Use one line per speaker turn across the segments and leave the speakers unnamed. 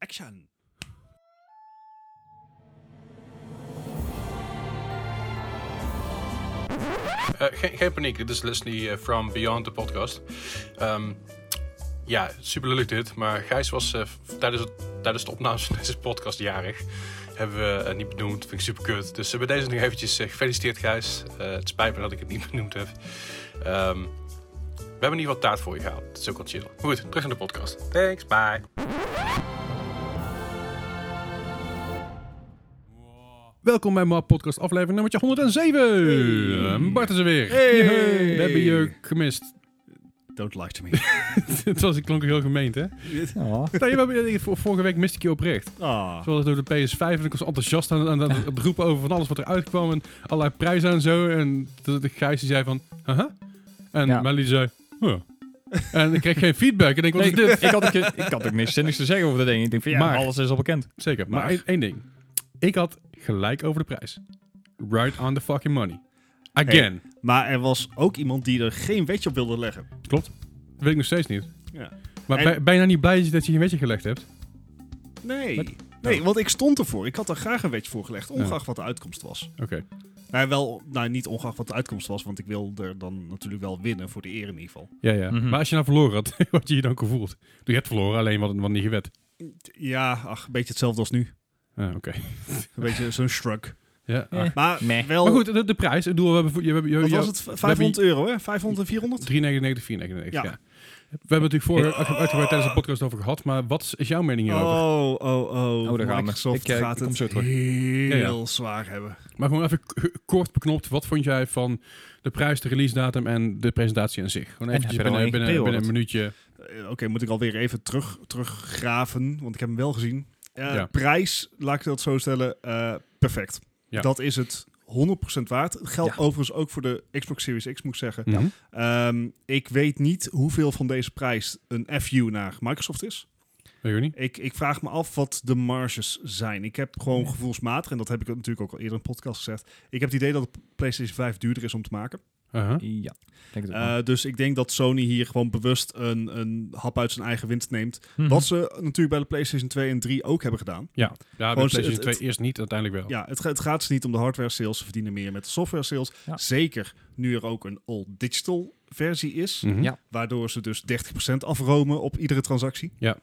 Action!
Eh, geen, geen paniek, dit is Leslie eh, from Beyond the Podcast. Ehm, ja, super leuk dit, maar Gijs was eh, v- tijdens, het, tijdens de opnames van deze podcast jarig. Hebben we eh, niet benoemd, vind ik super kut. Dus eh, bij deze nog eventjes eh, gefeliciteerd Gijs. Eh, het spijt me dat ik het niet benoemd heb. Ehm, we hebben in ieder geval taart voor je gehaald, dat is ook wel chill. Maar goed, terug naar de podcast. Thanks, bye.
Welkom bij Map Podcast aflevering nummertje 107. Bart is er weer.
Hey.
We hebben je gemist.
Don't lie to me.
Het was, ik klonk heel gemeend, hè?
Ah,
Nee, we hebben- vor- eh, vorige week miste ik je oprecht.
Ah.
Zoals door de PS5 en ik was enthousiast aan, aan, aan het roepen over van alles wat eruit kwam en allerlei prijzen en zo. En de, de Gijs die zei van, haha. En
Ja.
Melly zei, huh. En ik kreeg geen feedback. En ik denk, wat
Nee,
is dit?
ik, had ook, ik had ook niks zinnigs te zeggen over dat ding. Ik denk van ja,
Maar-
alles is al bekend.
Zeker, maar
Maar-
één, één ding. Ik had gelijk over de prijs. Right on the fucking money. Again.
Maar er was ook iemand die er geen wetje op wilde leggen.
Klopt. Dat weet ik nog steeds niet.
Ja.
Maar
En-
ben, ben je nou niet blij dat je een wetje gelegd hebt?
Nee.
Wat?
Oh.
Nee, want ik stond ervoor. Ik had er graag een wetje voor gelegd, ongeacht wat de uitkomst was.
Oké.
Nou, wel, nou, niet ongeacht wat de uitkomst was, want ik wil er dan natuurlijk wel winnen voor de eer in ieder geval.
Ja, ja.
Mhm.
Maar als je nou verloren had, wat had je je dan gevoeld? Je hebt verloren, alleen wat, wat niet gewet.
Ja, ach, een beetje hetzelfde als nu.
Ah, Oké.
Een beetje zo'n shrug.
Ja,
Eh.
ach.
Maar
Meh.
wel,
Maar goed, de, de prijs. Ik bedoel, we hebben... voor- Je, je, je,
wat was het? 500 euro, hè? 500 en 400?
3,99, 4,99, ja.
Ja.
We hebben het natuurlijk vorige uitgebreid tijdens de podcast over gehad, maar wat is- is jouw mening hierover?
Oh, oh, oh.
Oh, daar gaan we.
Microsoft
Ik, eh,
gaat
ik kom
het
zo terug.
heel
Ja,
zwaar hebben.
Maar gewoon even k- kort beknopt, wat vond jij van de prijs, de release datum en de presentatie aan zich? Gewoon
En
eventjes
heb je er
binnen,
al
binnen,
een
binnen een minuutje.
Eh, Oké, moet ik alweer even terug, teruggraven, want ik heb hem wel gezien. Eh,
Ja.
Prijs, laat ik dat zo stellen, eh, perfect.
Ja.
Dat is het 100% waard. Het geldt overigens ook voor de Xbox Series X, moet ik zeggen.
Ja.
Ehm, ik weet niet hoeveel van deze prijs een FU naar Microsoft is.
Weet je niet?
Ik, ik vraag me af wat de marges zijn. Ik heb gewoon gevoelsmatig, en dat heb ik natuurlijk ook al eerder in een podcast gezegd. Ik heb het idee dat de PlayStation 5 duurder is om te maken.
Aha.
Ja, denk het ook.
Eh, dus ik denk dat Sony hier gewoon bewust een, een hap uit zijn eigen wind neemt.
Mhm.
Wat ze natuurlijk bij de PlayStation 2 en 3 ook hebben gedaan.
Ja, ja bij
Gewoon,
PlayStation
het-
2
het-
eerst niet, uiteindelijk
Oh.
wel.
Ja, het, ga- het gaat ze niet om de hardware sales. Ze verdienen meer met de software sales.
Ja.
Zeker nu er ook een all digital versie is.
Mhm.
Ja.
Waardoor ze dus 30% afromen op iedere transactie.
Ja.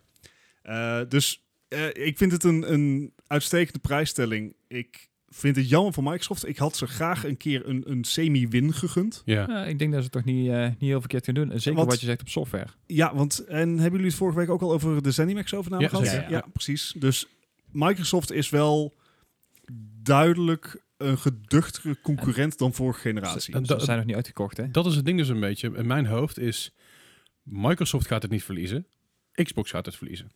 Eh, dus eh, ik vind het een, een uitstekende prijsstelling. Ik vind het jammer voor Microsoft. Ik had ze graag een keer een, een semi-win gegund.
Ja.
Eh, ik denk dat ze het toch niet, eh, niet heel verkeerd kunnen doen. En Zeker
Want-
wat je zegt op software.
Ja, want en hebben jullie het vorige week ook al over de ZeniMax-overname
Ja,
gehad?
zeker, ja.
precies. Dus Microsoft is wel duidelijk een geduchtere concurrent dan vorige generatie.
En
Ze
dat-
Dus zijn nog niet uitgekocht, hè?
Dat is het ding dus een beetje. In mijn hoofd is... Microsoft gaat het niet verliezen. Xbox gaat het verliezen.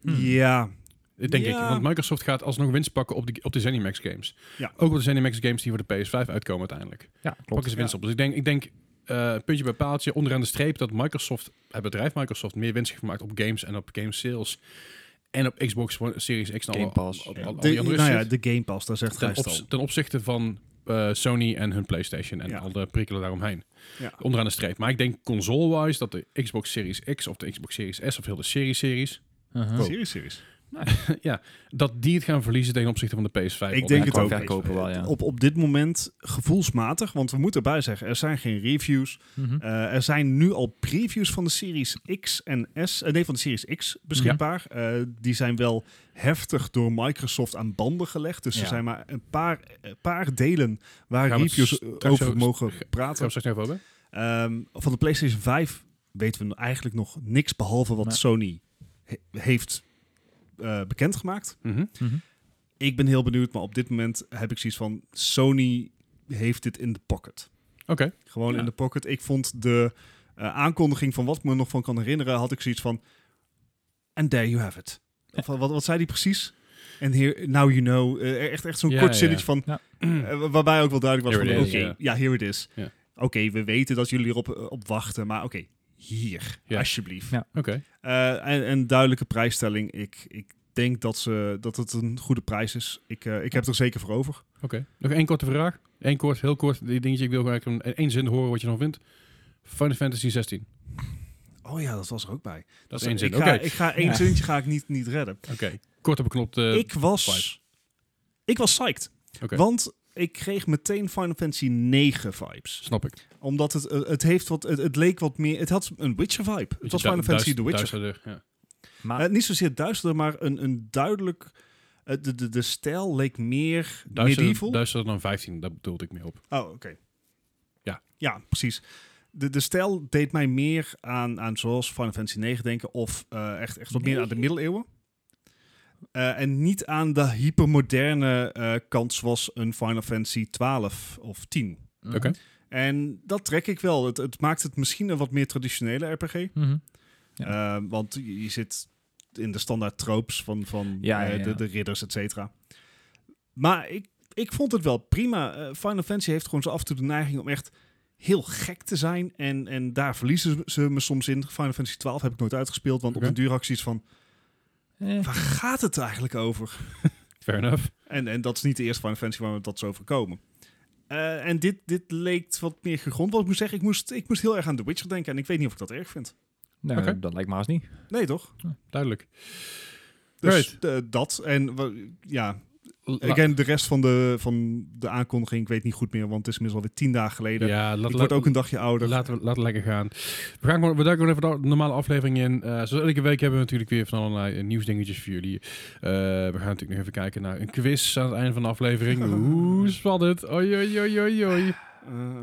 Ja,
Dat Denk
Ja.
ik. Want Microsoft gaat alsnog winst pakken op de, op de ZeniMax games.
Ja.
Ook op de ZeniMax games die voor de PS5 uitkomen uiteindelijk.
Ja, klopt.
Pakken ze winst op. Dus ik denk... Ik denk eh, puntje bij paaltje, onderaan de streep dat Microsoft, het bedrijf Microsoft, meer winst heeft gemaakt op games en op game sales. En op Xbox One- Series X en al,
Game Pass.
al- al- al
de,
die andere
nou
shit.
ja, de Game Pass, daar zegt
ten,
Gijs het
opz-
al.
ten opzichte van eh, Sony en hun PlayStation en
Ja.
al de prikkelen daaromheen.
Ja.
Onderaan de streep. Maar ik denk console-wise dat de Xbox Series X of de Xbox Series S of heel de serie series,
Uh-huh.
Oh.
Series, series.
dat die het gaan verliezen ten opzichte van de PS5.
Ik denk
ja,
het
qua
ook.
verkopen wel, ja.
Op, op dit moment gevoelsmatig, want we moeten erbij zeggen, er zijn geen reviews.
Mhm.
Eh, er zijn nu al previews van de Series X en S, eh, nee, van de Series X beschikbaar.
Mhm.
Eh, die zijn wel heftig door Microsoft aan banden gelegd. Dus er
Ja.
zijn maar een paar, een paar delen waar
Gaan we het
reviews
straks
over
over-
mogen
Gaan
praten.
we straks nog even hebben?
Ehm, van de PlayStation 5 weten we eigenlijk nog niks behalve wat
Nee.
Sony he- heeft eh, bekendgemaakt.
Mhm.
Mhm.
Ik ben heel benieuwd, maar op dit moment heb ik zoiets van Sony heeft dit in de pocket.
Oké.
Gewoon
Ja.
in de pocket. Ik vond de eh, aankondiging van wat ik me nog van kan herinneren, had ik zoiets van. And there you have it. Of, wat, wat zei die precies? En here, now you know. Eh, echt echt zo'n
Ja,
kort
ja,
zinnetje van.
Ja.
eh, waarbij ook wel duidelijk was:
Here
van,
it
oké,
is,
ja, here it is.
Ja.
Oké, we weten dat jullie erop eh, op wachten, maar oké, hier,
Ja.
alsjeblieft.
Ja.
Oké.
Eh, en, en duidelijke prijsstelling. Ik, ik denk dat, ze, dat het een goede prijs is. Ik, eh, ik heb er zeker voor over.
Oké. Nog één korte vraag. Eén kort, heel kort. Die dingetje, ik wil gewoon eigenlijk een- in één zin horen wat je dan vindt. Final Fantasy 16.
Oh ja, dat was er ook bij.
Dat
Dus
is één zin.
Ik
Oké,
ga, ik ga één
Ja.
zinnetje ga ik niet, niet redden.
oké. kort op beknopt. eh
ik was...
vibes.
Ik was psyched.
Oké.
Want ik kreeg meteen Final Fantasy 9 vibes.
Snap ik.
Omdat het, eh, het heeft wat... Het, het leek wat meer... Het had een Witcher-vibe. Het was Final Fantasy The Witcher.
Duisterder, ja.
Maar
Eh, niet zozeer duisterder, maar een, een duidelijk... eh, de, de, de stijl leek meer medieval.
Duisterder, duisterder dan 15, daar bedoelde ik mee op.
Oh, oké.
Ja.
Ja, precies. De, de stijl deed mij meer aan, aan zoals Final Fantasy 9 denken of eh, echt, echt wat meer aan de middeleeuwen. Eh, en niet aan de hypermoderne eh, kant zoals een Final Fantasy 12 of 10.
Mhm.
Oké.
En dat trek ik wel. Het, het maakt het misschien een wat meer traditionele RPG.
Mhm.
Eh, want je je zit in de standaard tropes van, van
Ja,
eh,
ja, ja.
De, de ridders, et cetera. Maar ik, ik vond het wel prima. Eh, Final Fantasy heeft gewoon zo af en toe de neiging om echt heel gek te zijn. En, en daar verliezen ze- ze me soms in. Final Fantasy 12 heb ik nooit uitgespeeld, want
Oké.
op de duur had ik zoiets van...
Eh,
Waar gaat het eigenlijk over?
Fair enough.
En, en dat is niet de eerste Final Fantasy waar we dat zo voorkomen. Eh, en dit, dit leek wat meer gegrond. Wat ik moet zeggen, ik moest, ik moest heel erg aan The Witcher denken. En ik weet niet of ik dat erg vind.
nou,
Oké.
dat lijkt me haast niet.
Nee, toch?
Duidelijk.
Dus
Right.
eh, dat. En we- ja,
La-
Again, de rest van de, van de aankondiging, ik weet niet goed meer, want het is inmiddels alweer tien dagen geleden.
ja, laat,
ik word
laat-
ook een dagje ouder.
Laten we, laten we lekker gaan. We, gaan gewoon, we duiken gewoon even de normale aflevering in. Eh, zoals elke week hebben we natuurlijk weer van allerlei eh, nieuwsdingetjes voor jullie. Eh, we gaan natuurlijk nog even kijken naar een quiz aan het einde van de aflevering. Hoe spannend. Oei, oei, oei, oei, oei.
Eh,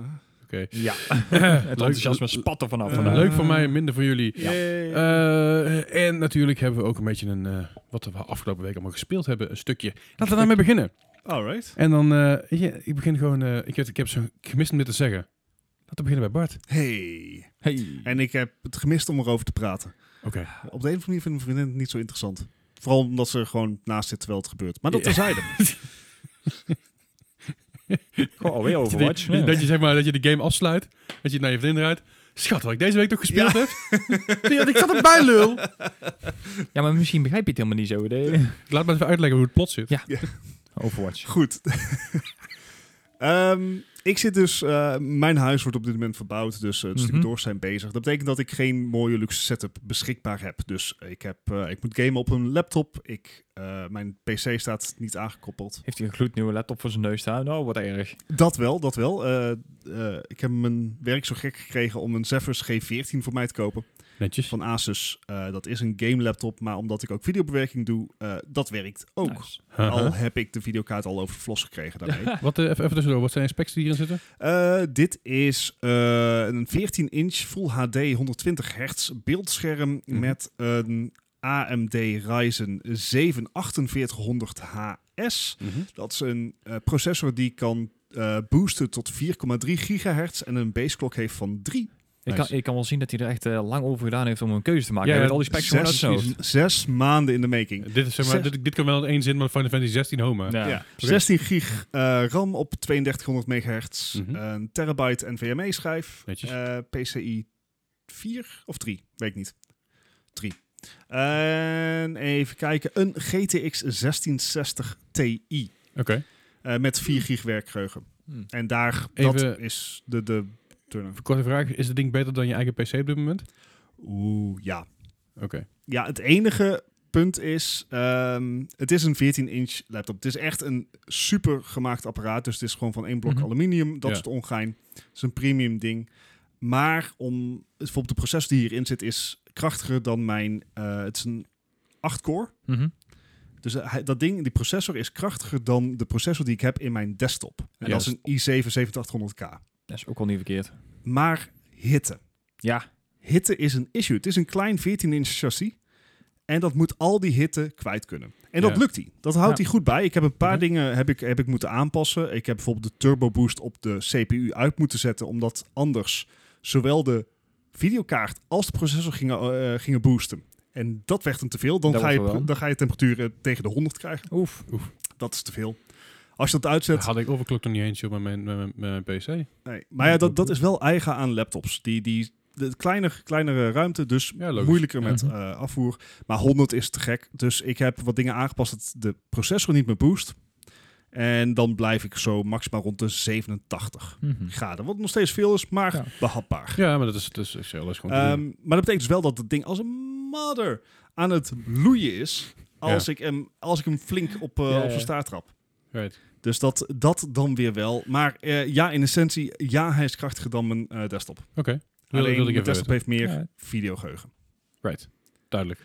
Oké.
Ja.
Leuk-
Het enthousiasme spat er vanaf.
Eh,
vandaag.
Leuk voor mij, minder voor jullie.
ja.
Ah. Eh, en natuurlijk hebben we ook een beetje een, eh, wat we afgelopen week allemaal gespeeld hebben, een stukje. Laten we daarmee beginnen.
Alright.
En dan, eh, weet je, ik begin gewoon, eh, ik, heb, ik heb zo'n gemist om dit te zeggen. Laten we beginnen bij Bart.
Hey.
Hey.
En ik heb het gemist om erover te praten.
Oké.
Op de een of andere manier vindt mijn vriendin het niet zo interessant. Vooral omdat ze er gewoon naast zit terwijl het gebeurt. Maar dat
Ja.
terzijde.
Goh, alweer Overwatch.
Dat je- Dat je zeg maar dat je de game afsluit, dat je het naar je vriendin draait. Schat, wat ik deze week toch gespeeld heb? Zie je dat? ik zat erbij, lul.
Ja, maar misschien begrijp je het helemaal niet zo. De...
Laat me even uitleggen hoe het plot zit.
Ja. Overwatch.
Goed. Ehm, ik zit dus, eh, mijn huis wordt op dit moment verbouwd, dus eh, de
Mhm.
stucadoors zijn bezig. Dat betekent dat ik geen mooie luxe setup beschikbaar heb. Dus ik, heb, eh, ik moet gamen op een laptop. Ik, eh, mijn PC staat niet aangekoppeld.
Heeft hij een gloednieuwe laptop voor zijn neus staan? Oh, wat erg.
Dat wel, dat wel. Eh, eh, ik heb mijn werk zo gek gekregen om een Zephyrus G14 voor mij te kopen
Netjes.
van Asus. Eh, dat is een game laptop, maar omdat ik ook videobewerking doe, eh, dat werkt ook.
Nice.
Al
Oh.
heb ik de videokaart al over de vlos gekregen daarmee.
Wat, eh, even, even tussendoor, wat zijn de specs die hierin zitten?
Eh, dit is eh, een 14-inch Full HD 120 hertz beeldscherm
Mhm.
met een AMD Ryzen 7 4800HS.
Mhm.
Dat is een eh, processor die kan eh, boosten tot 4,3 gigahertz en een baseclock heeft van 3.
Ik,
Nice.
kan, ik kan wel zien dat hij er echt eh, lang over gedaan heeft om een keuze te maken.
Ja,
Hij
ja,
met al die specs gewoon uit
Zes,
zijn hoofd.
zes maanden in de making.
Dit, is, zeg maar,
Zes.
dit, dit kan wel in één zin, maar Final Fantasy 16 Homa.
Ja. 16 gig eh, RAM op 3200 megahertz.
Mhm.
Een terabyte NVMe-schijf.
Netjes.
eh, PCI 4 of 3, weet ik niet. 3. En even kijken, een GTX 1660 Ti
Oké.
eh, met 4 gig werkgeheugen.
Hmm.
En daar, dat
Even-
is de, de turner.
Korte vraag, is het ding beter dan je eigen PC op dit moment?
Oeh, ja.
Oké.
Ja, het enige punt is, ehm, het is een 14-inch laptop. Het is echt een super gemaakt apparaat. Dus het is gewoon van één blok
Mhm.
aluminium. Dat
Ja.
is het ongein. Het is een premium ding. Maar om, het- bijvoorbeeld de processor die hierin zit is krachtiger dan mijn... eh, het is een 8-core.
Mhm.
Dus hij- dat ding, die processor is krachtiger dan de processor die ik heb in mijn desktop. En
Ja. dus
dat is een i7 7800K.
Dat is ook al niet verkeerd.
Maar hitte.
Ja.
Hitte is een issue. Het is een klein 14-inch chassis. En dat moet al die hitte kwijt kunnen. En dat
Ja.
lukt hij. Dat houdt
Ja.
hij goed bij. Ik heb een paar
Mhm.
dingen heb ik, heb ik moeten aanpassen. Ik heb bijvoorbeeld de turbo boost op de CPU uit moeten zetten. Omdat anders zowel de videokaart als de processor gingen, eh, gingen boosten. En dat werd hem te veel. Dan,
Dat
ga je,
wordt wel.
dan ga je temperaturen tegen de 100 krijgen.
Oef.
Dat is te veel. Als je dat
Dat
uitzet.
had ik overklokt nog niet eens joh, met mijn, met mijn, met mijn PC.
Nee. Maar ja, dat, dat is wel eigen aan laptops. Die, die de kleiner, kleinere ruimte, dus
Ja, logisch.
moeilijker met
Mhm.
eh, afvoer. Maar 100 is te gek. Dus ik heb wat dingen aangepast dat de processor niet meer boost. En dan blijf ik zo maximaal rond de 87
Mhm.
graden. Wat nog steeds veel is, maar
Ja.
behapbaar.
Ja, maar dat is, dat is Excel. Dat is gewoon te
Ehm,
doen.
maar dat betekent dus wel dat het ding als een mother aan het loeien is. Als, ik, hem, als ik hem flink op, eh,
Ja,
op
ja.
zijn staart trap.
Right.
Dus dat, dat dan weer wel. Maar eh, ja, in essentie, ja, hij is krachtiger dan mijn eh, desktop.
Oké. Wil,
Alleen,
wilde ik
mijn
even
desktop
weten.
heeft meer
Ja.
videogeheugen.
Right. Duidelijk.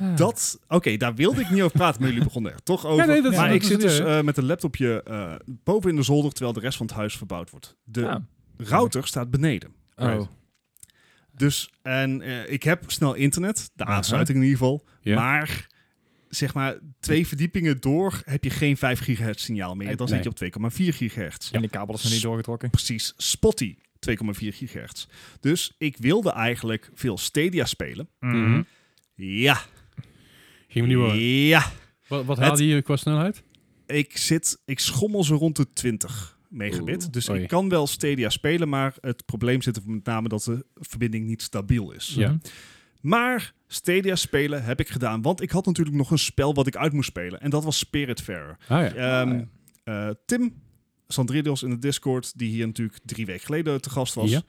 Ah.
Dat, oké, daar wilde ik niet over praten, maar jullie begonnen er toch over.
nee, dat
is-
maar
dat
ik
is-
zit dus
ja, ja.
eh, met een laptopje eh, boven in de zolder, terwijl de rest van het huis verbouwd wordt. De
Ah.
router staat beneden.
Oh.
Dus, en eh, ik heb snel internet, de
Aha.
aansluiting in ieder geval.
Ja.
Maar, zeg maar, twee verdiepingen door heb je geen 5 gigahertz signaal meer. Dan
Nee.
zit je op 2,4 gigahertz.
En de kabel is nog niet doorgetrokken.
Precies, spotty, 2,4 gigahertz. Dus ik wilde eigenlijk veel Stadia spelen.
Mhm.
Ja,
Ging me niet worden.
ja.
Wat, wat
Het-
haalde je qua snelheid?
Ik, zit, ik schommel zo rond de 20 megabit.
Oeh,
dus
oei.
ik kan wel Stadia spelen, maar het probleem zit er met name dat de verbinding niet stabiel is.
Ja.
Maar Stadia spelen heb ik gedaan, want ik had natuurlijk nog een spel wat ik uit moest spelen. En dat was Spiritfarer.
Ah ja.
Ehm, eh, Tim Sandridos in de Discord, die hier natuurlijk drie weken geleden te gast was,
Ja.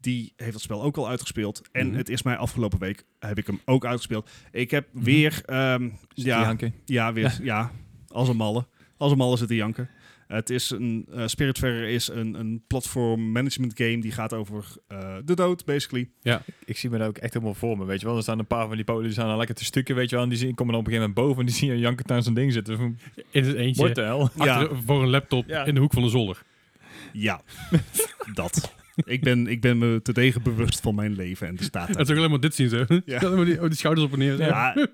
die heeft dat spel ook al uitgespeeld. En
Mhm.
het is mij afgelopen week, heb ik hem ook uitgespeeld. Ik heb
Mhm.
weer, ehm,
Zit die
ja,
hanken?
ja, weer, ja, als een malle. Als een malle zit te janken. Het is een, eh Spiritfarer is een, een platform management game die gaat over eh, de dood, basically.
Ik zie me daar ook echt helemaal voor me, weet je wel. Er staan een paar van die polen, die staan daar lekker te stukken, weet je wel. En die zien, komen dan op een gegeven moment boven en die zien een janker aan zijn ding zitten. Van,
In het eentje.
What the hell?
Achter- Voor een laptop
Ja.
in de hoek van de zolder.
Ja, dat. Ik ben, ik ben me te degen bewust van mijn leven en de staat
Het is ook alleen maar dit zien zo. Ja. alleen maar die, oh, die schouders op en neer. Ja.
Ja,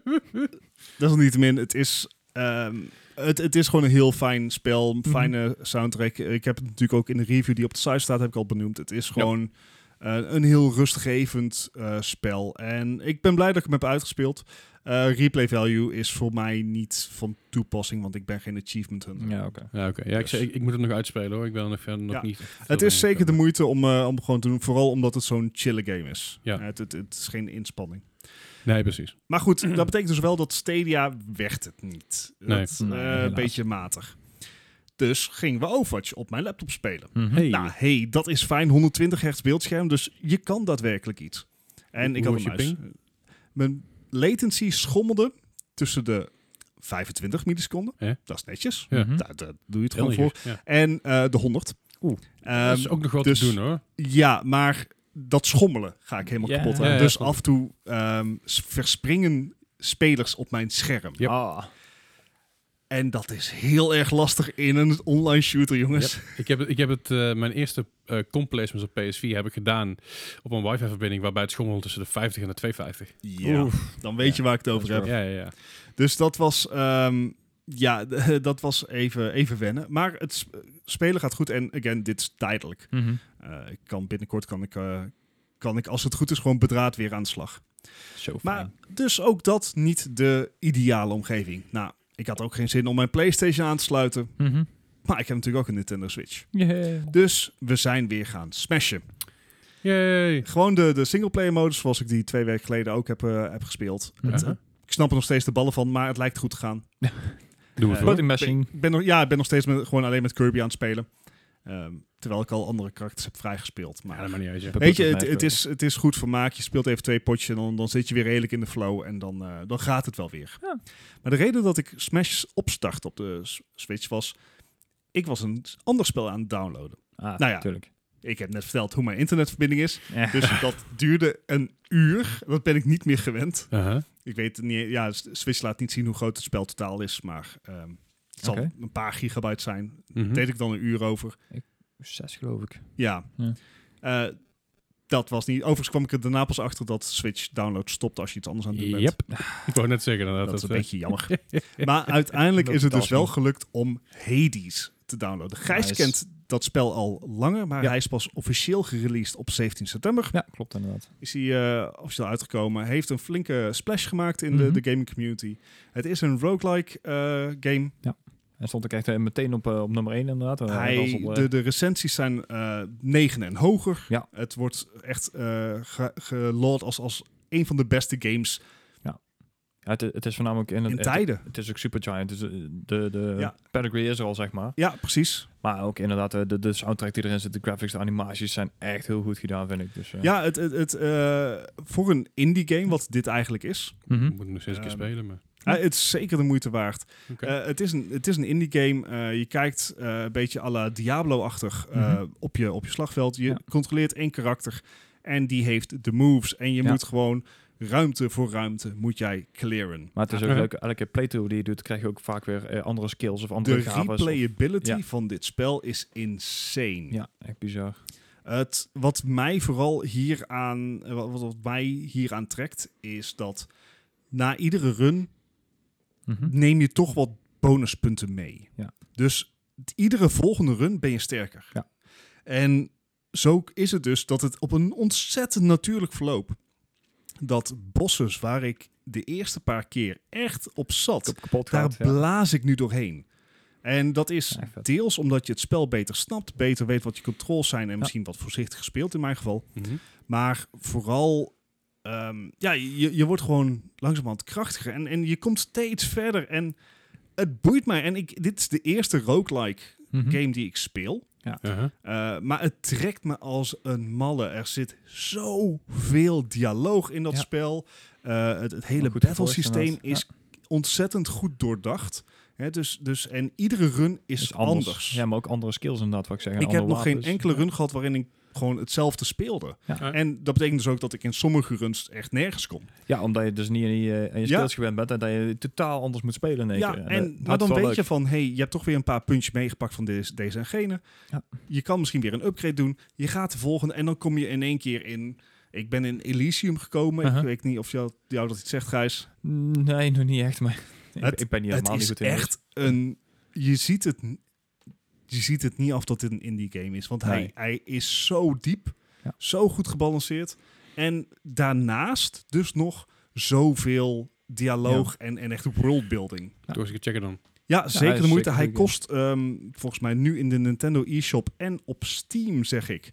desalniettemin, het is, ehm, het, het is gewoon een heel fijn spel, een fijne soundtrack. Ik heb het natuurlijk ook in de review die op de site staat, heb ik al benoemd. Het is gewoon eh, een heel rustgevend eh, spel. En ik ben blij dat ik hem heb uitgespeeld. Eh, replay value is voor mij niet van toepassing, want ik ben geen achievement hunter.
Ja, oké.
Ja, oké. Ja, ik,
Dus.
zei, ik, ik moet het nog uitspelen hoor. Ik ben er nog verder nog
Ja.
niet. echt
Het
veel
is zeker de
mee
moeite om, eh, om gewoon te doen, vooral omdat het zo'n chille game is.
Ja.
Eh, het, het, het is geen inspanning.
gekomen. Nee, precies.
Maar goed, dat betekent dus wel dat Stadia werd het niet.
Nee.
Dat, eh,
Nee, helaas.
een beetje matig. Dus gingen we Overwatch op mijn laptop spelen.
Hey.
Nou, hey, dat is fijn. 120 hertz beeldscherm, dus je kan daadwerkelijk iets. En
Hoe
ik had een
was je
muis. Mijn latency schommelde tussen de 25 milliseconden.
Ja.
Dat is netjes.
Ja.
Mhm.
Daar, daar doe je het
Heel
gewoon voor.
netjes. Ja.
En eh, de 100.
Oeh.
dat
Ehm,
is ook nog wat
dus-
te doen hoor.
ja, maar dat schommelen ga ik helemaal
Ja.
kapot
Ja,
aan.
ja,
dus
snap ik.
af en toe ehm, s- verspringen spelers op mijn scherm.
Yep.
Ah.
En dat is heel erg lastig in een online shooter, jongens.
Ik heb, het- ik heb het, eh, mijn eerste eh comp placements op PS4 heb ik gedaan op een wifi-verbinding waarbij het schommelde tussen de 50 en de 250.
Ja. Dan weet je waar ik het over
Dat
heb.
is
Ja, ja, ja.
Dus dat was, ehm, ja, d- dat was even, even wennen. Maar het sp- spelen gaat goed. En again, dit is tijdelijk.
Mhm.
Eh, ik kan binnenkort kan ik, eh, kan ik, als het goed is, gewoon bedraad weer aan de slag.
Zo
Maar
fijn.
dus ook dat niet de ideale omgeving. Nou, ik had ook geen zin om mijn PlayStation aan te sluiten.
Mhm.
Maar ik heb natuurlijk ook een Nintendo Switch.
Yeah.
Dus we zijn weer gaan smashen.
Yay.
Gewoon de, de singleplayer modus zoals ik die twee weken geleden ook heb, eh, heb gespeeld. Het,
Ja.
eh, ik snap er nog steeds de ballen van, maar het lijkt goed te gaan.
Doe het
Eh,
hoor.
Body mashing.
Ik ben nog, ja, ik ben nog steeds met, gewoon alleen met Kirby aan het spelen. Ehm, terwijl ik al andere karakters heb vrijgespeeld.
Ja,
Maar
dat maakt niet uit. ja.
weet je, het, het, is, het is goed vermaak. Je speelt even twee potjes en dan, dan zit je weer redelijk in de flow. En dan, eh, dan gaat het wel weer.
Ja.
Maar de reden dat ik Smash opstart op de S- Switch was... Ik was een ander spel aan het downloaden.
Ah,
nou ja.
tuurlijk.
Ik heb net verteld hoe mijn internetverbinding is.
Ja.
Dus dat duurde een uur. Dat ben ik niet meer gewend.
Uh-huh.
Ik weet het niet. Ja, S- Switch laat niet zien hoe groot het spel totaal is, maar ehm, het zal
Oké. Hm.
een paar gigabyte zijn.
Mhm.
Deed ik dan een uur over.
Zes geloof ik.
Ja.
Ja.
Eh, dat was niet. Overigens kwam ik er daarna pas achter dat Switch download stopt als je iets anders aan het doen bent.
Yep. ik wou net zeggen inderdaad.
Dat, is een
eh,
beetje jammer. maar uiteindelijk
Dat
is het dus
betaalt
wel
niet.
gelukt om Hades te downloaden. Gijs
Nice.
kent dat spel al langer, maar
Ja.
hij is pas officieel gereleased op 17 september.
Ja, klopt inderdaad.
is hij eh, officieel uitgekomen. Hij heeft een flinke splash gemaakt in
Mhm.
de, de gaming community. Het is een roguelike eh, game.
En stond ik echt eh, meteen op, eh, op nummer 1 inderdaad. Eh, dat was
Hij,
op, eh,
de, de recensies zijn eh 9 en hoger.
Ja.
Het wordt echt eh ge- geloot als, als een van de beste games
Ja. Ja, het, het is voornamelijk in,
In
het,
tijden.
Het is ook Supergiant, dus eh, de, de
Ja.
pedigree is er al, zeg maar.
Ja, precies.
Maar ook inderdaad, eh, de, de soundtrack die erin zit, de graphics, de animaties zijn echt heel goed gedaan, vind ik. Dus, eh,
Ja, het, het, het, eh, voor een indie game, wat dit eigenlijk is,
Mhm.
Moet ik nog steeds een keer
Ehm,
spelen, maar...
eh, het is zeker de moeite waard.
Oké.
Eh, het, is een, het is een indie game. Eh, je kijkt eh, een beetje à la Diablo-achtig eh,
Mhm.
op, je, op je slagveld. Je
Ja.
controleert één karakter en die heeft de moves. En je
Ja.
moet gewoon ruimte voor ruimte moet jij clearen.
Maar het is ook
Oké.
leuk, elke playthrough die je doet, krijg je ook vaak weer eh, andere skills of andere
De
gaves. of-
replayability
Ja.
van dit spel is insane.
Ja, echt bizar.
Het, wat mij vooral hieraan, eh, wat, wat mij hieraan trekt, is dat na iedere run
Mhm.
neem je toch wat bonuspunten mee.
Ja.
Dus t- iedere volgende run ben je sterker.
Ja.
En zo k- is het dus dat het op een ontzettend natuurlijk verloop dat bosses waar ik de eerste paar keer echt op zat,
Kap- kapot
daar
gaat, ja.
blaas ik nu doorheen. En dat is
Ja, echt vet.
deels omdat je het spel beter snapt, beter weet wat je controls zijn en misschien wat voorzichtig gespeeld in mijn geval.
Mhm.
Maar vooral, ehm, ja, je, je wordt gewoon langzamerhand krachtiger. En, en je komt steeds verder. En het boeit mij. En ik, dit is de eerste roguelike
Mhm.
game die ik speel.
Uh-huh.
Eh, maar het trekt me als een malle. Er zit zoveel dialoog in dat
Ja.
spel. Eh, het, het hele
Goed
battle
gevoerd,
systeem
inderdaad.
is ontzettend goed doordacht. Hè, dus, dus, en iedere run is,
Is
anders.
Ja, maar ook andere skills inderdaad, wat ik zeg. en
ik heb
andere
nog geen
wapens.
enkele run gehad waarin ik gewoon hetzelfde speelde.
Ja.
En dat betekent dus ook dat ik in sommige runs echt nergens kom.
Ja, omdat je dus niet in je, in je
Ja.
skills gewend bent en dat je totaal anders moet spelen in één
Ja,
keer. En dat-
en,
dat
maar
is
dan
wel
weet
leuk.
je van, hey, je hebt toch weer een paar puntjes meegepakt van deze, deze en gene.
Ja.
Je kan misschien weer een upgrade doen. Je gaat de volgende en dan kom je in één keer in... Ik ben in Elysium gekomen.
Uh-huh.
Ik weet niet of jou, jou dat iets zegt, Gijs.
Mm, Nee, nog niet echt, maar ik, ik ben hier
het
helemaal niet
is
goed in.
echt een... Je ziet het, n- je ziet het niet af dat dit een indie game is. Want hij,
Nee.
hij is zo diep,
Ja.
zo goed gebalanceerd. En daarnaast dus nog zoveel dialoog en, en echt worldbuilding.
Toch eens een keer checken dan.
Ja, zeker
hij
de
is
moeite.
zeker
Hij
een
kost ehm, volgens mij nu in de Nintendo eShop en op Steam, zeg ik,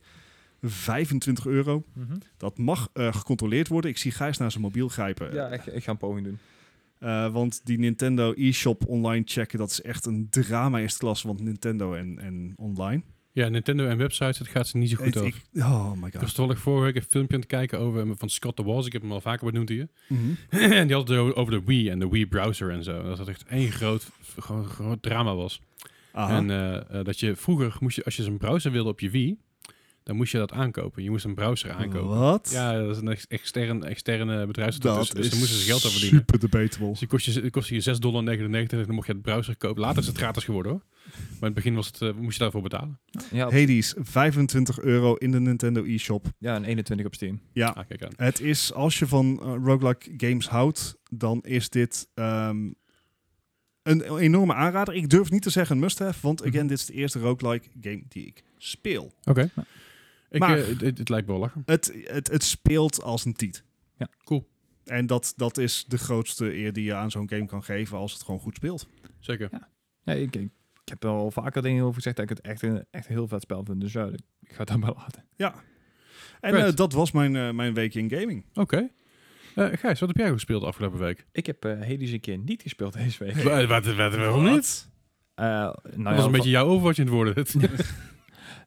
25 euro.
Mhm.
Dat mag eh, gecontroleerd worden. Ik zie Gijs naar zijn mobiel grijpen.
Ja, ik, ik ga een poging doen.
Eh, want die Nintendo eShop online checken, dat is echt een drama eerste klas. Want Nintendo en, en online.
Ja, Nintendo en websites, dat gaat ze niet zo goed Dus-
Ik-
over.
ik- oh my
Ik was
god.
toevallig vorige week een filmpje aan het kijken over, eh, van Scott de Walls. Ik heb hem al vaker benoemd hier.
Mhm.
En die had het o- over de Wii en de Wii browser en zo. En dat dat echt één groot, gewoon, groot drama was.
Aha.
En eh, eh, dat je vroeger, moest je, als je zo'n browser wilde op je Wii, dan moest je dat aankopen. Je moest een browser eh, aankopen.
Wat?
Ja, dat is een ex- extern, externe bedrijf. Dus
dat
daar moesten ze geld aan
is
verdienen.
super debatable.
Dus die kost je, kost je 6,99 dollar en dan mocht je het browser kopen. Later is het gratis geworden hoor. Maar in het begin was het, eh, moest je daarvoor betalen.
Ja, op-
Hades, 25 euro in de Nintendo eShop.
ja, en 21 op Steam.
Ja,
Ah, kijk aan.
Het is, als je van eh, roguelike games houdt, dan is dit ehm, een enorme aanrader. Ik durf niet te zeggen een must-have, want again,
Mhm.
dit is de eerste roguelike game die ik speel.
Oké. Ik,
Maar-
eh, het, het- het lijkt me wel lachen.
Het, het, het speelt als een tiet.
Ja,
cool.
En dat, dat is de grootste eer die je aan zo'n game kan geven als het gewoon goed speelt.
Zeker.
Ja, ik, ik, ik heb er al vaker dingen over gezegd dat ik het echt een, echt een heel vet spel vind. Dus ja, ik ik ga het daarbij laten.
En
Great.
eh, dat was mijn, eh, mijn week in gaming.
Oké. Eh, Gijs, wat heb jij gespeeld de afgelopen week?
Ik heb eh Hades een keer niet gespeeld deze week.
Wat, wat, waarom niet?
Eh, nou
Dat
ja,
was
va-
een beetje jouw over wat je in het woorden hebt.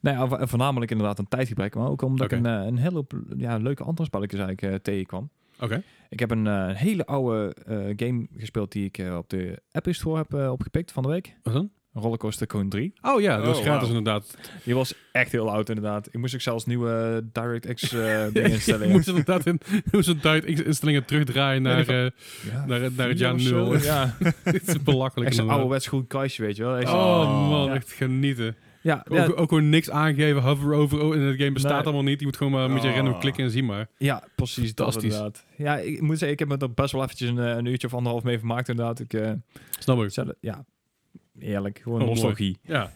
Nou ja, vo- voornamelijk inderdaad een tijdgebrek, maar ook omdat
Oké.
ik een, eh, een hele hoop, ja, leuke andere spelletjes eigenlijk eh, tegenkwam.
Oké.
Ik heb een eh, hele oude eh, game gespeeld die ik eh, op de App Store heb eh, opgepikt van de week.
Wat dan?
Rollercoaster Tycoon 3.
Oh ja, dat
Oh,
is gratis
wauw.
inderdaad.
Die was echt heel oud inderdaad. Ik moest ook zelfs nieuwe DirectX eh dingen
Je
instellen.
moest inderdaad in, je moest inderdaad instellingen terugdraaien
Ja,
naar,
die
eh,
Ja,
naar, naar het
vier
jaar
of zo,
nul.
Ja.
Het is belachelijk.
Echt zo'n
inderdaad.
ouderwets groen kastje, weet je wel. Echt zo'n-
Oh man,
Ja.
echt genieten.
Ja,
Ook,
ja,
ook gewoon niks aangeven, hover over. Oh, en het game bestaat
Nee.
allemaal niet. Je moet gewoon maar een beetje
Ah.
random klikken en zien maar.
ja, precies dat
Fantastisch.
inderdaad. Ja, ik moet zeggen, ik heb me er best wel eventjes een, eh, een uurtje of anderhalf mee vermaakt inderdaad. Ik, eh,
Snap ik.
zelf- ja, eerlijk, gewoon
Oh, mooi.
nostalgie.
Ja.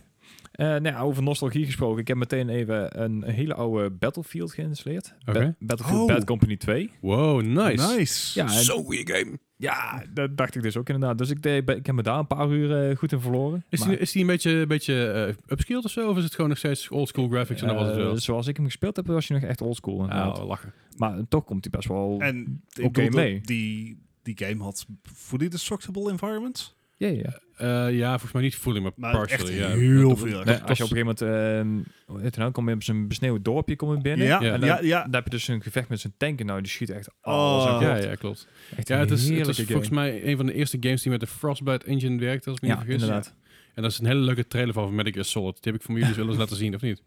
Eh, nou ja, over nostalgie gesproken. Ik heb meteen even een hele oude Battlefield geïnstalleerd.
Oké.
Ba- Battlefield
Oh.
Bad Company 2.
Wow, nice.
Nice.
Ja, en-
Zo'n goede game.
ja, dat dacht ik dus ook inderdaad. Dus ik, deed, ik heb me daar een paar uur eh, goed in verloren.
Is
Maar-
die, is die een beetje, een beetje eh, upscaled of zo? Of is het gewoon nog steeds oldschool graphics en dat was het
Eh,
wel?
Zoals ik hem gespeeld
Oh.
heb, was je nog echt oldschool. inderdaad.
Ah, lachen.
Maar toch komt hij best wel.
En ik
Oké,
bedoel,
nee.
die die game had fully destructible environments.
Ja, ja.
Eh, ja, volgens mij niet fully, maar,
Maar
partially.
echt
ja.
heel
Dat-
veel.
Nee, als je op een gegeven moment, eh, hoe heet het nou, kom je op zo'n besneeuwd dorpje kom je binnen.
ja,
Ja.
ja,
En dan,
ja, ja.
dan heb je dus een gevecht met zo'n tanken. Nou, die schiet echt
Oh.
alles oh,
Ja, ja, klopt.
Echt
Ja,
een
het is, het
heerlijke
is
game.
volgens mij een van de eerste games die met de Frostbite engine werkt, als ik me
Ja,
niet vergis.
inderdaad.
En dat is een hele leuke trailer van Medic Gear Solid. Die heb ik van jullie willen laten zien, of niet?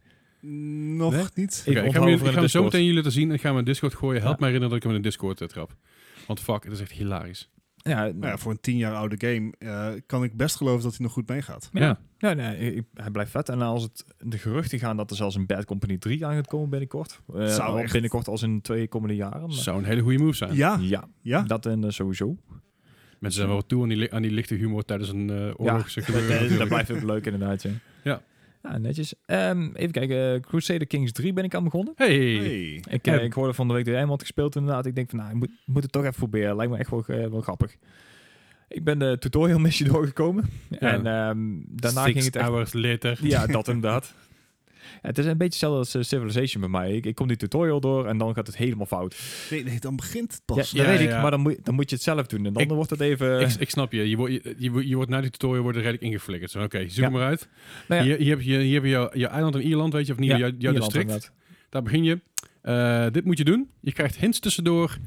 Nog
Nee?
niet.
Ik
Oké, ik ga
onthoud
hem, jullie-
voor
ik
in
ga
de
hem zo
Discord.
meteen jullie laten zien en ik ga hem in Discord gooien. Help
Ja.
mij herinneren dat ik hem in de Discord eh, trap. Want fuck, het is echt hilarisch.
Ja,
Nou ja,
ja,
voor een tien jaar oude game eh, kan ik best geloven dat hij nog goed meegaat.
Ja.
nee, ik- ik- hij blijft vet. En als het de geruchten gaan dat er zelfs een Bad Company 3 aan gaat komen binnenkort. Eh,
Zou
al
echt-
Binnenkort als in de twee komende jaren. maar-
Zou een hele goede move zijn.
Ja,
ja,
ja.
dat en eh, sowieso.
Mensen zijn wel toe aan die, li- aan die lichte humor tijdens een eh oorlog. Ja.
Eh, dat blijft ook leuk inderdaad, ja.
Ja.
Ja, netjes. Ehm, even kijken, eh, Crusader Kings 3 ben ik aan begonnen.
Hey.
Hey.
Ik, eh,
Ehm.
ik hoorde van de week dat jij hem had gespeeld inderdaad. Ik denk van, nou, ik moet, moet het toch even proberen. Lijkt me echt wel, eh, wel grappig. Ik ben de tutorial missie doorgekomen. En ehm, daarna
Six
ging het echt...
hours later.
Ja, dat inderdaad. Het is een beetje hetzelfde als eh, Civilization bij mij. Ik, ik kom die tutorial door en dan gaat het helemaal fout.
Nee, nee, dan begint het
Ja,
pas.
dat
Ja,
weet ik,
ja.
maar dan moet, dan moet je het zelf doen. En dan
Ik-
wordt het even...
Ik, ik snap je. Je, wordt je, je, wordt- je wordt na die tutorial wordt er redelijk ingeflikkerd. Zo, Oké, zoek
Ja.
hem maar uit.
Nou ja.
Hier, hier heb je, hier heb je jouw, jouw eiland in Ierland, weet je, of niet?
Ja,
jouw, jouw
Ierland
district.
inderdaad.
Daar begin je. Eh, dit moet je doen. Je krijgt hints tussendoor.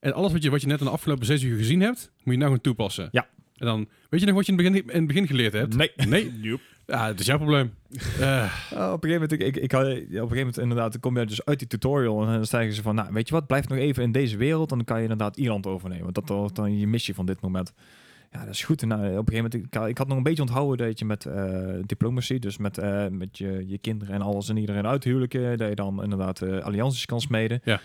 En alles wat je, wat je net in de afgelopen zes uur gezien hebt, moet je nou gewoon toepassen.
Ja.
En dan, weet je nog wat je in het begin, in het begin geleerd hebt?
Nee.
Nee. Ja, het is jouw probleem. Eh,
Ja, op een gegeven moment, ik, ik, ik had, ja, op een gegeven moment inderdaad, kom je dus uit die tutorial en dan zeggen ze van, nou, weet je wat, blijf nog even in deze wereld en dan kan je inderdaad Ierland overnemen. Want dat wordt dan je missie van dit moment. Ja, dat is goed. En, nou, op een gegeven moment, ik, had- ik had nog een beetje onthouden dat je met eh, diplomatie, dus met, eh, met je, je kinderen en alles en iedereen uithuwelijken, dat je dan inderdaad eh, allianties kan smeden.
Ja.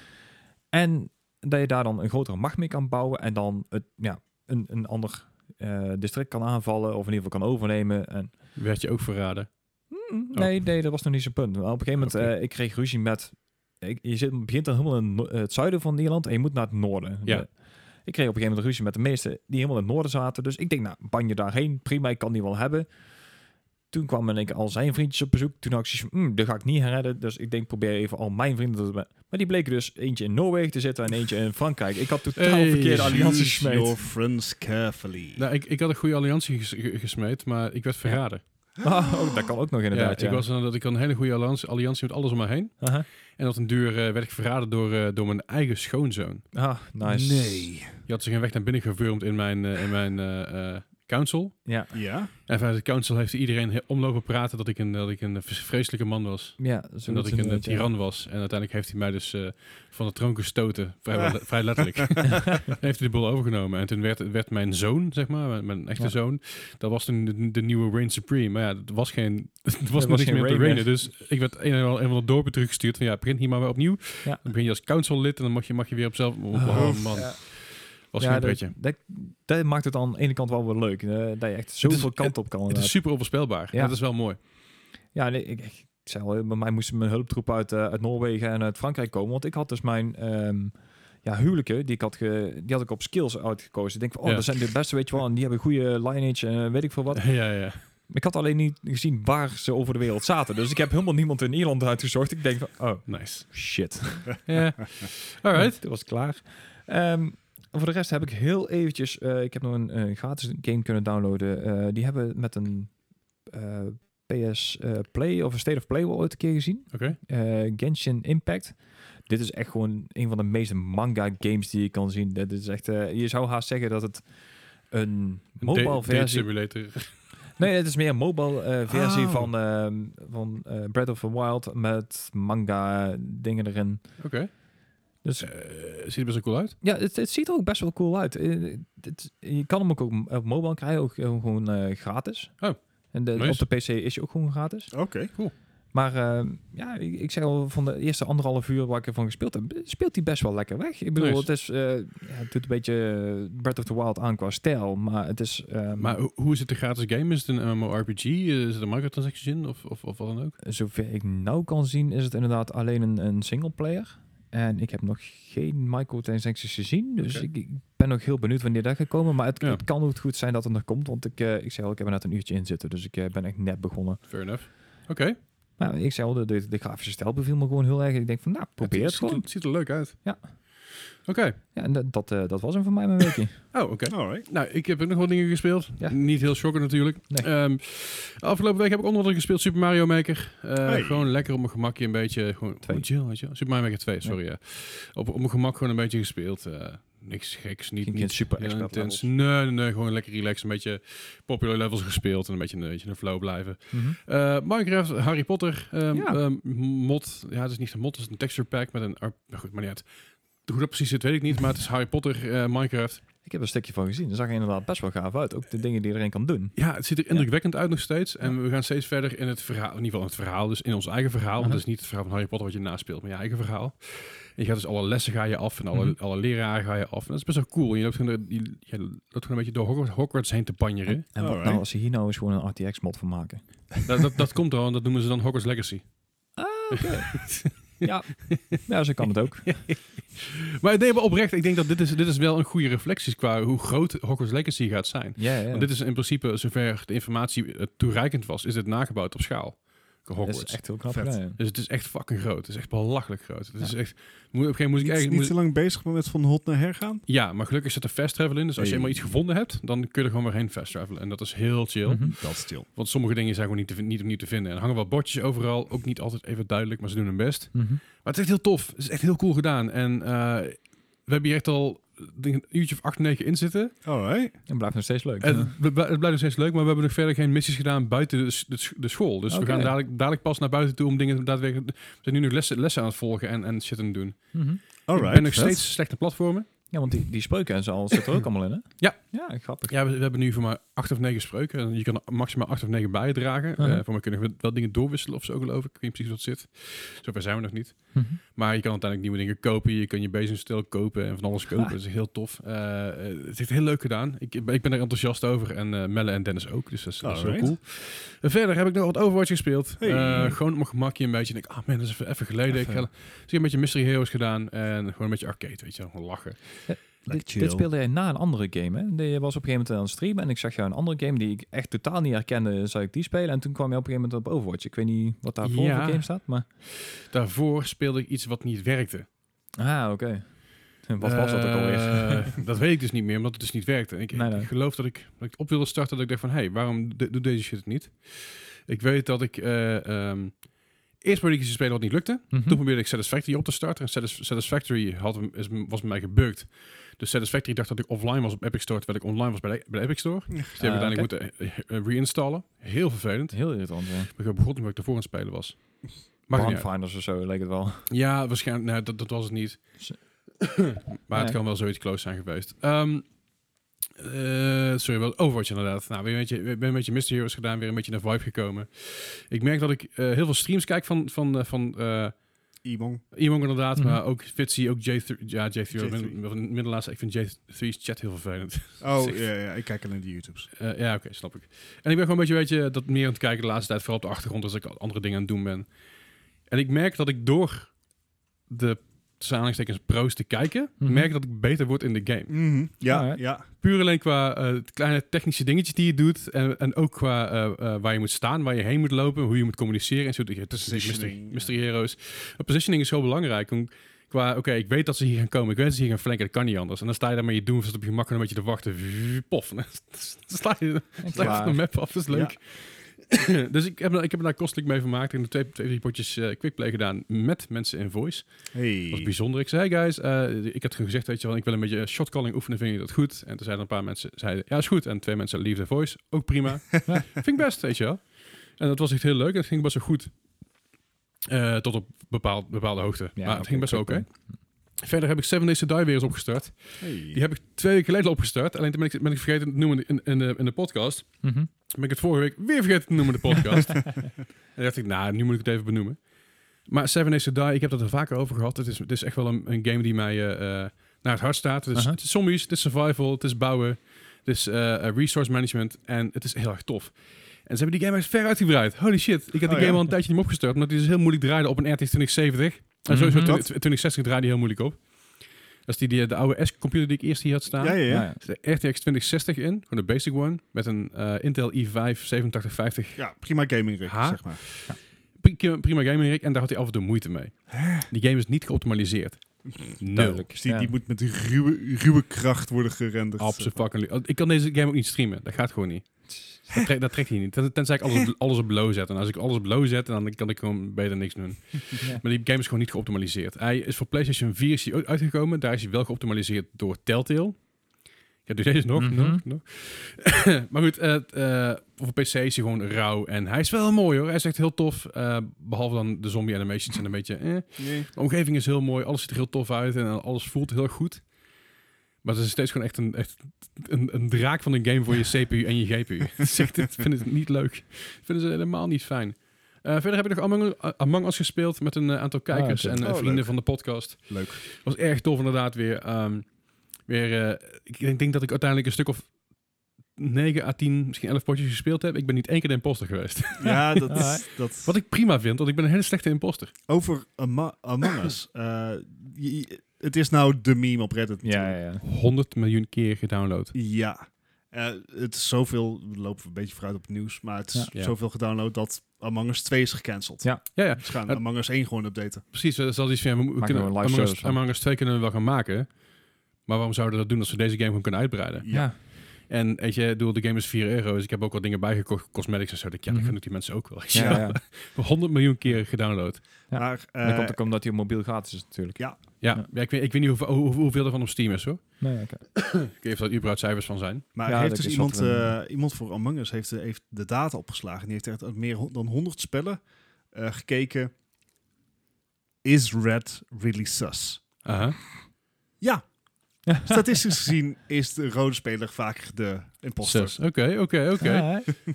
En dat je daar dan een grotere macht mee kan bouwen en dan het, ja, een, een ander eh, district kan aanvallen of in ieder geval kan overnemen. En
werd je ook verraden.
Mm, Nee, nee, dat was nog niet zo'n punt. Maar op een gegeven moment,
Oh. Oké.
eh, ik kreeg ruzie met... Ik, je zit, begint dan helemaal in het no- eh, het zuiden van Ierland en je moet naar het noorden.
Ja.
Eh, ik kreeg op een gegeven moment ruzie met de meesten die helemaal in het noorden zaten. Dus ik denk, nou, ban je daarheen. Prima, ik kan die wel hebben. Toen kwamen in één keer al zijn vriendjes op bezoek. Toen had ik zoiets van, mm, dat ga ik niet redden. Dus ik denk, probeer even al mijn vrienden te... Maar die bleken dus eentje in Noorwegen te zitten en eentje in Frankrijk. Ik had totaal
Hey,
verkeerde allianties
Choose
gesmeed.
your friends carefully.
Nou, ik, ik had een goede alliantie ges- ge- gesmeed, maar ik werd verraden.
Oh, dat kan ook nog
Ja,
inderdaad,
ik, was, inderdaad- ik had een hele goede alliantie, alliantie met alles om me heen.
Aha.
En dat een duur eh, werd ik verraden door, eh, door mijn eigen schoonzoon.
Ah, nice.
Nee.
Die had zich een weg naar binnen gewurmd in mijn, eh, in mijn eh, eh, council.
Ja,
Ja?
En vanuit de council heeft iedereen he- omlopen praten dat ik een, dat ik een vreselijke man was.
ja.
En dat
zoiets
ik een eh,
inderdaad, ja.
tiran was. En uiteindelijk heeft hij mij dus eh, van de troon gestoten. Vrij,
Ah.
wel- vrij letterlijk. heeft hij de boel overgenomen. En toen werd, werd mijn zoon, zeg maar, mijn, mijn echte
Ja.
zoon. Dat was toen de, de nieuwe Reign Supreme. Maar ja, dat was geen. Het was
was
nog niks
geen
meer te
reign
reignen. Dus ik werd een en al een van de dorpen teruggestuurd. Van ja, begin hier maar weer opnieuw.
Ja.
Dan begin je als council lid. En dan mag je, mag je weer op zelf. Oh,
Oh,
man.
ja.
Was
ja,
geen
dat-
pretje.
Dat, dat maakt het aan de ene kant wel weer leuk. eh, dat je echt zoveel
het-
kant op kan.
Dus- Het is
inderdaad.
super onvoorspelbaar.
Ja.
Dat is wel mooi.
Ja, nee, ik, ik, ik zei al, bij mij moesten mijn hulptroep uit, eh, uit Noorwegen en uit Frankrijk komen. Want ik had dus mijn ehm, ja, huwelijken, die ik had, ge, die had ik op skills uitgekozen. Ik denk van, oh,
Ja.
dat zijn de beste, weet je wel. En die hebben goede lineage en eh, weet ik veel wat.
ja, ja.
Ik had alleen niet gezien waar ze over de wereld zaten. Dus ik heb helemaal niemand in Ierland uitgezocht. Ik denk van, oh,
Nice.
shit.
Ja. Alright.
Toen was het klaar. Ehm, voor de rest heb ik heel eventjes... eh, ik heb nog een eh, gratis game kunnen downloaden. Eh, die hebben met een eh, PS eh, Play of een State of Play wel ooit een keer gezien.
Oké.
Eh, Genshin Impact. Dit is echt gewoon een van de meeste manga games die je kan zien. Dit is echt, eh, je zou haast zeggen dat het een mobile
Date- Date
versie...
simulator.
Nee, het is meer een mobile eh, versie
Oh.
van, ehm, van eh, Breath of the Wild met manga eh, dingen erin.
Oké.
Dus
Eh, ziet er best wel cool uit.
Ja, het, het ziet er ook best wel cool uit. Eh, het- je kan hem ook op, op mobile krijgen, ook eh, gewoon eh, gratis.
Oh,
en de,
nice.
op de PC is je ook gewoon gratis.
Oké.
Maar eh, ja, ik, ik zei al, van de eerste anderhalf uur waar ik ervan gespeeld heb, speelt hij best wel lekker weg. Ik bedoel,
Nice.
het, is, eh, ja, het doet een beetje Breath of the Wild aan qua stijl, maar het is... eh,
Maar ho- hoe is het een gratis game? Is het een MMORPG? Eh, Is het een microtransaction in? Of, of, of wat dan ook?
Zover ik nou kan zien, is het inderdaad alleen een, een singleplayer. En ik heb nog geen microtransacties gezien. Dus
Oké.
ik, ik ben nog heel benieuwd wanneer dat gaat komen. Maar het,
Ja.
het kan ook goed zijn dat het nog komt. Want ik, eh, ik zei al, ik heb er net een uurtje in zitten. Dus ik eh, ben echt net begonnen.
Fair enough. Oké.
Maar ik zei al, de, de, de grafische stijl beviel me gewoon heel erg. Ik denk van, nou, probeer het
ziet,
gewoon.
ziet er leuk uit.
Ja.
Oké.
Ja, en dat, dat, eh, dat was hem voor mij mijn weekje.
Oh, oké.
Alright.
Nou, ik heb ook nog wat dingen gespeeld.
Ja.
Niet heel shocker natuurlijk.
Nee.
Ehm, afgelopen week heb ik onder andere gespeeld Super Mario Maker. Eh,
Hey.
Gewoon lekker op mijn gemakje een beetje. Gewoon,
Twee.
gewoon chill, weet je wel. Super Mario Maker 2, sorry. ja. Op, op mijn gemak gewoon een beetje gespeeld. Eh, niks geks, niet,
Geen
niet
super
heel
expert
intens. Nee, nee, nee, gewoon lekker relaxed. Een beetje popular levels gespeeld en een beetje, een beetje in de flow blijven.
Mhm.
Eh, Minecraft, Harry Potter, ehm,
Ja.
ehm, mod. Ja, het is niet een mod, het is een texture pack met een... ar- Maar goed, maar niet uit. Hoe dat precies zit, weet ik niet. Maar het is Harry Potter, eh, Minecraft.
Ik heb er een stukje van gezien. Dat zag er inderdaad best wel gaaf uit. Ook de dingen die iedereen kan doen.
Ja, het ziet er indrukwekkend uit nog steeds. En we gaan steeds verder in het verhaal. In ieder geval in het verhaal. Dus in ons eigen verhaal. Want het is niet het verhaal van Harry Potter wat je naspeelt. Maar je eigen verhaal. En je gaat dus alle lessen ga je af. En alle,
Mhm.
alle leraren ga je af. En dat is best wel cool. En je loopt gewoon, je, je loopt gewoon een beetje door Hogwarts, Hogwarts heen te banjeren.
En wat
Alright.
nou als ze hier nou eens gewoon een RTX mod van maken?
dat, dat, dat komt al. En dat noemen ze dan Hogwarts Legacy.
Ja, ja zo kan het ook.
Maar nee, maar oprecht. Ik denk dat dit is, dit is wel een goede reflectie qua hoe groot Hogwarts Legacy gaat zijn.
Ja, ja.
Want dit is in principe, zover de informatie eh, toereikend was, is dit nagebouwd op schaal.
Dat
Hogwarts.
is echt heel knap
Vet.
gedaan, ja.
Dus het is echt fucking groot. Het is echt belachelijk groot. Het is
Ja.
echt. Moet, op een gegeven moment moest Dus ik
Niet,
eigenlijk.
niet te
moest-
lang bezig maar met van hot naar her gaan.
ja, maar gelukkig zit er fast travel in. Dus als
Hey.
je eenmaal iets gevonden hebt, dan kun je er gewoon weer heen fast travelen. En dat is heel chill.
Mhm.
Dat is chill.
Want sommige dingen zijn gewoon niet, te, vin- niet opnieuw te vinden. En er hangen wel bordjes overal. Ook niet altijd even duidelijk, maar ze doen hun best.
Mhm.
Maar het is echt heel tof. Het is echt heel cool gedaan. En eh, we hebben hier echt al ik denk, een uurtje of acht, negen in zitten.
Alright.
En blijft nog steeds leuk.
En het, bl- het blijft nog steeds leuk, maar we hebben nog verder geen missies gedaan buiten de, s- de, s- de school. Dus
Oké.
we gaan dadelijk, dadelijk pas naar buiten toe om dingen daadwerkelijk... We zijn nu nog lessen, lessen aan het volgen en, en shit aan het doen.
Mhm.
Alright.
ik ben nog
vet.
steeds slechte platformen.
Ja, want die, die spreuken en zo al zitten er ook allemaal in, hè?
Ja.
Ja, grappig.
Ja, we, we hebben nu voor maar acht of negen spreuken. En je kan er maximaal acht of negen bijdragen. Eh
Mhm.
voor mij kunnen we wel dingen doorwisselen of zo, geloof ik. Ik weet niet precies wat zit. Zover zijn we nog niet.
Mhm.
Maar je kan uiteindelijk nieuwe dingen kopen. Je kan je bezemstel kopen en van alles kopen. Dat is echt heel tof. Eh, eh, het is echt heel leuk gedaan. Ik, ben- ik ben er enthousiast over. En eh, Melle en Dennis ook. Dus dat is, dat is heel
Alright.
cool. En verder heb ik nog wat Overwatch gespeeld.
Hey.
Eh, gewoon op mijn gemakje een beetje. En ik, ah man, dat is even, even geleden. Ik ga
Even.
dus ik heb een beetje Mystery Heroes gedaan. En gewoon een beetje arcade, weet je wel. Gewoon lachen.
Lekker
Dit,
chill.
dit speelde jij na een andere game, hè? Je was op een gegeven moment aan het streamen en ik zag jou een andere game die ik echt totaal niet herkende, zou ik die spelen. En toen kwam je op een gegeven moment op Overwatch. Ik weet niet wat daarvoor
Ja.
voor game staat, maar...
Daarvoor speelde ik iets wat niet werkte.
Ah, oké. Wat was dat ook alweer?
Eh, dat weet ik dus niet meer, omdat het dus niet werkte. En Ik,
Nee, nee.
ik geloof dat ik, dat ik het op wilde starten dat ik dacht van... hé, hey, waarom de- doet deze shit het niet? Ik weet dat ik... eh, ehm, eerst probeerde ik iets te spelen wat niet lukte.
Mhm.
Toen probeerde ik Satisfactory op te starten. En Satis- Satisfactory had, hem- is, m- was bij mij gebukt. Dus Satisfactory dacht dat ik offline was op Epic Store... terwijl ik online was bij de, bij de Epic Store. Dus die heb ik
Ah,
uiteindelijk moeten eh, eh, reinstallen. Heel vervelend.
Heel irritant, ja.
Ik heb begonnen omdat ik daarvoor aan het spelen was. Maar
Barnfinders of zo, leek het wel.
ja, waarschijnlijk. Nou, dat, dat was het niet.
Ze-
maar het
Nee.
kan wel zoiets close zijn geweest. Ehm, eh, sorry, wel Overwatch inderdaad. Nou, weer een beetje, weer een beetje Mystery Heroes gedaan, weer een beetje naar vibe gekomen. Ik merk dat ik eh, heel veel streams kijk van, van, eh, van eh
Iemand.
Iemand inderdaad,
Mhm.
maar ook Fitzy, ook J3. Ja, J3.
J3.
Middenlaatste, ik vind J3's chat heel vervelend.
Oh,
Zegt-
ja, ja, ik kijk alleen de YouTubes.
Eh, ja, oké, snap ik. En ik ben gewoon een beetje, weet je, dat meer aan het kijken de laatste tijd, vooral op de achtergrond als ik al andere dingen aan het doen ben. En ik merk dat ik door de samenhalingstekens pro's te kijken,
Mhm.
merk dat ik beter word in de game.
Mhm. Ja,
Alright.
ja.
Puur alleen qua eh, kleine technische dingetjes die je doet en, en ook qua eh, eh, waar je moet staan, waar je heen moet lopen, hoe je moet communiceren en zo. Het is natuurlijk mystery,
Positioning.
mystery heroes. Maar positioning is zo belangrijk. om- Qua, oké, ik weet dat ze hier gaan komen. Ik weet dat ze hier gaan flanken. Dat kan niet anders. En dan sta je daar maar je doen, zit op je makker een beetje te wachten. Pof. Dan sta je
En
Slecht van de
klaar.
map af, dat is leuk. dus ik heb, ik heb er daar kostelijk mee vermaakt. Ik heb er twee, twee drie potjes eh, quickplay gedaan met mensen in voice.
Hey.
Dat was bijzonder. Ik zei, hey guys, eh, ik had gewoon gezegd, weet je wel, ik wil een beetje shotcalling oefenen, vind je dat goed? En toen zeiden een paar mensen, zeiden, ja is goed. En twee mensen liefde voice, ook prima. vind ik best, weet je wel. En dat was echt heel leuk en het ging best wel goed. Eh, tot op bepaald, bepaalde hoogte. maar het
oké,
ging best wel oké.
oké.
Verder heb ik Seven Days to Die weer eens opgestart.
Hey.
Die heb ik twee weken geleden al opgestart. Alleen toen ben ik, ben ik vergeten te noemen in, in, de, in de podcast.
Mhm.
ben ik het vorige week weer vergeten te noemen in de podcast. en toen dacht ik, nou, nu moet ik het even benoemen. Maar Seven Days to Die, ik heb het er vaker over gehad. Het is, het is echt wel een, een game die mij eh, eh, naar het hart staat. Het is,
Aha.
het is zombies, het is survival, het is bouwen, het is eh, eh, resource management. En het is heel erg tof. En ze hebben die game echt ver uitgebreid. Holy shit, ik had die
Oh,
game
ja.
al een tijdje niet meer opgestart. Omdat die dus heel moeilijk draaide op een RTX 2070. En
Mhm.
sowieso
Dat-
2060 draaide die heel moeilijk op. Dat is die, die, de oude S-computer die ik eerst hier had staan.
ja, ja, ja.
Ja, ja.
De RTX 2060 in, gewoon de basic one, met een eh, Intel i5 8750.
Ja, prima gaming rig,
Ha?
zeg maar.
eh, Pri- Prima gaming rig en daar had hij af en toe moeite mee. Die game is niet geoptimaliseerd. Nul.
Duidelijk.
Dus die,
ja.
die moet met ruwe, ruwe kracht worden gerenderd. eh.
Absoluut. Ik kan deze game ook niet streamen. Dat gaat gewoon niet. Dat, trekt- dat trekt hier niet. Ten- Tenzij ik alles op, alles op low zet. En als ik alles op low zet, dan kan ik gewoon beter niks doen.
Ja.
Maar die game is gewoon niet geoptimaliseerd. Hij is voor PlayStation 4 is hij ook uitgekomen. Daar is hij wel geoptimaliseerd door Telltale. Ja, doe deze nog.
Mhm.
nog, nog. maar goed, eh, t- eh, voor PC is hij gewoon rauw. En hij is wel mooi hoor. Hij is echt heel tof. Eh, behalve dan de zombie animations zijn een beetje... eh.
Nee.
De omgeving is heel mooi. Alles ziet er heel tof uit. En eh, alles voelt heel goed. Maar het is steeds gewoon echt een, echt een, een draak van een game voor je CPU en je GPU. Zegt het, vind het niet leuk. Vinden ze helemaal niet fijn. Eh, verder heb ik nog Among, eh, Among Us gespeeld met een eh, aantal kijkers
oké.
en eh,
Oh,
vrienden
leuk.
van de podcast.
Leuk.
Was erg tof inderdaad weer. ehm, weer eh, ik denk, denk dat ik uiteindelijk een stuk of 9 à 10, misschien 11 potjes gespeeld heb. Ik ben niet één keer de imposter geweest.
Ja, dat,
Ja.
dat...
Wat ik prima vind, want ik ben een hele slechte imposter.
Over Ama- Among Us. eh, je- je- het is nou de meme op Reddit.
Ja, ja, ja.
100 miljoen keer gedownload.
Ja. Eh, het is zoveel, we lopen een beetje vooruit op het nieuws, maar het is
Ja.
Ja.
zoveel gedownload dat Among Us 2 is gecanceld.
Ja.
Ja, ja.
Ze gaan
Het-
Among Us 1 gewoon updaten.
Precies, dat is al iets van, ja, we, we
Maak
kunnen
nou een live
Among, Us,
service van.
Among Us 2 kunnen we wel gaan maken. Maar waarom zouden we dat doen als we deze game gewoon kunnen uitbreiden?
Ja.
En weet je, ik bedoel, de game is 4 euro, dus ik heb ook al dingen bijgekocht, cosmetics en zo. Dat, ja, dat
Mhm.
kunnen die mensen ook wel.
Ja, ja. En
100 miljoen keer gedownload.
Ja.
Maar, eh,
dat komt ook omdat hij op mobiel gratis is natuurlijk.
Ja,
Ja.
ja, ik, weet, ik weet niet hoeveel, hoe- hoeveel ervan op Steam is hoor.
Nee, oké.
Ik weet of dat überhaupt cijfers van zijn.
maar
Ja,
heeft
dat
dus
is
iemand,
wat we-
eh, iemand voor Among Us heeft, eh, heeft de data opgeslagen. Die heeft echt uit meer ho- dan 100 spellen eh, gekeken. Is red really sus?
Aha.
Ja. Statistisch gezien is de rode speler vaak de imposter.
Zes. Oké, oké, oké.
Ja, hè?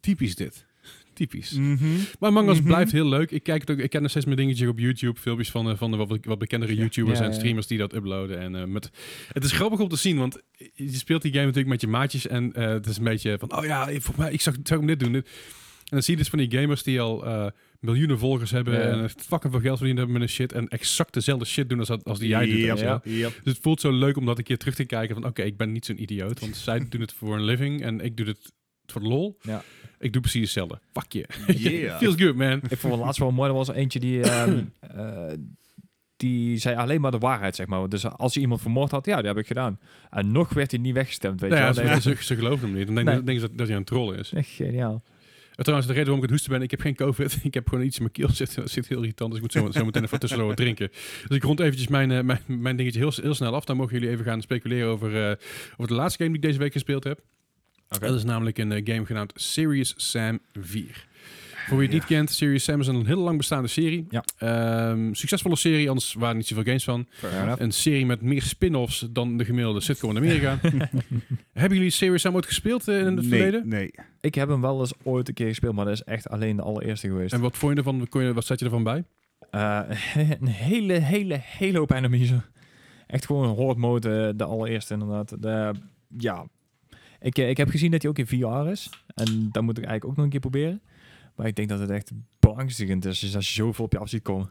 Typisch dit. Typisch.
Mhm.
Maar Among Us
Mhm.
blijft heel leuk. Ik kijk het ook, ik ken nog steeds mijn dingetjes op YouTube. Filmpjes van, eh, van de wat, be- wat bekendere
Ja.
YouTubers
Ja,
en
ja.
streamers die dat uploaden. En, eh, met, het is grappig om te zien, want je speelt die game natuurlijk met je maatjes. En eh, het is een beetje van, oh ja, ik- volgens mij, ik zag, zou ik hem dit doen. Dit. En dan zie je dus van die gamers die al eh, miljoenen volgers hebben.
Ja.
En echt fucking veel geld verdiend hebben met een shit. En exact dezelfde shit doen als, dat- als die jij doet.
Yep,
weet je wel.
yep.
Dus het voelt zo leuk om dat een keer terug te kijken van oké, ik ben niet zo'n idioot. Want zij doen het voor een living en ik doe het voor de lol.
Ja.
Ik doe precies hetzelfde. Fuck je.
Yeah.
Feels good, man.
Ik vond het laatst wel mooi. Er was er eentje die... ehm, eh, die zei alleen maar de waarheid, zeg maar. Dus als je iemand vermoord had, ja, dat heb ik gedaan. En nog werd hij niet weggestemd, weet
Nou ja,
je
ze,
wel. Nee,
ze, ze geloven hem niet. Dan denken
Nee.
dan denken ze dat, dat hij een troll is.
Echt geniaal.
En trouwens, de reden waarom ik het hoesten ben, ik heb geen covid. Ik heb gewoon iets in mijn keel zitten. Dat zit heel irritant, dus ik moet zo, zo meteen even tussendoor wat drinken. Dus ik rond eventjes mijn, eh, mijn, mijn dingetje heel, heel snel af. Dan mogen jullie even gaan speculeren over, eh, over de laatste game die ik deze week gespeeld heb.
Oké.
Dat is namelijk een eh, game genaamd Serious Sam 4. Voor wie het niet kent, Serious Sam is een heel lang bestaande serie.
Ja.
Ehm, succesvolle serie, anders waren er niet zoveel games van.
Fair enough.
Een serie met meer spin-offs dan de gemiddelde sitcom in Amerika. Hebben jullie Serious Sam ooit gespeeld eh, in het
nee,
verleden?
Nee.
Ik heb hem wel eens ooit een keer gespeeld, maar dat is echt alleen de allereerste geweest.
En wat vond je ervan? Kon je, wat zat je ervan bij?
Eh, een hele, hele, hele hoop enemies. Echt gewoon een horde mode, eh, de allereerste inderdaad. De, ja, ik, eh, ik heb gezien dat hij ook in VR is. En dat moet ik eigenlijk ook nog een keer proberen. Maar ik denk dat het echt beangstigend is dus als je zoveel op je af ziet komen.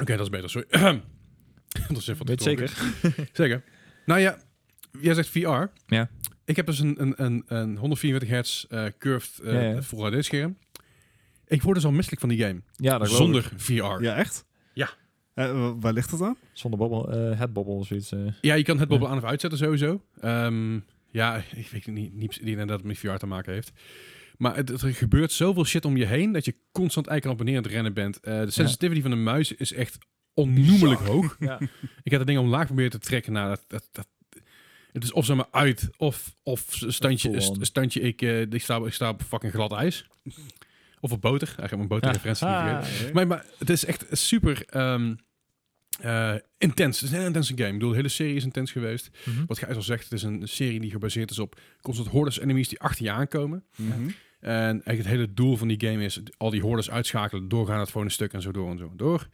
Oké, dat is beter. Sorry. dat is even wat gedronken. Zeker. Nou ja, jij zegt VR.
Ja.
Ik heb dus een, een, een, een 144 hertz eh, curved eh
Ja, ja.
Full HD scherm. Ik word dus al misselijk van die game.
Ja, dat geloof ik.
Zonder VR. Ja.
Ja, echt?
Ja.
Eh, wa- waar ligt het aan?
Zonder bobbel, eh headbobbel of zoiets. eh.
je kan het bobbel
Ja.
aan of uitzetten sowieso. Ehm, ja, ik weet niet, niet die inderdaad met VR te maken heeft. Maar het, er gebeurt zoveel shit om je heen dat je constant eigenlijk op en neer aan het rennen bent. Eh, de sensitivity van de muis is echt onnoemelijk hoog.
ja.
Ik heb dat ding omlaag proberen te trekken. Nou, dat, dat, dat, het is of ze maar uit, of, of standje,
Full on.
st- standje ik, eh, ik, sta, ik sta op fucking glad ijs. Of op boter. Eigenlijk heb ik mijn boterreferentie
Ah.
niet vergeten. Maar, maar het is echt super ehm, eh, intens. Het is een heel intense game. Ik bedoel, de hele serie is intens geweest.
Mhm.
Wat Gijs al zegt, het is een serie die gebaseerd is op constant hordes enemies die achter je aankomen.
Mhm.
En eigenlijk het hele doel van die game is al die hordes uitschakelen, doorgaan het volgende stuk en zo door en zo door.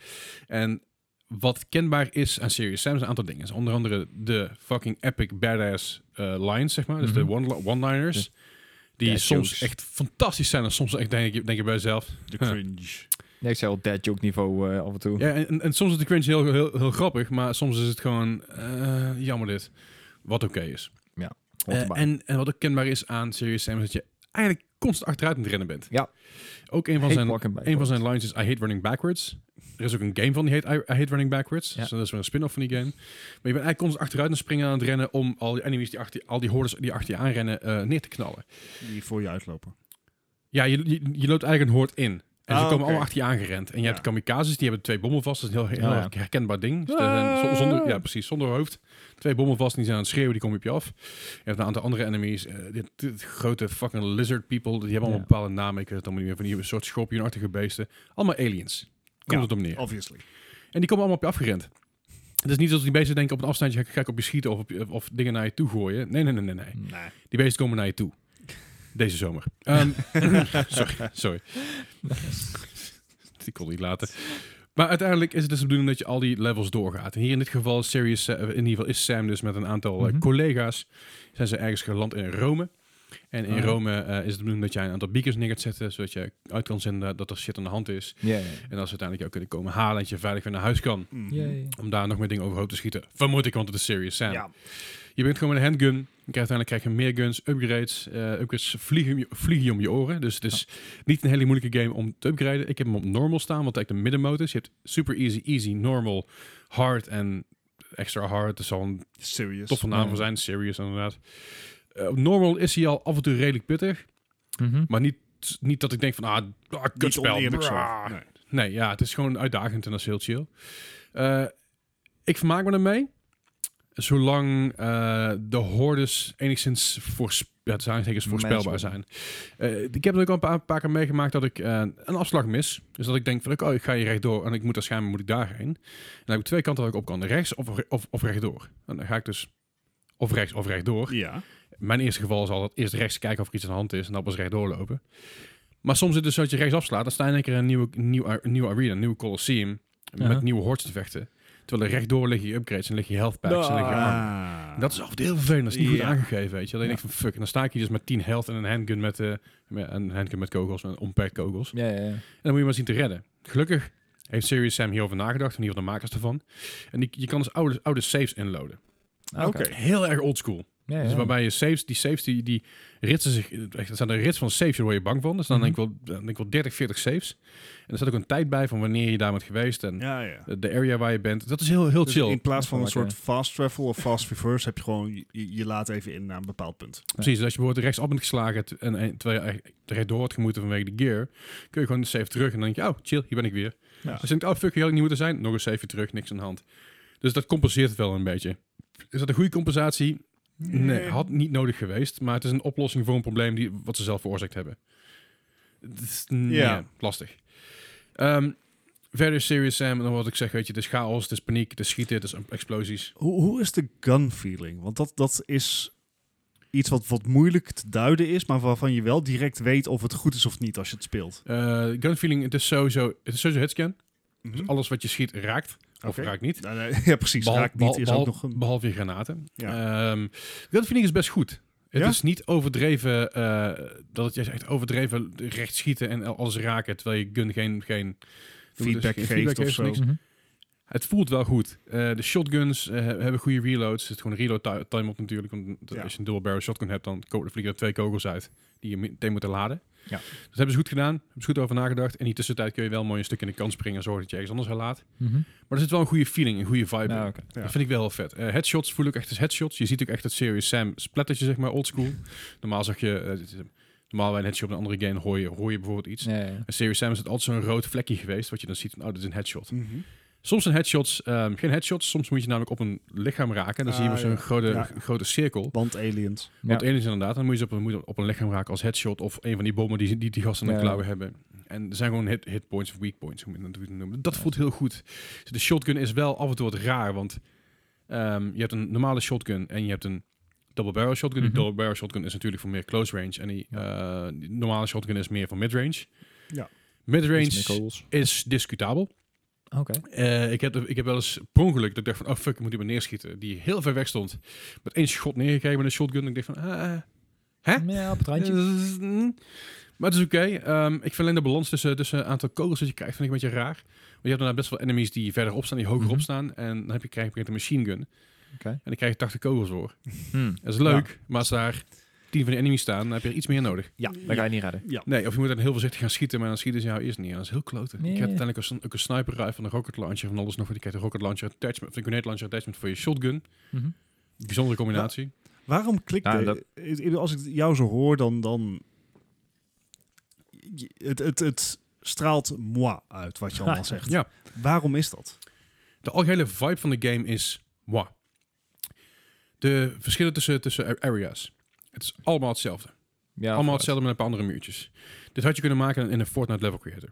En wat kenbaar is aan Serious Sam is een aantal dingen. Onder andere de fucking epic badass eh, lines, zeg maar. Dus
Mhm.
de one- one-liners. Die
Dad
soms
jokes.
echt fantastisch zijn en soms echt denk je, denk je bij jezelf.
De
Huh.
cringe.
Nee, ik zei al dead joke niveau eh, af en toe.
Ja, en, en, en soms is de cringe heel, heel, heel grappig, maar soms is het gewoon eh, jammer dit. Wat oké is.
Hoort
Eh,
erbij.
en, en wat ook kenbaar is aan Serious Sam is dat je eigenlijk constant achteruit aan het rennen bent.
Ja.
Ook een van,
Hate
zijn,
walking backwards.
een van zijn lines is I hate running backwards. Er is ook een game van die heet I, I hate running backwards.
Ja.
Dus dat is weer een spin-off van die game. Maar je bent eigenlijk constant achteruit aan het springen aan het rennen om al die enemies, die achter, al die hordes die achter je aanrennen, eh, neer te knallen.
Die voor je uitlopen.
Ja, je, je, je loopt eigenlijk een hoort in. En ze
Ah,
komen
oké.
allemaal achter je aangerend. En je
Ja.
hebt de kamikazes, die hebben twee bommen vast. Dat is een heel, heel
Ja, ja.
herkenbaar ding. Dus er zijn zon- zonder, ja, precies, zonder hoofd. Twee bommen vast, en die zijn aan het schreeuwen, die komen op je af. Je hebt een aantal andere enemies. eh, dit, dit grote fucking lizard people, die hebben allemaal
Ja.
bepaalde namen. Ik weet het allemaal niet meer. Van die soort schorpioenachtige beesten. Allemaal aliens.
Ja.
Komt het om neer.
Obviously.
En die komen allemaal op je afgerend. Het is niet dat die beesten denken op een afstandje ga ik op je schieten of, op je- of dingen naar je toe gooien. Nee, nee, nee, nee, nee.
Nee.
Die beesten komen naar je toe. Deze zomer. Ehm, sorry, sorry. Ik kon niet laten. Maar uiteindelijk is het dus de bedoeling dat je al die levels doorgaat. En hier in dit geval is Sirius, eh, in ieder geval is Sam dus met een aantal eh,
Mhm.
collega's. Zijn ze ergens geland in Rome. En in
Ah.
Rome eh, is het de bedoeling dat jij een aantal beacons neer gaat zetten. Zodat je uit kan zenden dat er shit aan de hand is.
Ja,
En
ja.
dat ze uiteindelijk jou kunnen komen halen. En dat je veilig weer naar huis kan.
Mhm.
Om daar nog meer dingen overhoop te schieten. Vermoed ik, want het is Sirius Sam.
Ja.
Je bent gewoon met een handgun. Je krijgt uiteindelijk krijg je meer guns, upgrades. eh, upgrades vliegen, om je- vliegen je om je oren. Dus het is niet een hele moeilijke game om te upgraden. Ik heb hem op normal staan, wat eigenlijk de middenmoot is. Dus Je hebt super easy, easy, normal, hard en extra hard. Dat zal een
Serious.
toffe naam
ja.
voor zijn. Serious inderdaad. Eh, Op normal is hij al af en toe redelijk pittig.
Mhm.
Maar niet, niet dat ik denk van, ah, ah
Niet
kutspel.
oneerlijk zo.
brah.
Nee.
Nee, ja, het is gewoon uitdagend en dat is heel chill. Eh, ik vermaak me ermee. Zolang eh, de hordes enigszins voorspe- ja, het zijn eigenlijk voorspelbaar zijn. Eh, ik heb het ook al een paar, paar keer meegemaakt dat ik eh, een afslag mis. Dus dat ik denk van, oh, ik ga hier rechtdoor en ik moet waarschijnlijk moet ik daarheen. En dan heb ik twee kanten dat ik op kan, rechts of, re- of, of rechtdoor. En dan ga ik dus of rechts of rechtdoor.
Ja.
Mijn eerste geval is altijd eerst rechts kijken of er iets aan de hand is en dan pas rechtdoor lopen. Maar soms zit het dus dat je rechts afslaat, dan sta je in één keer in een nieuwe, nieuwe, nieuwe arena, een nieuwe Colosseum,
Ja.
met nieuwe hordes te vechten. Terwijl er rechtdoor liggen je upgrades en liggen je health packs en liggen je armor.
Ah.
Dat is altijd heel vervelend, dat is niet goed
Ja.
aangegeven, weet je. Alleen
Ja.
ik van fuck, en dan sta ik hier dus met 10 health en een handgun met, eh, met- een handgun met kogels, een onperkt kogels.
Ja, ja, ja.
En dan moet je maar zien te redden. Gelukkig heeft Serious Sam hierover nagedacht, in ieder geval de makers ervan. En die, je kan dus oude, oude saves inloaden.
Ah, Oké.
Oké.
Heel erg oldschool.
Ja,
Dus
ja.
waarbij je safes, die safes, die, die ritsen zich, echt, er zijn een rits van safes, daar word je bang van. Dus dan
Mhm.
denk ik wel, dan denk ik wel 30, 40 safes. En er staat ook een tijd bij van wanneer je daar bent geweest en
Ja, ja.
de- de area waar je bent. Dat is heel, heel
Dus
chill.
in plaats van een
Dat is wel
soort fast travel of fast reverse heb je gewoon, je, je laat even in naar een bepaald punt.
Precies, dus als je bijvoorbeeld rechtsaf bent geslagen t- en, en terwijl je echt rechtdoor had gemoeten vanwege de gear, kun je gewoon de safe terug en dan denk je, oh chill, hier ben ik weer.
Ja.
Dus je denkt, oh fuck, hier had ik niet moeten zijn. Nog een safe terug, niks aan de hand. Dus dat compenseert het wel een beetje. Is dat een goede compensatie? Nee, had niet nodig geweest, maar het is een oplossing voor een probleem die, wat ze zelf veroorzaakt hebben. Het is- nee,
Ja.
lastig. Ehm, verder is Serious Sam, en dan wat ik zeg, weet je, het is chaos, het is paniek, het is schieten, het is explosies.
Hoe, hoe is de gun feeling? Want dat, dat is iets wat, wat moeilijk te duiden is, maar waarvan je wel direct weet of het goed is of niet als je het speelt.
Eh gunfeeling, het is sowieso, het is sowieso hitscan. Dus
Mhm.
alles wat je schiet raakt, of
Oké.
raakt niet.
Nou, nee, ja, precies.
Behal-
Raakt niet
behal-
is
behal-
ook nog een...
Behalve je granaten.
Ja.
Ehm, dat vind ik is best goed. Het
Ja?
is niet overdreven, eh, dat het je zegt overdreven recht schieten en alles raken, terwijl je gun geen, geen
Feedback
geen
geeft of zo.
niks.
Mhm.
Het voelt wel goed. Eh, de shotguns eh, hebben goede reloads. Er zit gewoon een reload ti- time op natuurlijk. Want dat-
Ja.
als je een dual barrel shotgun hebt, dan ko- vliegen er twee kogels uit die je meteen moeten laden.
Ja.
Dat hebben ze goed gedaan. Hebben ze goed over nagedacht. En in die tussentijd kun je wel mooi een stuk in de kant springen en zorgen dat je ergens anders herlaat.
Mhm.
Maar er zit wel een goede feeling, een goede vibe in.
Nou, oké.
Ja.
Dat vind ik wel heel vet. Eh, headshots voel ik echt als headshots. Je ziet ook echt het Serious Sam splattertje, zeg maar, oldschool. normaal zag je... eh, dit is- normaal bij een headshot op een andere game hoor je, hoor je bijvoorbeeld iets.
Ja, ja, ja.
En Serious Sam is het altijd zo'n rood vlekje geweest, wat je dan ziet van, oh, dit is een headshot.
Mhm.
Soms zijn headshots, ehm, geen headshots, soms moet je namelijk op een lichaam raken. Dan
Ah,
zie je maar zo'n
ja.
grote,
Ja.
grote cirkel.
Want aliens.
Want één is inderdaad, dan moet je ze op een, moet je op een lichaam raken als headshot of een van die bommen die die, die gasten aan de
Ja.
klauwen hebben. En er zijn gewoon hit, hit points of weak points, hoe je dat moet noemen. Dat voelt heel goed. Dus de shotgun is wel af en toe wat raar, want ehm, je hebt een normale shotgun en je hebt een double barrel shotgun.
Mhm.
Die double barrel shotgun is natuurlijk voor meer close range en die, eh, die normale shotgun is meer voor mid range.
Ja.
Mid
Iets meer
range
kogels.
is discutabel.
Oké.
Eh, ik, heb, ik heb wel eens per ongeluk dat ik dacht van, oh fuck, ik moet iemand neerschieten. Die heel ver weg stond. Met één schot neergekregen met een shotgun. En ik dacht van, ah, eh, hè?
Ja, op het randje.
Eh, mm. Maar het is oké. Ehm, ik vind alleen de balans tussen, tussen het aantal kogels dat je krijgt, vind ik een beetje raar. Want je hebt daarna best wel enemies die verderop staan, die hoger
Mhm.
op staan. En dan heb je, krijg je op een gegeven moment een machine gun.
Oké.
En dan krijg je 80 kogels voor.
Hmm.
Dat is leuk, maar als daar tien van die enemies staan, dan heb je er iets meer nodig.
Ja, dan ga je niet redden.
Ja.
Nee, of je moet dan heel voorzichtig gaan schieten, maar dan schieten ze jou eerst niet. En dat is heel kloten.
Nee.
Ik heb uiteindelijk een, ook een sniper rifle, een rocket launcher, van alles nog. Ik heb een rocket launcher attachment, of een grenade launcher attachment voor je shotgun.
Mhm.
Bijzondere combinatie.
Waarom klikt
Ja,
de-
Nou, dat-
ik- ik- Als ik jou zo hoor, dan... dan je- het, het, het straalt moi uit wat je allemaal zegt.
Ja.
Waarom is dat?
De algehele vibe van de game is wow. De verschillen tussen, tussen areas. Het is allemaal hetzelfde.
Ja, eh,
allemaal hetzelfde met een paar andere muurtjes. Dit had je kunnen maken in een Fortnite level creator.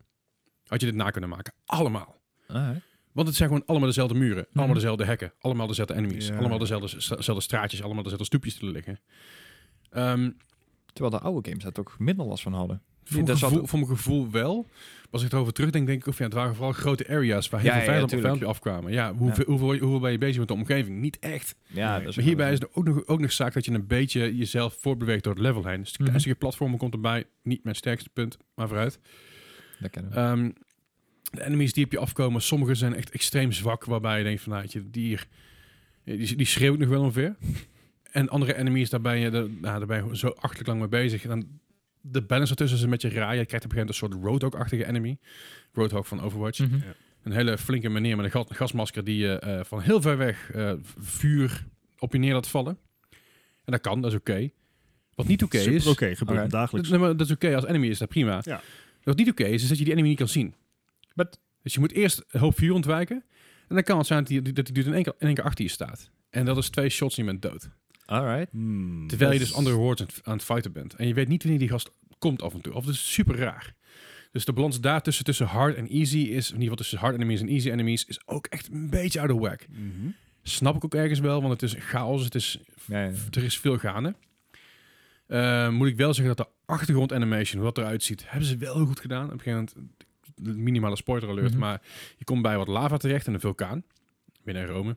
Had je dit na kunnen maken. Allemaal.
Ah,
Want het zijn gewoon allemaal dezelfde muren. Allemaal
Mhm.
dezelfde hekken. Allemaal dezelfde enemies.
Ja.
Allemaal dezelfde, sta- dezelfde straatjes. Allemaal dezelfde stoepjes te liggen. Ehm,
terwijl de oude games daar toch minder last van hadden.
voor, mijn
dat zat-
gevoel, voor mijn gevoel wel. Maar Als ik erover terugdenk, denk ik of ja, het waren vooral grote areas waar heel
Ja,
veel
ja,
vijanden op
tuurlijk.
vijandje afkwamen. Ja, hoeveel, Hoeveel, hoeveel ben je bezig met de omgeving? Niet echt.
Ja,
Nee.
dat is
Maar hierbij is er ook nog, ook nog zaak dat je een beetje jezelf voortbeweegt door het level heen. Dus een klein
Mhm.
stukje platformen komt erbij. Niet mijn sterkste punt, maar vooruit.
Dat kennen we.
Ehm, de enemies die op je afkomen, sommige zijn echt extreem zwak. Waarbij je denkt van, nou, weet je, die, hier- die, die schreeuwt nog wel ongeveer. En andere enemies, daar ben je, de, nou, daar ben je gewoon zo achterlijk lang mee bezig. En dan de balance ertussen is een beetje raar. Je krijgt op een gegeven moment een soort Roadhog-achtige enemy. Roadhog van
Hm.
Overwatch.
Mhm.
Een hele flinke meneer met een gat- gasmasker die je eh, van heel ver weg eh, v- vuur op je neer laat vallen. En dat kan, dat is oké. Wat niet oké
Super
is,
Oké, gebeurt
Oké.
dagelijks.
Nee, maar dat is oké als enemy is dat prima.
Ja.
Wat niet oké is, is dat je die enemy niet kan zien.
But-
Dus je moet eerst een hoop vuur ontwijken. En dan kan het zijn dat die, dat die dude in één, keer, in één keer achter je staat. En dat is twee shots en je bent dood.
Alright.
Hmm.
Terwijl je
dat
dus
is-
andere hordes aan het- aan het fighten bent. En je weet niet wanneer die gast komt af en toe. Of dat is super raar. Dus de balans daartussen, tussen hard en easy is, in ieder geval tussen hard enemies en easy enemies, is ook echt een beetje out of whack.
Mhm.
Snap ik ook ergens wel, want het is chaos, het is,
Ja, ja.
er is veel gaande. Eh, moet ik wel zeggen dat de achtergrond animation, wat eruit ziet, hebben ze wel heel goed gedaan. Op een gegeven moment, minimale spoiler alert,
Mhm.
maar je komt bij wat lava terecht en een vulkaan. Binnen Rome.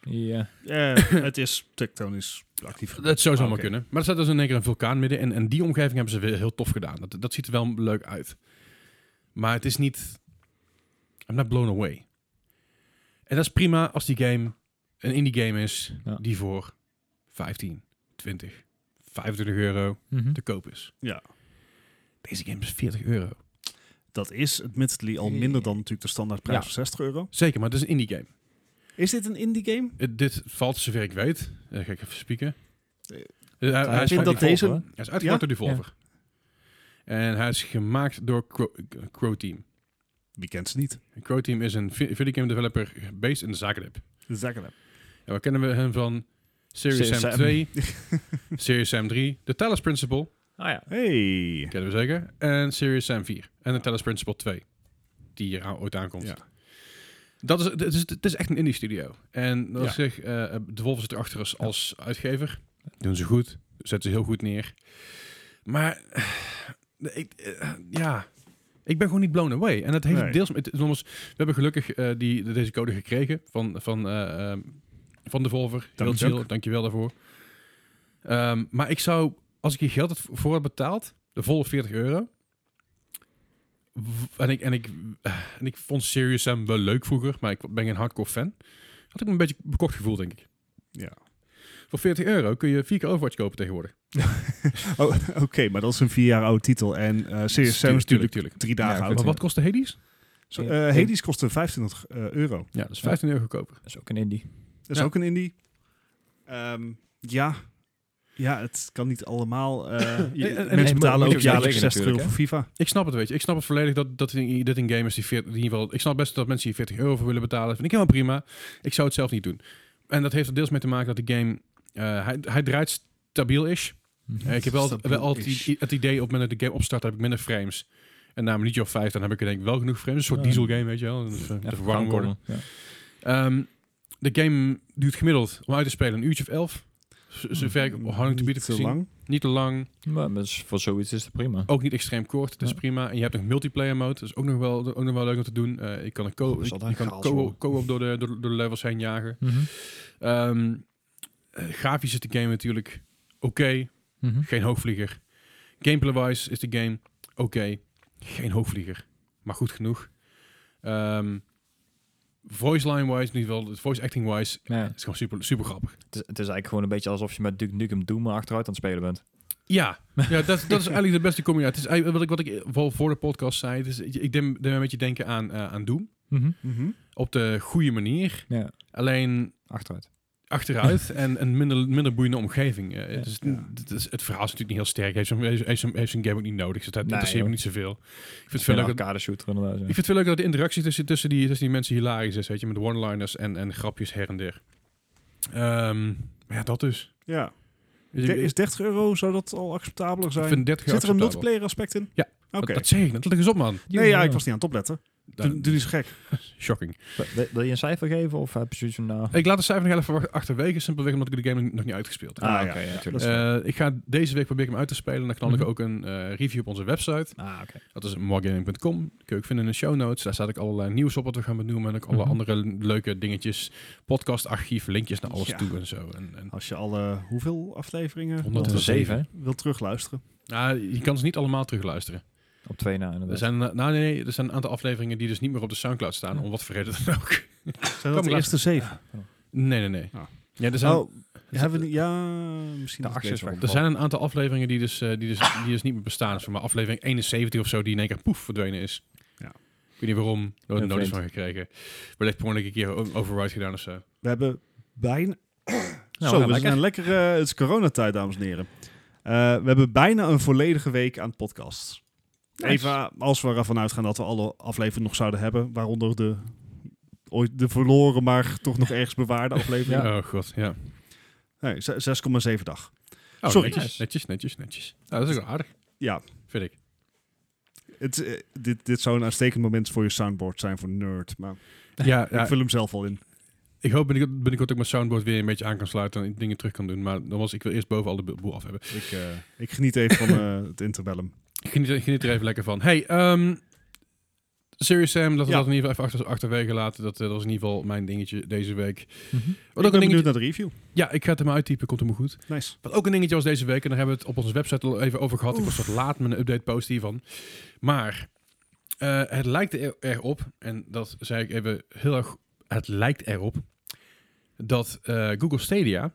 Ja.
Eh, het is tectonisch actief.
Dat zou
Ah,
zomaar
oké.
kunnen. Maar er staat dus in één keer een vulkaan midden. En, en die omgeving hebben ze weer heel tof gedaan. Dat, dat ziet er wel leuk uit. Maar het is niet... I'm not blown away. En dat is prima als die game een indie game is...
Ja.
die voor 15, 20, 25 euro
Mhm.
te koop is.
Ja.
Deze game is 40 euro.
Dat is admittedly al minder dan natuurlijk de standaardprijs
Ja.
van 60 euro.
Zeker, maar het is een indie game.
Is dit een indie game?
Het- dit valt, zover ik weet... eh, ga ik even spieken.
Eh,
Eh, hij- hij
Ik
is
vind
van
dat
Evolve,
deze-
hoor. Hij is uitgebracht
Ja?
door Devolver. En hij is gemaakt door Crow, Crow Team.
Wie kent ze niet?
En Crow Team is een vi- videogame developer based in de zakenlab.
Zeggen dat.
En waar kennen we hem van? Serious
Serious
Sam
Sam.
2, Serious Sam 3, The Talos Principle,
Ah ja.
Hey.
kennen we zeker, en Serious Sam 4. En The Talos Principle 2, die hier aan- ooit aankomt.
Ja.
Dat is, het, is, het is echt een indie studio. En als
Ja.
ik zeg, eh, Devolver zit erachter als, als uitgever. Doen ze goed, zetten ze heel goed neer. Maar eh, ik, eh, ja, ik ben gewoon niet blown away. En dat heeft
Nee.
deels... Het, is nogmaals, we hebben gelukkig eh, die, de- deze code gekregen van, van, eh, ehm, van Devolver. Heel
Dank je
chill,
ook.
dankjewel daarvoor. Ehm, maar ik zou, als ik hier geld had- voor had betaald, de volle 40 euro... w- En ik, en, ik, eh, en ik vond Serious Sam wel leuk vroeger, maar ik ben geen hardcore fan. Had ik me een beetje bekocht gevoel, denk ik.
Ja.
Voor 40 euro kun je vier keer Overwatch kopen tegenwoordig.
Oh, Oké, maar dat is een vier jaar oude titel. En eh Serious Sam is
Tuurlijk, tuurlijk,
natuurlijk
tuurlijk.
drie dagen
Ja,
oud.
Maar wat kost de Hades?
Zo, eh, Hades kostte 25 eh, euro.
Ja, dat is 15 euro goedkoper.
Dat is ook een indie.
Dat is
Ja.
ook een indie. Ehm, ja. Ja, het kan niet allemaal. eh, je-
en- en-
mensen
en- moet
betalen
je
ook
ook
jaarlijks
zeggen
60 euro voor
natuurlijk,
FIFA.
Ik snap het, weet je. Ik snap het volledig dat, dat in- dit een game is die 40, in ieder geval... Ik snap best dat mensen hier 40 euro voor willen betalen. Vind ik helemaal prima. Ik zou het zelf niet doen. En dat heeft er deels mee te maken dat de game... eh, hij, hij draait stabiel-ish.
Mhm.
Eh, ik heb wel, wel altijd
Stabiel-ish.
i- het idee, op het moment dat de game opstart, heb ik minder frames. En na een minuutje of vijf, dan heb ik er denk ik wel genoeg frames. Een soort
Ja.
diesel game, weet je wel. Dus, eh, even warm worden.
Ja.
Ehm, de game duurt gemiddeld om uit te spelen een uurtje of elf. Z- Zover ik op Hang to
Oh, Mm,
Beat heb
Niet te
gezien.
lang.
Niet te lang,
Maar dat is- voor zoiets is het prima.
ook niet extreem kort. Dat is
Ja.
prima. En je hebt nog multiplayer mode. Dat is ook nog wel, ook nog wel leuk om te doen. Eh je kan een co-
Dat Oh, is
je,
altijd
je kan
chaos,
co-
hoor.
co-op door de, door, de- door de levels heen jagen.
Mhm.
Ehm, eh, grafisch is de game natuurlijk oké.
Mhm.
Geen hoogvlieger. Gameplay-wise is de game oké. Geen hoogvlieger. Maar goed genoeg. Ehm, voice line-wise, in ieder geval voice acting-wise,
Ja.
is gewoon super, super grappig.
Het, is, het is eigenlijk gewoon een beetje alsof je met Duke Nukem Doom maar achteruit aan het spelen bent.
Ja, ja dat, dat is eigenlijk de beste combinatie. Het is eigenlijk wat ik, wat ik vooral voor de podcast zei. Het is, ik denk denk een beetje denken aan, eh, aan Doom.
Mhm.
Mhm.
Op de goede manier.
Ja,
Alleen
achteruit.
achteruit en een minder, minder boeiende omgeving. Eh,
Ja.
dus, het is- het verhaal is natuurlijk niet heel sterk. Heeft zo'n heeft zo'n- heeft zo'n game ook niet nodig. Dus dat
Nee,
interesseert me
joh.
niet zoveel. Ik vind het
Het
veel
is
leuker
een arcade shooter inderdaad. ja.
ik vind het wel leuk dat de interactie tussen, tussen, die, tussen die mensen hilarisch is, weet je, met one-liners en, en grapjes her en der. Ehm, maar ja, dat dus.
Ja.
Dus
De-
ik-
Is 30 euro, zou dat al acceptabeler
ik
zijn?
vind 30
Zit er een
acceptabel.
multiplayer aspect in?
Ja.
Oké.
Dat, dat zeg ik, dat leg eens op, man.
Nee, ja, ik was niet aan het opletten. Doe,
Nou,
doe niet zo gek.
Shocking.
Wil- Wil je een cijfer geven of heb je zoiets van... nou-
Ik laat de cijfer nog even wacht- achterwege, simpelweg omdat ik de game nog niet uitgespeeld heb.
Ah,
Ah,
ja,
oké,
ja,
natuurlijk.
dat is
Eh, ik ga deze week proberen hem uit te spelen. Dan knal ik
Mhm.
ook een eh, review op onze website.
Ah, oké.
Dat is moregaming.com. Kun je ook vinden in de show notes. Daar staat ook allerlei nieuws op wat we gaan benoemen. En ook alle
Mhm.
andere leuke dingetjes. Podcast, archief, linkjes naar alles
Ja.
toe en zo. En, en
Als je alle hoeveel afleveringen
107,
hè?
wil terugluisteren.
Nou, je kan ze niet allemaal terugluisteren.
Op twee na inderdaad.
Er zijn, nou nee, nee, er zijn een aantal afleveringen die dus niet meer op de Soundcloud staan, om wat voor reden dan ook.
Zijn dat de
maar.
eerste zeven?
Nee, nee, nee.
Ah.
Ja, er, zijn,
oh, hebben we, niet- ja, misschien dat
De
ik
actie is
deze
weg.
wel-
er zijn een aantal afleveringen die dus, eh, die dus, die dus niet meer bestaan. Dus voor mij aflevering 71 of zo, die in één keer poef verdwenen is.
Ja.
Ik weet niet waarom. We
Ja,
hebben er notice van
vreemd.
gekregen. Wellicht per ongeluk een keer o- override gedaan of zo.
We hebben bijna...
Nou,
Zo,
ja,
we zijn een lekkere... Het is coronatijd, dames en heren. Eh, we hebben bijna een volledige week aan podcasts. Even eh, als we ervan uitgaan dat we alle afleveringen nog zouden hebben, waaronder de, ooit de verloren, maar toch nog ergens bewaarde aflevering.
Oh god, ja.
Nee, ze- 6,7 dag.
Oh,
Sorry.
Netjes, netjes, netjes, netjes. Nou, dat is ook wel aardig,
Ja,
vind ik.
het, eh, dit, dit zou een uitstekend moment voor je soundboard zijn voor nerd, maar
Ja, ja
ik vul hem zelf al in.
ik hoop binnenkort, binnenkort ook mijn soundboard weer een beetje aan kan sluiten en dingen terug kan doen. Maar dan was ik wil eerst boven al de boel af hebben.
Ik, eh, ik geniet even van eh, het interbellum.
Geniet, geniet er even lekker van. Hey, ehm Serious Sam, laten we
Ja.
dat in ieder geval even achter, achterwege laten. Dat, eh, dat is in ieder geval mijn dingetje deze week.
Mhm.
Wat
ik
ook
ben
een dingetje,
benieuwd naar de review.
ja, ik ga het er maar uittypen, komt helemaal goed.
Nice.
Wat ook een dingetje was deze week, en daar hebben we het op onze website al even over gehad. Ik was wat laat met een update post hiervan. Maar eh, het lijkt er, erop, en dat zei ik even heel erg, het lijkt erop, dat eh, Google Stadia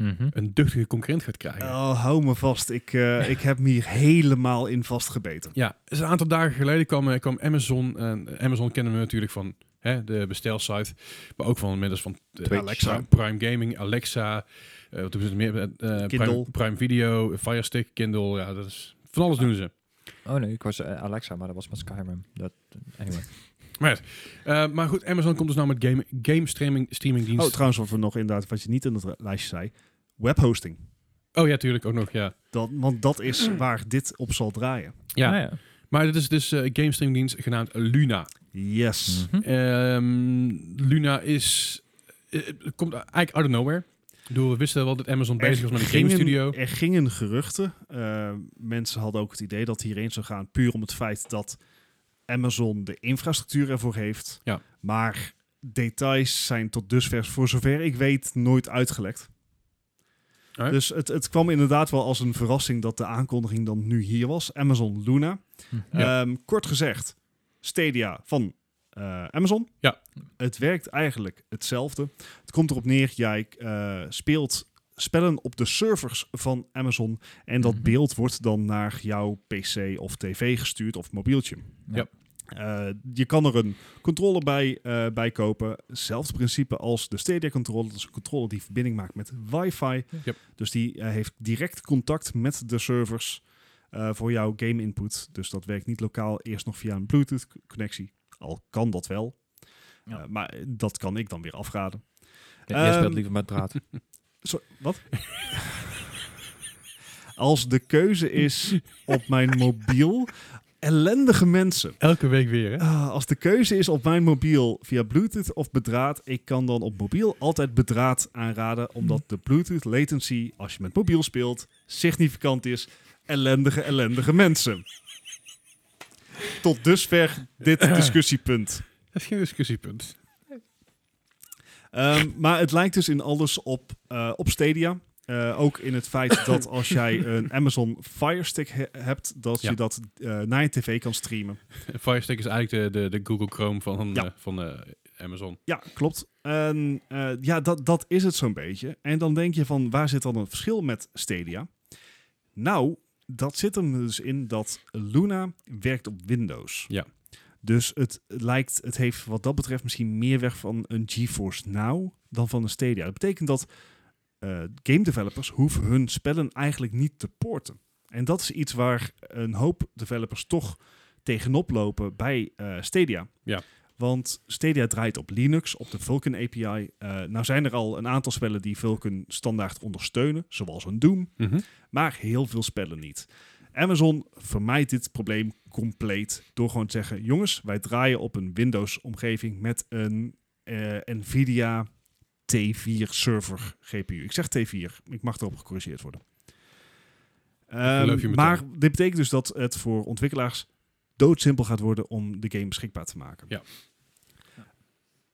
Mhm.
een duchtige concurrent gaat krijgen.
Oh, hou me vast. Ik, eh, ik heb me hier helemaal in vastgebeten.
Ja, dus een aantal dagen geleden kwam, eh, kwam Amazon. En Amazon kennen we natuurlijk van hè, de bestelsite. Maar ook van inmiddels van eh,
Twitch.
Alexa, Prime Gaming, Alexa. eh, wat doen ze meer? Eh, eh, Prime,
Kindle.
Prime Video, Fire Stick, Kindle. Ja, dat is, van alles doen ze.
Oh nee, ik was eh, Alexa, maar dat was met Skyrim. Dat, anyway.
Eh, maar goed, Amazon komt dus nou met game, game streaming,
Oh,
streamingdienst. Oh,
trouwens, wat we nog inderdaad, wat je niet in het lijstje zei. Webhosting.
Oh ja, tuurlijk ook nog, ja.
Dat, want dat is waar dit op zal draaien.
ja.
Ah, ja.
Maar dit is dus eh, een game streamingdienst genaamd Luna.
Yes.
Mhm.
Ehm, Luna is... eh, het komt eigenlijk out of nowhere. Ik bedoel, we wisten wel dat Amazon bezig was met een game
gingen-
studio.
Er gingen geruchten. Eh, mensen hadden ook het idee dat hierheen zou gaan. Puur om het feit dat Amazon de infrastructuur ervoor heeft.
Ja.
Maar details zijn tot dusver, voor zover ik weet, nooit uitgelekt.
Alright.
Dus het, het kwam inderdaad wel als een verrassing dat de aankondiging dan nu hier was. Amazon Luna.
Mhm.
Ehm, kort gezegd, Stadia van eh, Amazon.
Ja.
Het werkt eigenlijk hetzelfde. Het komt erop neer, jij eh, speelt spellen op de servers van Amazon. En dat
Mhm.
beeld wordt dan naar jouw PC of TV gestuurd of mobieltje.
Ja.
Eh, je kan er een controller bij, eh, bij kopen. Hetzelfde principe als de Stadia controller. Dat is een controller die verbinding maakt met wifi.
Yep.
Dus die eh, heeft direct contact met de servers eh, voor jouw game input. Dus dat werkt niet lokaal, eerst nog via een Bluetooth c- connectie. Al kan dat wel.
Ja.
Eh, maar dat kan ik dan weer afraden.
Ja, jij speelt
Ehm,
liever met draad.
Zo, wat? Als de keuze is op mijn mobiel. Ellendige mensen.
Elke week weer, hè?
Ah, als de keuze is op mijn mobiel via Bluetooth of bedraad, ik kan dan op mobiel altijd bedraad aanraden,
Mhm.
omdat de Bluetooth latency, als je met mobiel speelt, significant is. Ellendige, ellendige mensen. Tot dusver dit discussiepunt.
Dat is geen discussiepunt.
Ehm, maar het lijkt dus in alles op, eh, op Stadia. Eh, ook in het feit dat als jij een Amazon Fire Stick he- hebt, dat
Ja.
je dat eh, naar je tv kan streamen.
Fire Stick is eigenlijk de, de, de Google Chrome van,
Ja.
eh, van eh, Amazon.
Ja, klopt. En eh, ja, dat, dat is het zo'n beetje. En dan denk je van, waar zit dan het verschil met Stadia? Nou, dat zit hem dus in dat Luna werkt op Windows.
Ja.
Dus het lijkt, het heeft wat dat betreft misschien meer weg van een GeForce Now dan van een Stadia. Dat betekent dat eh, game developers hoeven hun spellen eigenlijk niet te porten. En dat is iets waar een hoop developers toch tegenop lopen bij eh, Stadia.
Ja.
Want Stadia draait op Linux, op de Vulkan API. Eh, nou zijn er al een aantal spellen die Vulkan standaard ondersteunen, zoals een Doom
Mhm.
maar heel veel spellen niet. Amazon vermijdt dit probleem compleet door gewoon te zeggen: jongens, wij draaien op een Windows-omgeving met een eh, Nvidia T4 server GPU. Ik zeg T4, ik mag erop gecorrigeerd worden. Ehm,
geloof je meteen.
maar dit betekent dus dat het voor ontwikkelaars doodsimpel gaat worden om de game beschikbaar te maken.
Ja.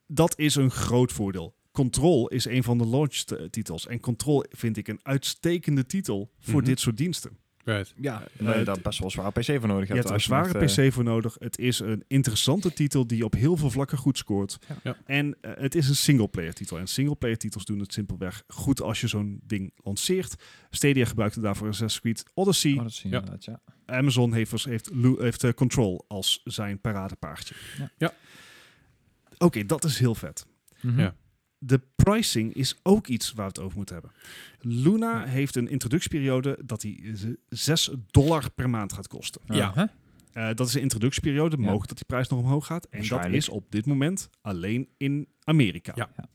Dat is een groot voordeel. Control is een van de launch-titels. En Control vind ik een uitstekende titel voor
Mhm.
dit soort diensten.
Right.
Ja, dat je
het-
daar best wel een zwaar PC voor nodig
Je
hebt.
hebt er een
als echt,
zware
eh,
PC voor nodig. Het is een interessante titel die op heel veel vlakken goed scoort.
Ja.
Ja.
En eh, het is een singleplayer titel. En singleplayer titels doen het simpelweg goed als je zo'n ding lanceert. Stadia gebruikte daarvoor Assassin's Creed Odyssey.
oh, dat zie je
Ja.
inderdaad, ja.
Amazon heeft, als- heeft, Lu- heeft eh, Control als zijn paradepaardje.
Ja.
Ja.
Oké, dat is heel vet.
Mhm.
Ja.
De pricing is ook iets waar we het over moeten hebben. Luna heeft een introductieperiode dat die z- 6 dollar per maand gaat kosten.
Ja.
Aha.
Eh, dat is een introductieperiode,
Ja.
mogelijk dat die prijs nog omhoog gaat. En dat
Waarschijnlijk.
is op dit moment alleen in Amerika.
Ja.
Ja.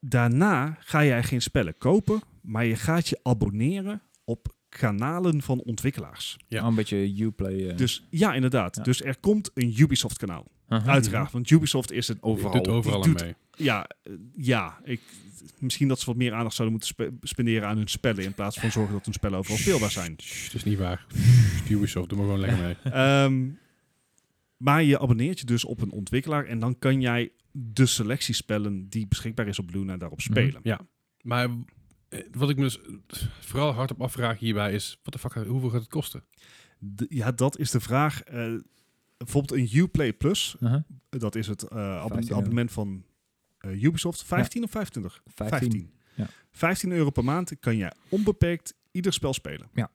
Daarna ga jij geen spellen kopen, maar je gaat je abonneren op kanalen van ontwikkelaars.
Ja.
Oh, Een beetje Uplay. eh,
Dus ja, inderdaad.
Ja.
Dus er komt een Ubisoft-kanaal.
aha.
Uiteraard, want Ubisoft is het
Doet
Overal.
overal
Die
aan
doet-
mee.
ja, eh, ja ik, misschien dat ze wat meer aandacht zouden moeten spe- spenderen aan hun spellen. In plaats van zorgen dat hun spellen overal speelbaar zijn.
Sst, Dat is niet waar. Sst, Ubisoft, doe maar gewoon lekker mee.
Ehm, maar je abonneert je dus op een ontwikkelaar. En dan kan jij de selectie spellen die beschikbaar is op Luna daarop
Mhm,
spelen.
Ja. Maar eh, wat ik me dus vooral hard op afvraag hierbij is, wat de fuck, gaat- hoeveel gaat het kosten?
D- ja, dat is de vraag. eh, bijvoorbeeld een Uplay Plus.
Aha.
Dat is het eh, abonne-
15 euro.
abonnement van eh, Ubisoft. 15 of 25?
15. Ja.
15 euro per maand kan jij onbeperkt ieder spel spelen.
Ja.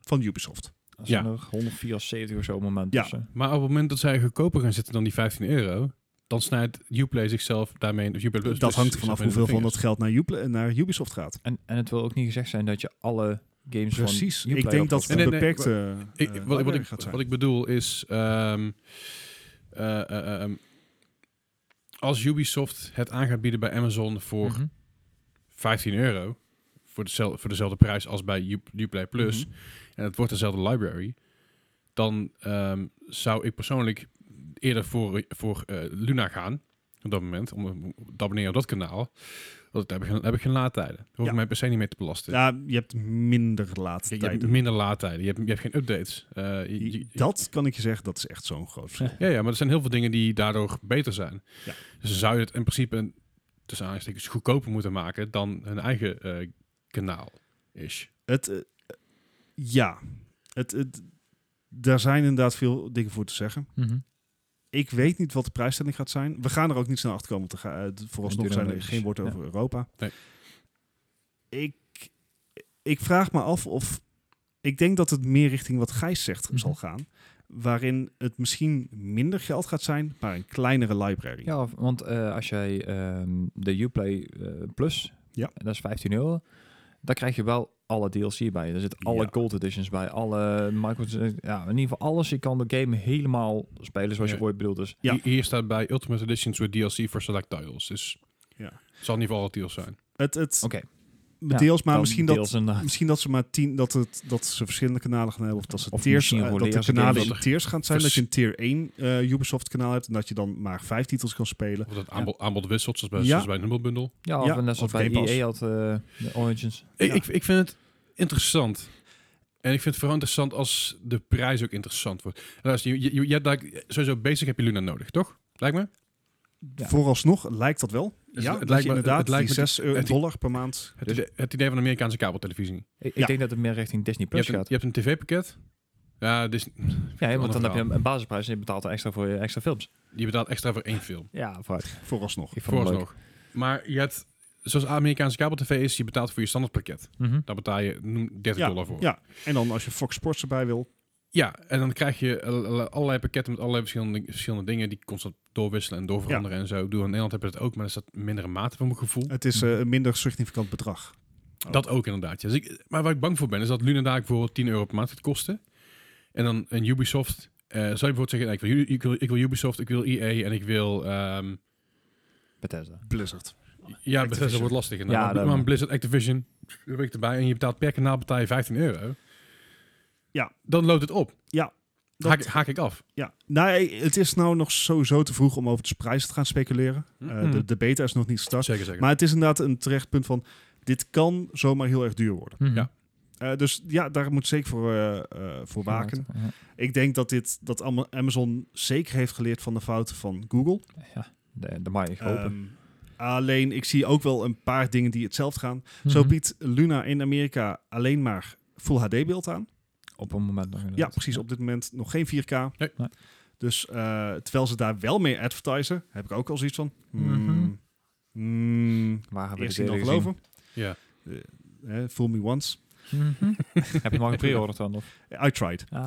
Van Ubisoft.
Dat
Ja.
ja. nog 174 of zo op het moment.
Ja.
Dus, eh,
Maar op het moment dat zij goedkoper gaan zitten dan die 15 euro, dan snijdt Uplay zichzelf daarmee... Of Uplay Plus dus
dat hangt
zichzelf
er vanaf
in de
hoeveel van dat geld
vingers.
naar, Upla- naar Ubisoft gaat.
en, en het wil ook niet gezegd zijn dat je alle games
Precies.
van
Ik
Uplay
denk dat
opkoopt.
het een
Nee, nee, nee.
beperkte
Ik-
eh,
wat, wat,
library
ik,
gaat
wat
zijn.
ik bedoel is... ehm, eh, eh, eh, ehm, als Ubisoft het aan gaat bieden bij Amazon voor
Mhm.
15 euro voor, dezelfde, voor dezelfde prijs als bij U- Uplay Plus
Mhm.
Mhm.
en het wordt dezelfde library, dan ehm, zou ik persoonlijk eerder voor, voor eh, Luna gaan op dat moment, om te abonneren op dat kanaal. Want daar heb ik, geen- daar heb ik geen laadtijden. Daar hoef
Ja.
ik mij per se niet mee te belasten.
Ja, je hebt minder
je,
laatste
je hebt
tijd.
minder laadtijden, je hebt, je hebt geen updates. Eh, je- je-
Dat kan ik je zeggen, dat is echt zo'n groot verschil.
ja, ja, maar er zijn heel veel dingen die daardoor beter zijn.
Ja.
Dus dan zou je het in principe een, tussen aanhalingstekens goedkoper moeten maken dan hun eigen eh, kanaal is.
het, eh, ja, het, het, daar zijn inderdaad veel dingen voor te zeggen.
Mhm.
Ik weet niet wat de prijsstelling gaat zijn. We gaan er ook niet snel achter komen. want er ga- eh,
duurt
vooralsnog
nog
zijn er
eventjes.
geen woord
Ja.
over Europa.
Nee.
Ik, ik vraag me af of... Ik denk dat het meer richting wat Gijs zegt
Mhm.
zal gaan. Waarin het misschien minder geld gaat zijn, maar een kleinere library.
Ja, want eh, als jij ehm, de Uplay eh, Plus,
Ja.
dat is 15 euro, dan krijg je wel alle DLC bij. Er zitten alle
Ja.
Gold Editions bij, alle micro... Ja, in ieder geval alles. Je kan de game helemaal spelen zoals
Ja.
je ooit bedoeld is.
Ja.
Hier, hier staat bij Ultimate Editions with DLC for select titles. Dus
Ja.
het zal niet voor alle titles zijn.
Het, het,
Oké.
deels, maar
dan
misschien dat
deels eh, inderdaad.
Misschien dat ze maar tien, dat, het, dat ze verschillende kanalen gaan hebben. Of dat ze
Of
tiers,
misschien
eh,
gewoon
dat de
eerst een
kanalen
keer
in
dat
tiers gaan zijn. Dat
vers-
je een tier 1 eh, Ubisoft kanaal hebt. En dat je dan maar vijf titels kan spelen.
Of dat aanbod, aanbod wisselt, zoals bij,
Ja.
zoals bij een hummelbundel.
Ja, of
Ja,
net zoals
of
bij
Game Pass.
EA had eh, de Origins.
Ik,
Ja.
ik, ik vind het interessant. En ik vind het vooral interessant als de prijs ook interessant wordt. Luister, je, je, je hebt daar, sowieso basic heb je Luna nodig, toch? Lijkt me.
Ja.
Vooralsnog lijkt dat wel.
het
ja, dat
lijkt me-
je
het-
inderdaad
het lijkt
die
me-
6 euro-
het-
dollar per maand.
Het,
Dus-
idee, het idee van Amerikaanse kabeltelevisie.
Ik, ik
Ja.
denk dat het meer richting Disney
Je
Plus
hebt een,
gaat.
je hebt een tv-pakket. Ja, dus
Ja, want
ander
dan heb je
verhaal.
een basisprijs en je betaalt er extra voor je extra films.
je betaalt extra voor één film.
Ja, vooruit.
Vooralsnog.
Ik vond het leuk.
Vooralsnog. Maar je hebt zoals Amerikaanse kabel-tv is, je betaalt voor je standaardpakket.
Mhm.
Daar betaal je noem, 30 dollar voor.
Ja, en dan als je Fox Sports erbij wil.
Ja, en dan krijg je alle- allerlei pakketten met allerlei verschillende, verschillende dingen die constant doorwisselen en doorveranderen en zo. Ik bedoel, in Nederland heb je dat ook, maar dat is dat mindere mate van mijn gevoel.
Het is eh, oh. een minder significant bedrag.
Dat ook inderdaad. ja. Dus ik, maar waar ik bang voor ben, is dat Luna daar bijvoorbeeld 10 euro per maand gaat kosten. En dan een Ubisoft. eh, zou je bijvoorbeeld zeggen, nee, ik, wil, U- ik, wil, ik wil Ubisoft, ik wil EA en ik wil... ehm,
Bethesda.
Blizzard.
ja, Bethesda wordt lastig. inderdaad.
Ja,
maar,
dat-
maar een Blizzard Activision, daar ben ik erbij. En je betaalt per kanaal betaal je 15 euro.
Ja.
Dan loopt het op.
Ja, dat-
Haak, haak ik af.
Ja, nou, eh, het is nou nog sowieso te vroeg om over de prijs te gaan speculeren. Eh,
Mhm.
de, de beta is nog niet gestart.
Zeker, zeker.
Maar het is inderdaad een terecht punt van, dit kan zomaar heel erg duur worden.
Mhm.
Ja.
Eh, dus ja, daar moet zeker voor, eh, eh, voor waken.
Ja.
Ik denk dat, dit, dat Ama- Amazon zeker heeft geleerd van de fouten van Google.
De, de mag ik hopen.
Ehm, alleen, ik zie ook wel een paar dingen die hetzelfde gaan. Zo
Mhm.
biedt Luna in Amerika alleen maar Full HD beeld aan.
Op een moment nog
Ja,
inderdaad.
precies. Op dit moment nog geen 4K.
Nee.
Nee.
Dus eh, terwijl ze daar wel mee advertisen, heb ik ook al zoiets van...
Mhm.
hmm, hmm,
Waar hebben we
eerst
de
zien dan
eerder
geloven.
Ja.
Eh, eh, fool me once.
gezien? Mhm. Heb je nog een pre-order dan? Of?
I tried.
Ah,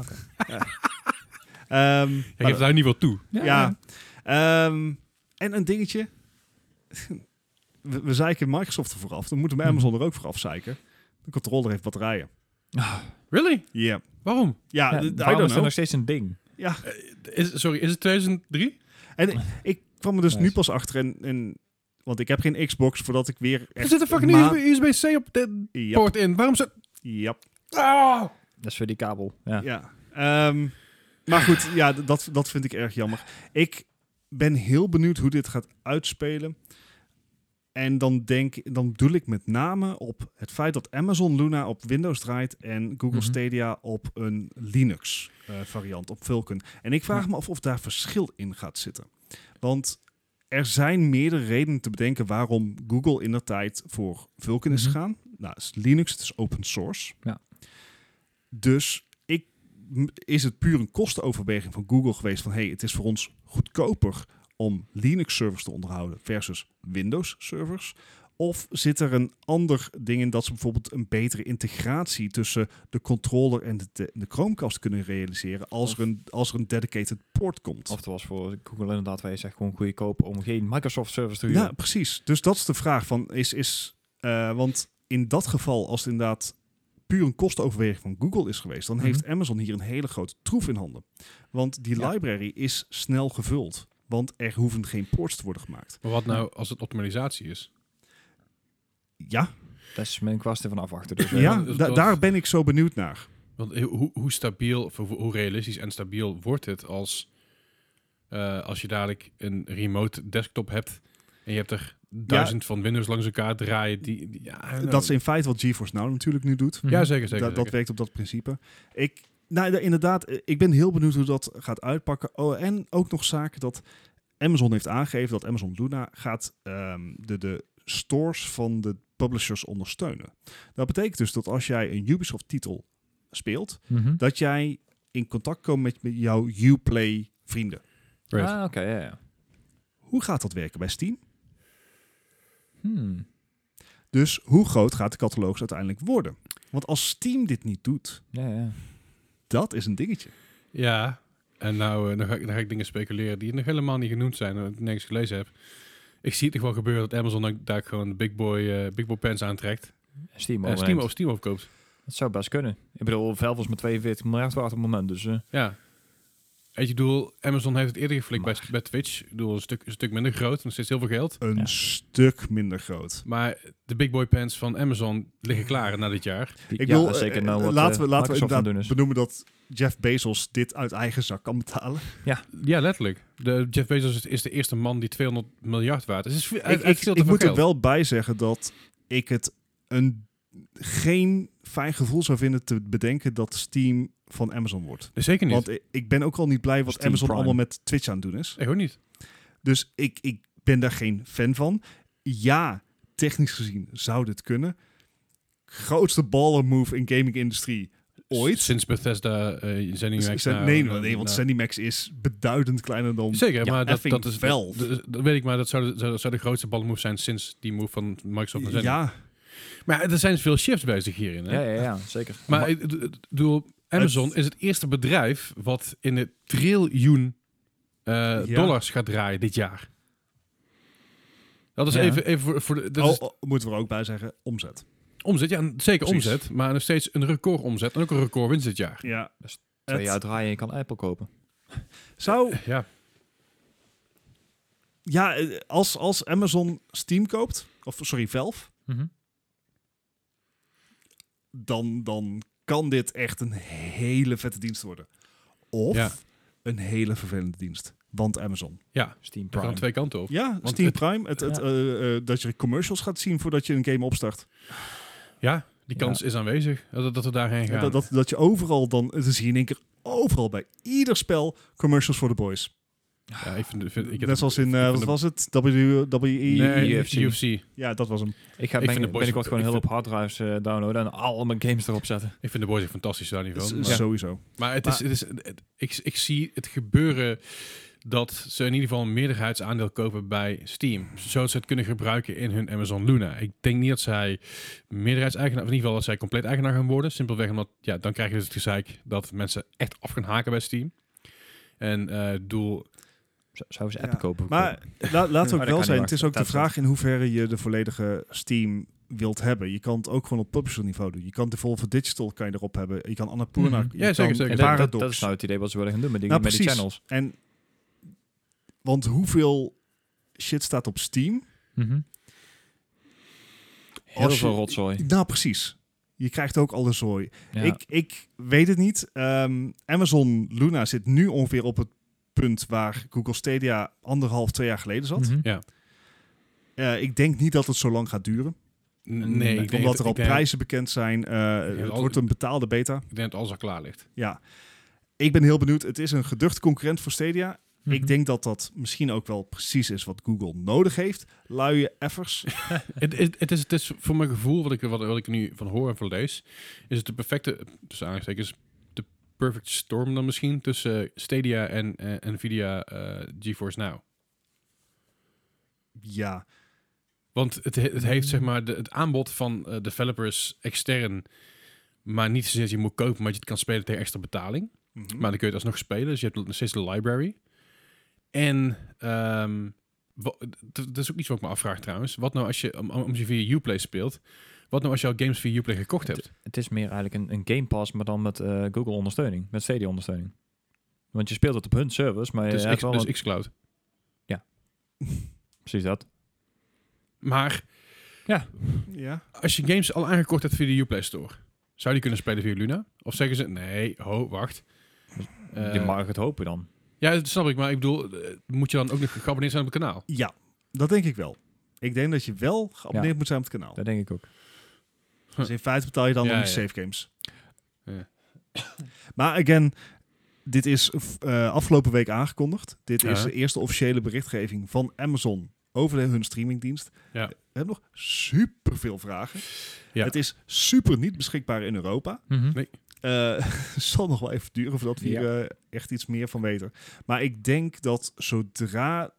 Ehm,
Je geeft daar niet wat toe.
ja. ah, Ehm, en een dingetje. We, we zeiken Microsoft er vooraf. Dan moeten we
Mhm.
Amazon er ook voor afzeiken. De controller heeft batterijen.
Really?
Yeah.
Waarom? Eh,
Ja,
Ja,
d- I don't
Windows is
know.
nog steeds een ding.
Ja,
Is, sorry, is het 2003?
en ik- ik kwam er dus
Nice.
nu pas achter. En, en, want ik heb geen Xbox voordat ik weer...
Er
echt
zit een fucking
ma-
USB-C op de
Jap,
poort in. Waarom zit...
jap,
Ah!
Dat is weer die kabel. Ja.
ja. Ehm, maar goed, ja, d- dat, dat vind ik erg jammer. Ik ben heel benieuwd hoe dit gaat uitspelen. En dan, denk, dan bedoel ik met name op het feit dat Amazon Luna op Windows draait en Google
Mhm.
Stadia op een Linux eh, variant, op Vulkan. En ik vraag me af of daar verschil in gaat zitten. Want er zijn meerdere redenen te bedenken waarom Google in de tijd voor Vulkan is
Mhm.
gegaan. Nou, het is Linux, het is open source.
Ja.
Dus ik, m- is het puur een kostenoverweging van Google geweest van... hey, het is voor ons goedkoper om Linux-servers te onderhouden versus Windows-servers? Of zit er een ander ding in dat ze bijvoorbeeld een betere integratie tussen de controller en de, de, de Chromecast kunnen realiseren als er, een, als er een dedicated port komt?
Of het was voor Google inderdaad, waar je zegt gewoon goedkoop om geen Microsoft service te huren.
Ja, precies. Dus dat is de vraag van is, is eh, want in dat geval, als het inderdaad puur een kostenoverweging van Google is geweest, dan
Mhm.
heeft Amazon hier een hele grote troef in handen. Want die
Ja.
library is snel gevuld, want er hoeven geen ports te worden gemaakt.
Maar wat nou als het optimalisatie is?
Ja,
Dat is mijn kwast ervan afwachten. Dus, eh,
ja
dat-
da-
dat-
daar ben ik zo benieuwd naar.
Want eh, hoe, hoe stabiel, of hoe, hoe realistisch en stabiel wordt het als, eh, als je dadelijk een remote desktop hebt en je hebt er duizend van Windows langs elkaar draaien. Die, die- ja, I don't know.
Dat is in feite wat GeForce Now natuurlijk nu doet.
Mhm.
Ja, zeker, zeker.
dat, dat
zeker.
werkt op dat principe. Ik, nou, da- inderdaad, eh, ik ben heel benieuwd hoe dat gaat uitpakken. Oh, en ook nog zaken dat Amazon heeft aangegeven dat Amazon Luna gaat ehm, de, de stores van de publishers ondersteunen. Dat betekent dus dat als jij een Ubisoft-titel speelt,
Mhm.
dat jij in contact komt met met jouw Uplay-vrienden.
Right.
Ah, oké, ja, ja.
Hoe gaat dat werken bij Steam?
Hmm.
Dus hoe groot gaat de catalogus uiteindelijk worden? Want als Steam dit niet doet,
Ja, ja.
dat is een dingetje.
Ja, en nou eh, dan, ga ik, dan ga ik dingen speculeren die nog helemaal niet genoemd zijn, omdat ik niks gelezen heb. Ik zie het toch wel gebeuren dat Amazon dan- daar gewoon de Big Boy, eh, Big Boy pants aantrekt.
Steam,
En Steam, of Steam opkoopt.
Dat zou best kunnen. Ik bedoel, Valve is maar 42 miljard waard op het moment, dus... eh,
Ja. Weet je, ik bedoel, Amazon heeft het eerder geflikt bij, bij Twitch. Ik bedoel, een stuk, een stuk minder groot, nog steeds heel veel geld.
Een
Ja.
stuk minder groot.
Maar de Big Boy pants van Amazon liggen klaar na dit jaar.
die-
Ik
ja,
wil,
dat is zeker
eh,
nou wat
laten we,
eh,
laten we
Microsoft aan
inderdaad
doen is.
benoemen dat Jeff Bezos dit uit eigen zak kan betalen.
Ja, letterlijk. De, Jeff Bezos is, is de eerste man die 200 miljard waard is. Het is hij-
ik
hij
ik,
steelt
ik
te veel
moet er
geld.
wel bij zeggen dat ik het een, geen fijn gevoel zou vinden te bedenken dat Steam van Amazon wordt.
Nee, Zeker niet.
Want i- ik ben ook al niet blij wat
Steam
Amazon
Prime.
allemaal met Twitch aan het doen is.
Ik ook niet.
Dus ik, ik ben daar geen fan van. Ja, technisch gezien zou dit kunnen. Grootste baller move in gaming industrie. ooit.
Sinds Bethesda eh ZeniMax...
Zen-
nou-
nee,
nou-
nee, want
nou-
ZeniMax is beduidend kleiner dan...
Zeker,
Ja,
maar dat,
effing
dat is wel.
Valve.
Dat, dat weet ik, maar dat zou, de- zou, dat zou de grootste balmove zijn sinds die move van Microsoft naar Sony.
Ja,
Maar er zijn veel shifts bezig hierin. Hè?
Ja, ja, ja, zeker.
Maar ik ik- ik bedoel, Amazon is het eerste bedrijf wat in het triljoen eh, dollars gaat draaien dit jaar. Dat is
Ja.
even, even voor, voor de, dat
oh,
is
oh, moeten we er ook bij zeggen, omzet.
omzet. Ja, en zeker
Precies.
omzet, maar nog steeds een record omzet en ook een record winst dit jaar.
Ja.
Dus Twee
Het
jaar draaien, je kan Apple kopen.
Zou,
Ja,
ja, eh, als, als Amazon Steam koopt, of sorry, Valve,
Mhm.
dan, dan kan dit echt een hele vette dienst worden. Of
Ja.
een hele vervelende dienst. Want Amazon.
ja.
Steam
Dat
Prime.
kan twee kanten op.
Ja, Steam
het-
Prime. Het, het,
Ja.
eh, eh, dat je commercials gaat zien voordat je een game opstart.
Ja, die kans
Ja.
is aanwezig dat, dat we daarheen gaan.
Dat, dat, dat je overal dan, eh, dan zie je in één keer overal bij ieder spel commercials voor de boys.
ja, ik vind, vind- ik heb-
Net zoals in, eh,
vind
wat
de-
was het? E WWE?
Nee, E
UFC.
UFC.
Ja, dat was hem.
Ik ga
Ik
ben,
vind de
ik
boys-
binnenkort gewoon
ik
heel
vind-
op hard drives eh, downloaden en al mijn games erop zetten.
Ik vind de boys echt fantastisch daar
S-
niveau. Maar,
Sowieso.
maar het is, het is, het- ik, ik zie het gebeuren dat ze in ieder geval een meerderheidsaandeel kopen bij Steam. Zodat ze het kunnen gebruiken in hun Amazon Luna. Ik denk niet dat zij meerderheidseigenaar, of in ieder geval dat zij compleet eigenaar gaan worden. Simpelweg omdat, ja, dan krijg je dus het gezeik dat mensen echt af gaan haken bij Steam. En eh, ik bedoel,
Z- Zouden ze
Ja.
Apple kopen?
Maar la- laten we
dat
ook
kan
wel
niet
zijn, het is
wachten.
ook de
Dat
vraag in hoeverre je de volledige Steam wilt hebben. Je kan het ook gewoon op publisher niveau doen. Je kan de Volvo Digital kan je erop hebben. Je kan Annapurna.
Mhm.
je
Ja, zeker,
kan
zeker.
en
En
dat,
Paradox.
dat, dat is nou het idee wat ze willen gaan doen met die,
Nou,
met die
precies.
channels.
En want hoeveel shit staat op Steam?
Heel
Als je-
veel rotzooi.
Nou, precies. Je krijgt ook alle zooi.
Ja.
Ik, ik weet het niet. Ehm, Amazon Luna zit nu ongeveer op het punt waar Google Stadia anderhalf, twee jaar geleden zat.
Mhm.
Eh, ik denk niet dat het zo lang gaat duren.
nee,
Nee,
ik denk,
omdat
dat-
er al
ik denk-
prijzen bekend zijn. Eh, het
al-
wordt een betaalde beta.
ik denk dat alles al klaar ligt.
Ja. Ik ben heel benieuwd. Het is een geducht concurrent voor Stadia.
Mhm.
Mhm.
Ik denk dat dat misschien ook wel precies is wat Google nodig heeft. Luie effers.
Het, het, het is, het is voor mijn gevoel, wat ik, wat, wat ik nu van hoor en van lees, is het de perfecte, tussen aanhalingstekens, de perfect storm dan misschien tussen Stadia en eh, Nvidia eh, GeForce Now.
ja.
Want het, he- het heeft zeg maar de, het aanbod van eh, developers extern, maar niet zozeer dat je moet kopen, maar dat je het kan spelen tegen extra betaling.
Mhm.
Maar dan kun je het alsnog spelen. Dus je hebt nog steeds de library. En ehm, wa- d- d- dat is ook iets wat ik me afvraag trouwens. Wat nou als je, om, om- als je via Uplay speelt, wat nou als je al games via Uplay gekocht hebt?
Het is meer eigenlijk een, een Game Pass, maar dan met eh, Google ondersteuning, met Stadia ondersteuning. Want je speelt het op hun servers, maar je
Dus,
hebt
X,
wel
dus
een-
xCloud.
precies dat.
Maar
ja.
als je games al aangekocht hebt via de Uplay Store, zou die kunnen spelen via Luna? Of zeggen ze, nee, ho, wacht.
je
Eh,
mag het hopen dan.
ja, dat snap ik. Maar ik bedoel, eh, moet je dan ook nog geabonneerd zijn op het kanaal?
Ja, dat denk ik wel. Ik denk dat je wel geabonneerd moet zijn op het kanaal.
Dat denk ik ook.
Dus in feite betaal je dan
Ja,
om
ja.
die save games.
Ja.
Maar again, dit is eh, afgelopen week aangekondigd. Dit is
Ja.
de eerste officiële berichtgeving van Amazon over de- hun streamingdienst.
Ja.
We hebben nog superveel vragen.
Ja.
Het is super niet beschikbaar in Europa.
Nee.
Eh, Het zal nog wel even duren voordat we
Ja.
hier eh, echt iets meer van weten. Maar ik denk dat zodra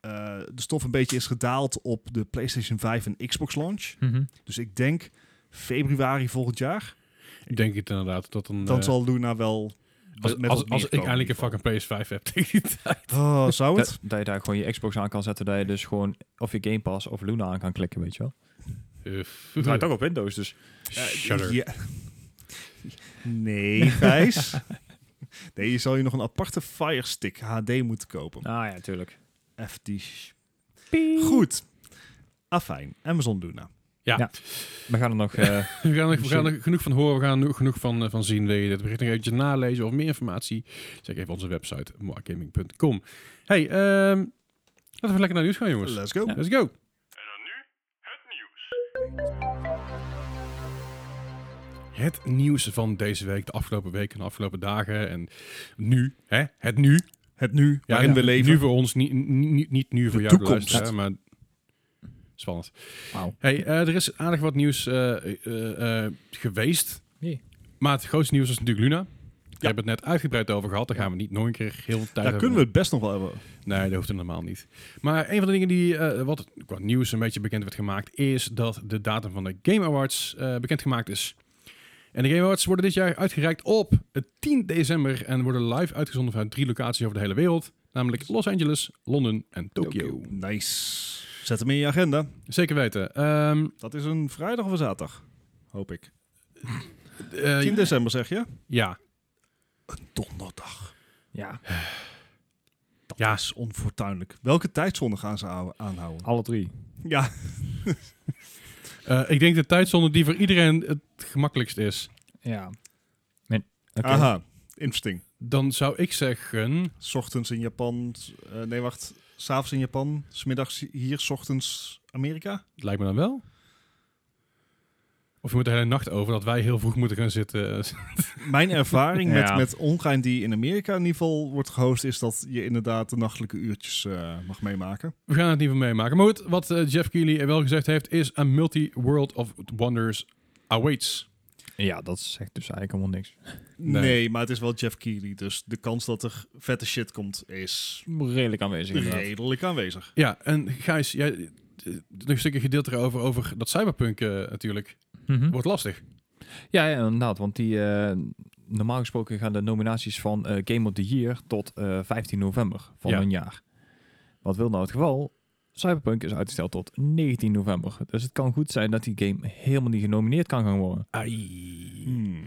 eh, de stof een beetje is gedaald op de PlayStation 5 en Xbox launch, dus ik denk februari volgend jaar.
Ik denk het inderdaad. Dat dan,
Dan
eh,
zal Luna wel.
als,
met
als,
wat
als
meer
ik
komen
eindelijk een
in ieder
fucking PS5 heb tegen die tijd.
geval. Oh, zou
Dat,
het?
dat je daar gewoon je Xbox aan kan zetten, dat je dus gewoon of je Game Pass of Luna aan kan klikken, weet je wel.
Eh,
Het draait ook op Windows, dus
Ja,
Shudder.
ja. Nee, Gijs. nee, je zal je nog een aparte Firestick HD moeten kopen.
Ah ja, tuurlijk.
Even die sh- Goed. Afijn, Amazon Luna.
We gaan er nog... eh,
We gaan, er, we gaan er genoeg van horen, we gaan er genoeg van, eh, van zien. Wil je dit bericht nog eventjes nalezen of meer informatie? Check even onze website, markgaming.com. Hey, ehm, laten we even lekker naar het nieuws gaan, jongens.
Let's go.
Let's go. Het nieuws van deze week, de afgelopen weken en de afgelopen dagen en nu, hè, het nu.
Het nu, waarin we leven.
Nu voor ons, niet, niet, niet nu voor jou, de
toekomst.
luisteraar, maar spannend.
Wauw.
Hey, eh, er is aardig wat nieuws eh, eh, eh, geweest.
Jee.
Maar het grootste nieuws is natuurlijk Luna. We hebben het net uitgebreid over gehad. Daar gaan we niet nog een keer heel de tijd
Daar
over
kunnen we het best nog wel hebben.
Nee, dat hoeft er normaal niet. Maar een van de dingen die eh, wat qua nieuws een beetje bekend werd gemaakt, is dat de datum van de Game Awards bekend bekendgemaakt is. En de Game Awards worden dit jaar uitgereikt op het 10 december en worden live uitgezonden vanuit drie locaties over de hele wereld. Namelijk Los Angeles, Londen en Tokio.
Nice. Zet hem in je agenda.
Zeker weten. Ehm
Dat is een vrijdag of een zaterdag, hoop ik.
eh,
10 december zeg je?
ja,
Donderdag.
Ja,
Dat
Ja.
is onfortuinlijk. Welke tijdzone gaan ze hou- aanhouden?
alle drie.
Ja,
Eh, ik denk de tijdzone die voor iedereen het gemakkelijkst is.
Ja. Men- oké.
aha. Interesting.
Dan zou ik zeggen,
's Ochtends in Japan. s- eh, nee, wacht. S'avonds in Japan. Smiddags hier. 's Ochtends Amerika.
lijkt me dan wel. Of je moet de hele nacht over dat wij heel vroeg moeten gaan zitten.
Mijn ervaring
Ja.
met, met ongein die in Amerika in ieder geval wordt gehost... is dat je inderdaad de nachtelijke uurtjes eh, mag meemaken.
We gaan het niet van meemaken. Maar goed, wat eh, Jeff Keighley er wel gezegd heeft, is a multi-world of wonders awaits.
Ja, dat zegt dus eigenlijk helemaal niks.
Nee.
Nee.
maar het is wel Jeff Keighley. Dus de kans dat er vette shit komt is
Redelijk aanwezig
redelijk aanwezig.
Ja, en Gijs, jij, eh, nog een stukje gedeelte erover, over dat cyberpunk eh, natuurlijk. Wordt lastig.
Mhm. Ja, ja, inderdaad. Want die, eh, normaal gesproken gaan de nominaties van eh, Game of the Year tot eh, 15 november van
Ja.
een jaar. Wat wil nou het geval? Cyberpunk is uitgesteld tot 19 november. Dus het kan goed zijn dat die game helemaal niet genomineerd kan gaan worden.
Hmm.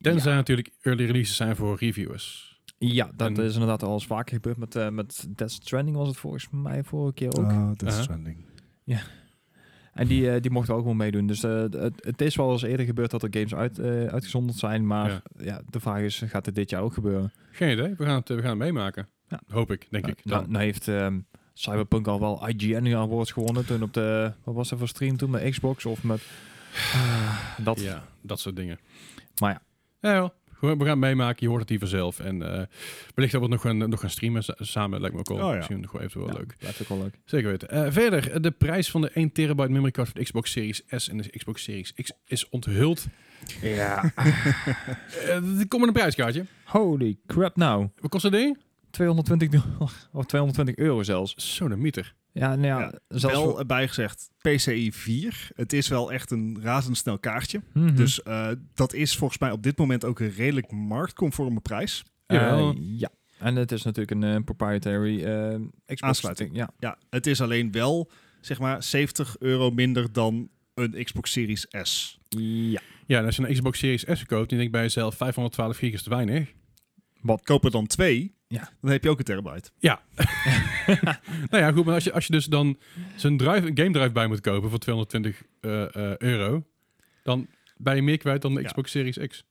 Tenzij natuurlijk early releases zijn voor reviewers.
Ja, dat
En-
is inderdaad al eens vaker gebeurd. Met, eh, met Death Stranding was het volgens mij vorige keer ook.
Ah, Death
Aha.
Stranding.
En die, eh, die mochten ook wel meedoen. Dus eh, het, het is wel eens eerder gebeurd dat er games uit, eh, uitgezonderd zijn. Maar
Ja.
ja. de vraag is, gaat het dit jaar ook gebeuren?
Geen idee, we gaan het, eh, we gaan het meemaken.
Ja.
Hoop ik, denk
Nou,
ik.
nou,
Dan.
nou heeft ehm, Cyberpunk al wel IGN Awards gewonnen. Toen op de, wat was dat voor stream toen? Met Xbox of met... dat.
Ah, Ja, dat soort dingen.
Maar ja.
Ja, joh. Gewoon, we gaan het meemaken, je hoort het hier vanzelf. En eh, wellicht dat we het nog gaan, nog gaan streamen sa- samen, lijkt me ook wel.
Oh ja.
Misschien nog wel even wel
Ja,
leuk.
Blijft ook wel leuk.
Zeker weten. Eh, verder, eh, de prijs van de 1 terabyte memory card van de Xbox Series S en de Xbox Series X is onthuld.
Ja.
Eh kom met een prijskaartje.
Holy crap nou.
Wat kost dat ding?
220 dollar. Of 220 euro zelfs.
Zo'n meter.
Ja, nou ja.
Ja,
zelfs
wel
voor-
erbij gezegd, PCI 4. Het is wel echt een razendsnel kaartje.
Mhm.
Dus eh, dat is volgens mij op dit moment ook een redelijk marktconforme prijs.
Eh,
Jawel.
ja. En het is natuurlijk een eh, proprietary eh, Xbox.
Aansluiting.
Ja.
Ja, het is alleen wel zeg maar 70 euro minder dan een Xbox Series S.
Ja.
Ja, en als je een Xbox Series S koopt, dan denk je bij jezelf 512 gig is te weinig.
Koop er dan twee,
Ja.
dan heb je ook een terabyte.
Nou ja, goed, maar als je, als je dus dan zo'n drive, een game drive bij moet kopen voor 220 eh, eh, euro, dan ben je meer kwijt dan de
Ja.
Xbox Series X.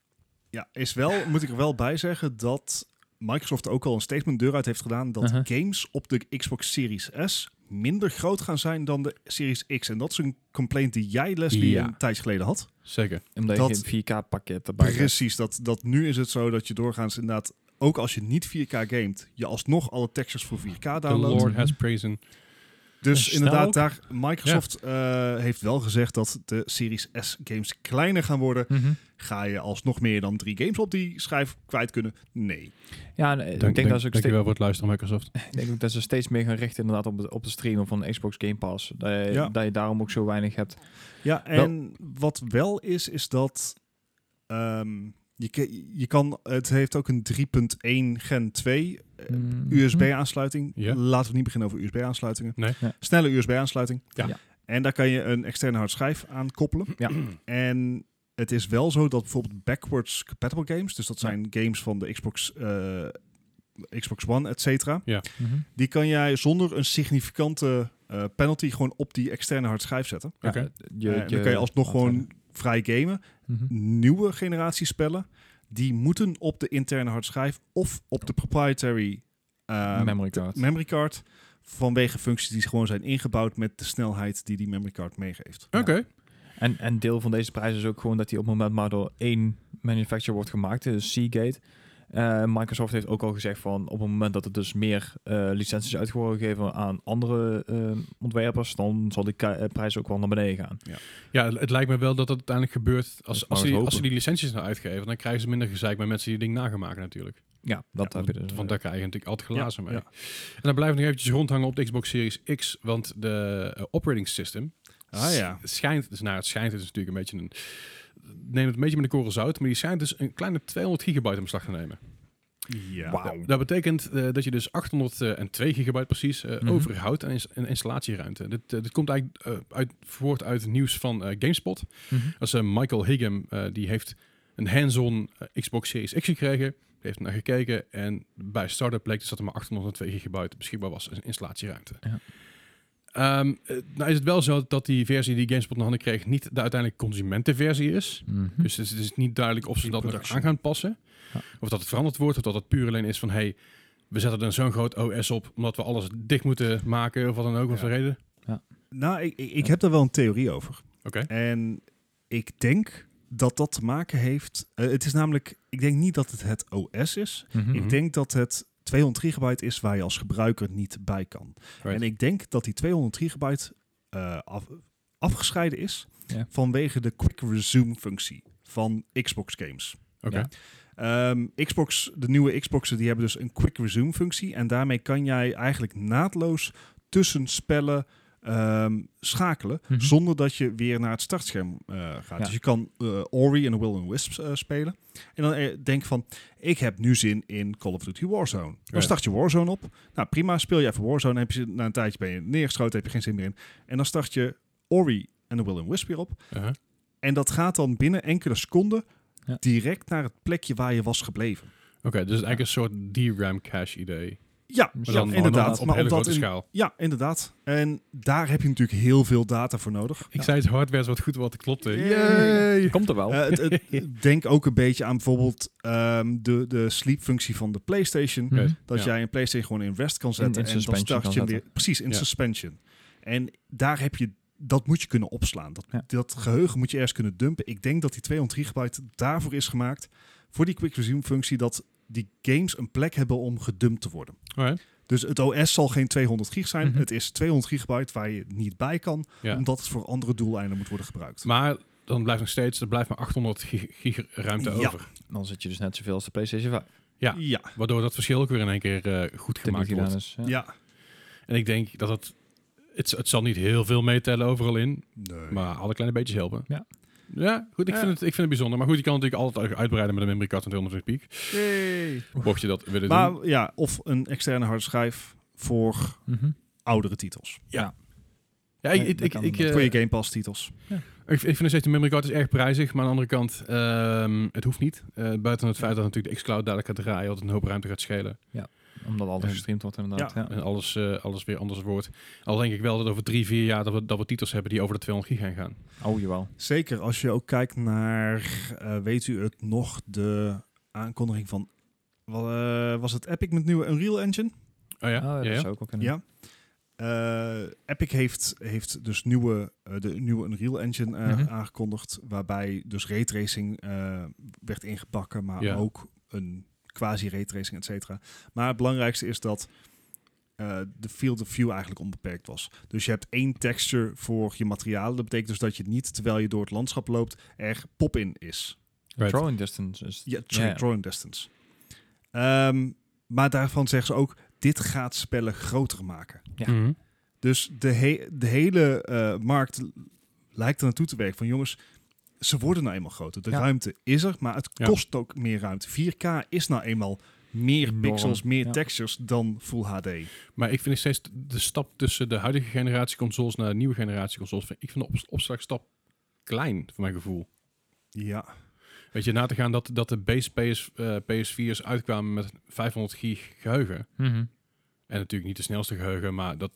Ja, is wel, moet ik er wel bij zeggen dat Microsoft ook al een statement deur uit heeft gedaan dat
Uh-huh.
games op de Xbox Series S minder groot gaan zijn dan de Series X. En dat is een complaint die jij, Leslie,
Ja.
een tijdje geleden had.
Zeker.
Omdat
Dat-
je geen 4K pakket erbij krijgt.
Precies, dat, dat nu is het zo dat je doorgaans inderdaad, ook als je niet 4K gamet, je alsnog alle textures voor 4K
The
downloadt.
Lord has praisen.
Dus
Snel
inderdaad,
ook.
daar, Microsoft eh, heeft wel gezegd dat de Series S games kleiner gaan worden.
Mhm.
Ga je alsnog meer dan drie games op die schijf kwijt kunnen? Nee.
Ja, en, eh, ik denk dat ze ook steeds-
Dankjewel voor het luisteren, Microsoft.
Ik denk ook dat ze steeds meer gaan richten inderdaad op, het- op de streamen van Xbox Game Pass. Dat je,
Ja.
dat je daarom ook zo weinig hebt.
Ja, en wat wel is, is dat ehm, je, ke- je kan, het heeft ook een 3.1 Gen 2 eh, USB-aansluiting.
Mhm. Ja.
Laten we niet beginnen over USB-aansluitingen.
Nee.
Ja.
Snelle USB-aansluiting.
Ja.
Ja.
En daar kan je een externe hard schijf aan koppelen.
Ja.
En het is wel zo dat bijvoorbeeld backwards compatible games, dus dat zijn games van de Xbox, eh, Xbox One, et cetera,
Mhm.
die kan jij zonder een significante eh, penalty gewoon op die externe hard schijf zetten.
Ja,
Oké.
je-
Eh, en dan kan je alsnog gewoon vrij gamen.
Mhm.
Nieuwe generatie spellen, die moeten op de interne hard schijf of op de proprietary eh,
Mhm. memory card.
memory card. Vanwege functies die gewoon zijn ingebouwd met de snelheid die die memory card meegeeft.
Oké.
en, en deel van deze prijs is ook gewoon dat die op het moment maar door één manufacturer wordt gemaakt, dus Seagate. Eh, Microsoft heeft ook al gezegd van op het moment dat er dus meer eh, licenties uit worden gegeven aan andere eh, ontwerpers, dan zal die ki- eh, prijs ook wel naar beneden gaan.
Ja, het, het lijkt me wel dat dat uiteindelijk gebeurt. Als,
maar
als,
eens
ze die, als
hopen.
ze die licenties nou uitgeven, dan krijgen ze minder gezeik met mensen die het ding nagemaakt natuurlijk.
Ja, dat
Ja,
heb je
want-
dus.
Want daar krijg je natuurlijk altijd glazen
Ja,
mee.
ja.
En dan blijven we nog eventjes rondhangen op de Xbox Series X. Want de eh, operating system
Ah, ja.
s- schijnt, dus nou het schijnt, het is natuurlijk een beetje een... Neem het een beetje met de korrel zout, maar die schijnt dus een kleine 200 gigabyte om slag te nemen.
Ja.
Wauw.
Dat betekent eh, dat je dus 802 gigabyte precies eh,
Mhm.
overhoudt aan ins- aan installatieruimte. Dit, eh, dit komt eigenlijk eh, uit, voort uit het nieuws van eh, GameSpot.
Mhm.
Dat is eh, Michael Higgum, eh, die heeft een hands-on eh, Xbox Series X gekregen. Die heeft naar gekeken en bij startup bleek dus dat er maar 802 gigabyte beschikbaar was in installatieruimte.
Ja.
Ehm, eh, nou is het wel zo dat die versie die GameSpot in handen kreeg niet de uiteindelijke consumentenversie is.
Mhm.
Dus het is, het is niet duidelijk of ze dat nog
production.
aan gaan passen.
Ja.
Of dat het veranderd wordt. Of dat het puur alleen is van... hey, we zetten er zo'n groot OS op... omdat we alles dicht moeten maken of wat dan ook. Wat
Ja.
voor reden.
Nou, ik, ik, ik heb daar wel een theorie over.
Oké.
En ik denk dat dat te maken heeft... eh, het is namelijk... Ik denk niet dat het het OS is.
Mhm.
Ik denk dat het 200 gigabyte is waar je als gebruiker niet bij kan. En
Right.
ik denk dat die 200 gigabyte eh, af- afgescheiden is
Ja.
vanwege de quick resume functie van Xbox games.
Oké.
Ja.
Ehm, Xbox, de nieuwe Xboxen die hebben dus een quick resume functie. En daarmee kan jij eigenlijk naadloos tussen spellen ehm, schakelen.
Mhm.
Zonder dat je weer naar het startscherm eh, gaat.
Ja.
Dus je kan eh, Ori en Will and Wisps eh, spelen. En dan eh, denk van, ik heb nu zin in Call of Duty Warzone. Dan
Ja.
start je Warzone op. Nou prima, speel je even Warzone. Dan heb je, na een tijdje ben je neergeschoten, heb je geen zin meer in. En dan start je Ori en The Will and Wisp weer op.
Uh-huh.
En dat gaat dan binnen enkele seconden
Ja.
direct naar het plekje waar je was gebleven.
Oké, dus eigenlijk een soort DRAM cache idee.
Ja,
Maar
Maar
ja,
dan
inderdaad.
Op
maar
hele
omdat
grote
in,
schaal.
ja, inderdaad. En daar heb je natuurlijk heel veel data voor nodig.
Ik zei het hardware is wat goed wat klopte.
Yay.
Yay!
Komt er wel.
Eh, het- het- denk ook een beetje aan bijvoorbeeld ehm, de, de sleepfunctie van de PlayStation.
Mhm.
Dat
Ja.
jij een PlayStation gewoon in rest kan zetten.
in
en dan
suspension
start
kan
je hem
zetten.
weer. Precies, in
Ja.
suspension. En daar heb je. Dat moet je kunnen opslaan. Dat,
Ja.
dat geheugen moet je ergens kunnen dumpen. Ik denk dat die 200 gigabyte daarvoor is gemaakt. Voor die quick resume functie. Dat die games een plek hebben om gedumpt te worden.
Alright.
Dus het OS zal geen 200 gig zijn.
Mhm.
Het is 200 gigabyte waar je niet bij kan.
Ja.
Omdat het voor andere doeleinden moet worden gebruikt.
Maar dan blijft nog steeds... er blijft maar 800 gig, gig ruimte
Ja.
over.
Dan zit je dus net zoveel als de PlayStation 5.
Ja.
ja.
Waardoor dat verschil ook weer in één keer eh, goed
Tim
gemaakt
die
wordt.
gedaan is, ja.
Ja.
En ik denk dat het... Het, het zal niet heel veel meetellen overal in.
Nee.
Maar alle kleine beetjes helpen.
Ja.
Ja, goed. Ik,
Ja.
Vind het, ik vind het bijzonder. Maar goed, je kan natuurlijk altijd uitbreiden met een memory card van 220 piek. Mocht je dat willen doen.
Maar ja, of een externe harde schijf voor
Mhm.
oudere titels.
Ja, ik,
Nee,
ik,
dat
ik,
kan-
ik,
dat
eh,
voor je Game Pass titels.
ik, ik vind nog steeds de memory card is erg prijzig. Maar aan de andere kant, ehm, het hoeft niet. Eh, buiten het feit dat natuurlijk de xCloud dadelijk gaat draaien. Dat het een hoop ruimte gaat schelen.
Omdat alles
Ja.
gestreamd wordt inderdaad. Ja.
En alles, eh, alles weer anders wordt. Al denk ik wel dat over drie, vier jaar dat we, dat we titels hebben die over de 200 gig gaan gaan.
Oh, jawel.
Zeker als je ook kijkt naar, eh, weet u het nog, de aankondiging van, wa- eh, was het Epic met nieuwe Unreal Engine?
Oh ja?
Oh,
ja,
dat
ja?
zou ook wel kunnen.
Ja. Eh, Epic heeft, heeft dus nieuwe, eh, de nieuwe Unreal Engine eh,
Mhm.
aangekondigd, waarbij dus raytracing eh, werd ingebakken, maar
Ja.
ook een quasi raytracing, et cetera. Maar het belangrijkste is dat eh, de field of view eigenlijk onbeperkt was. Dus je hebt één texture voor je materialen. Dat betekent dus dat je niet, terwijl je door het landschap loopt, er pop-in is.
Right.
Drawing distance is...
Ja,
Ja, ja.
Drawing Distance. Ehm, maar daarvan zeggen ze ook, dit gaat spellen groter maken.
Ja.
Mhm.
Dus de, he- de hele eh, markt lijkt er naartoe te werken van jongens, ze worden nou eenmaal groter. De
Ja.
ruimte is er, maar het
Ja.
kost ook meer ruimte. 4K is nou eenmaal meer
Norm,
pixels, meer
ja.
textures dan Full HD.
Maar ik vind nog steeds de stap tussen de huidige generatie consoles naar de nieuwe generatie consoles. vind- Ik vind de op opslagstap klein, voor mijn gevoel.
Ja,
Weet je, na te gaan dat, dat de base PS, eh, PS4's uitkwamen met 500 gig geheugen.
Mhm.
En natuurlijk niet de snelste geheugen, maar dat...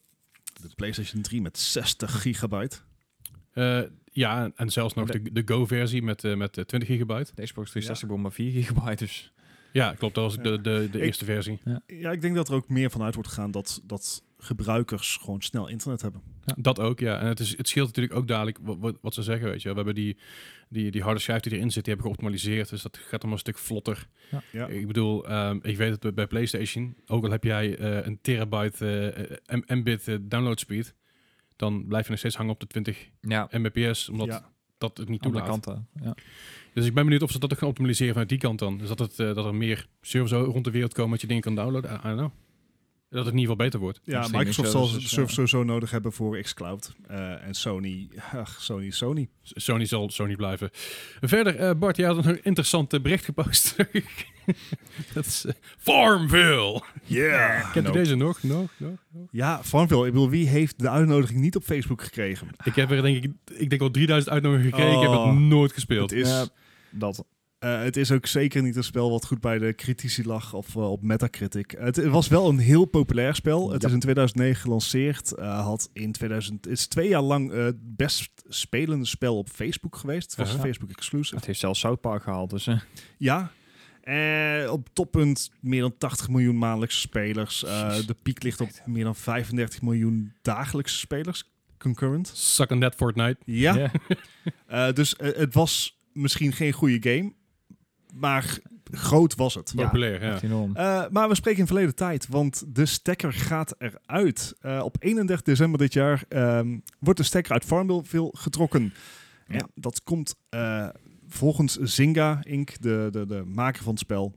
de PlayStation 3 met 60 gigabyte.
eh, ja, en zelfs nog de, de Go-versie met, eh, met eh, 20 gigabyte.
De Xbox 360 begon maar 4 gigabyte, dus...
Ja, klopt. Dat was
Ja.
de, de, de
Ik-
eerste versie.
Ja, ik denk dat er ook meer vanuit wordt gegaan dat, dat gebruikers gewoon snel internet hebben.
Dat ook, ja. En het, is, het scheelt natuurlijk ook dadelijk wat, wat, wat ze zeggen, weet je. wel. We hebben die, die, die harde schijf die erin zit, die hebben we geoptimaliseerd. Dus dat gaat allemaal een stuk vlotter.
Ja.
Ja.
Ik bedoel, ehm, ik weet het bij- bij PlayStation, ook al heb jij eh, een terabyte eh, m- mbit eh, download speed, dan blijf je nog steeds hangen op de 20
Ja,
mbps, omdat
ja.
dat het niet
aan de
toelaat.
kanten. Ja.
Dus ik ben benieuwd of ze dat ook gaan optimaliseren vanuit die kant dan. Dus dat, het, eh, dat er meer servers rond de wereld komen dat je dingen kan downloaden. I I don't know. Dat het in ieder geval beter wordt.
ja,
streaming
Microsoft zal
services,
dus,
zo-
ja.
sowieso nodig hebben voor xCloud. Eh, en Sony, ach, Sony, is Sony.
S- Sony zal Sony blijven. Verder, eh, Bart, jij had een interessant eh, bericht gepost. dat is eh, Farmville.
Yeah!
Kent u deze nog? Nog? Nog?
Ja, Farmville. Ik bedoel, wie heeft de uitnodiging niet op Facebook gekregen?
Ik heb er denk ik, ik denk wel 3000 uitnodigingen gekeken. Ik heb
Oh.
het nooit gespeeld.
Het is,
Ja, dat.
eh, het is ook zeker niet een spel wat goed bij de critici lag of eh, op Metacritic. Het, het was wel een heel populair spel. Het
Ja.
is in 2009 gelanceerd. eh, had in 2000, het is twee jaar lang eh, het best spelende spel op Facebook geweest. Het was
Aha.
Facebook exclusive.
Het heeft zelfs South Park gehaald, dus... eh,
Ja. Eh, op toppunt meer dan 80 miljoen maandelijkse spelers. Eh, de piek ligt op meer dan 35 miljoen dagelijkse spelers. Concurrent.
Suck on that Fortnite.
Ja.
ja.
Eh, dus eh, het was misschien geen goede game. Maar groot was het.
Ja.
Populair, ja.
Echt enorm.
Eh, maar we spreken in verleden tijd, want de stekker gaat eruit. Eh, op 31 december dit jaar ehm, wordt de stekker uit Farmville getrokken.
Ja.
Ja, dat komt eh, volgens Zynga Inc., de, de, de maker van het spel,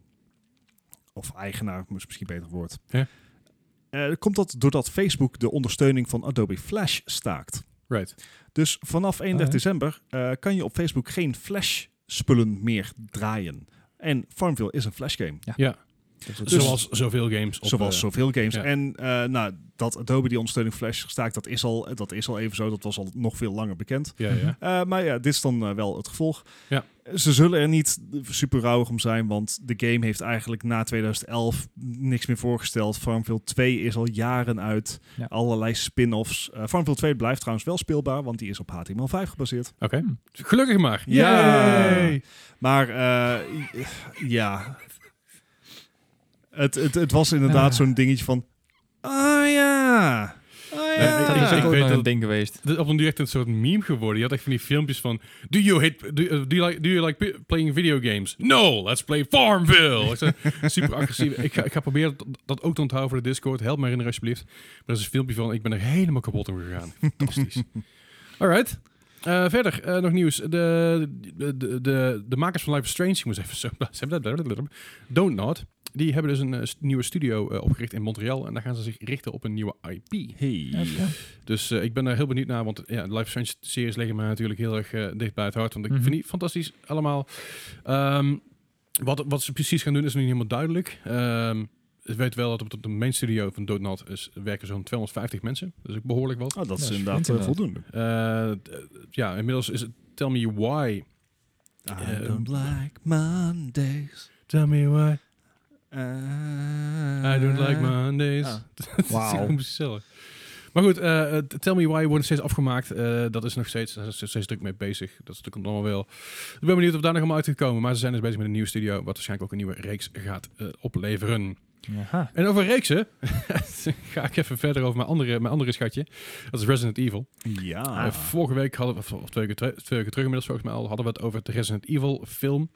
of eigenaar, is misschien een beter woord.
Ja.
Eh, komt dat doordat Facebook de ondersteuning van Adobe Flash staakt.
Right.
Dus vanaf 31
Ah, ja.
december eh, kan je op Facebook geen Flash-spullen meer draaien. En Farmville is een Flash-game.
Ja.
Dus dat-
Zoals zoveel games. Op,
Zoals
eh,
zoveel games.
ja.
En eh, nou, dat Adobe die ondersteuning Flash staakt, dat is, al, dat is al even zo. Dat was al nog veel langer bekend.
ja, ja.
Eh, maar ja, dit is dan eh, wel het gevolg.
Ja.
Ze zullen er niet super rauwig om zijn, want de game heeft eigenlijk na 2011 niks meer voorgesteld. Farmville 2 is al jaren uit.
Ja.
Allerlei spin-offs. Eh, Farmville 2 blijft trouwens wel speelbaar, want die is op HTML5 gebaseerd.
Oké. Gelukkig maar.
Mhm. Ja.
Yay.
Maar eh, i- ja. Het, het, het was inderdaad zo'n dingetje van. Ah ja. Ah
Nee,
ja.
dat is
ik
ook
weet
nog een
dat-
ding geweest.
Dat is op een direct een soort meme geworden. Je had echt van die filmpjes van... Do you, hate, do, you- do you like, do you like pi- playing video games? No, let's play Farmville. Ik zei, super agressief. Ik ga, ik ga proberen dat, dat ook te onthouden voor de Discord. Help me herinneren alsjeblieft. Maar dat is een filmpje van... Ik ben er helemaal kapot om gegaan. Fantastisch. Alright. Eh, verder, eh, nog nieuws. De, de, de, de, de makers van Life is Strange, ik moest even zo... Don't Not, die hebben dus een eh, st- nieuwe studio eh, opgericht in Montreal. En daar gaan ze zich richten op een nieuwe IP. Dus eh, ik ben daar heel benieuwd naar, want ja, de Life is Strange series liggen mij natuurlijk heel erg eh, dicht bij het hart. Want ik
Mhm.
vind die fantastisch allemaal. Ehm, wat, wat ze precies gaan doen is nog niet helemaal duidelijk. Ehm ik weet wel dat op de- de main studio van Donut is werken zo'n 250 mensen. Dat is ook behoorlijk wat.
Oh, dat
Ja,
is
dat
inderdaad
vind ik
eh,
inderdaad.
voldoende.
Eh, d- eh, ja, inmiddels is het Tell Me Why.
I don't like Mondays.
Tell Me Why.
I Eh,
I don't like Mondays.
Ah.
Dat is
Wauw.
heel gezellig. Maar goed, eh, eh, Tell Me Why wordt steeds afgemaakt. Eh, dat is nog steeds, daar zijn ze steeds druk mee bezig. Dat is natuurlijk allemaal wel. Ik ben benieuwd of daar nog allemaal uit gaat komen. Maar ze zijn dus bezig met een nieuwe studio, wat waarschijnlijk ook een nieuwe reeks gaat eh, opleveren.
Aha.
En over reeksen ga ik even verder over mijn andere, mijn andere schatje. Dat is Resident Evil.
Ja.
Eh, vorige week hadden we, of- of twee weken, ter- twee weken terug inmiddels volgens mij al, hadden we het over de Resident Evil film.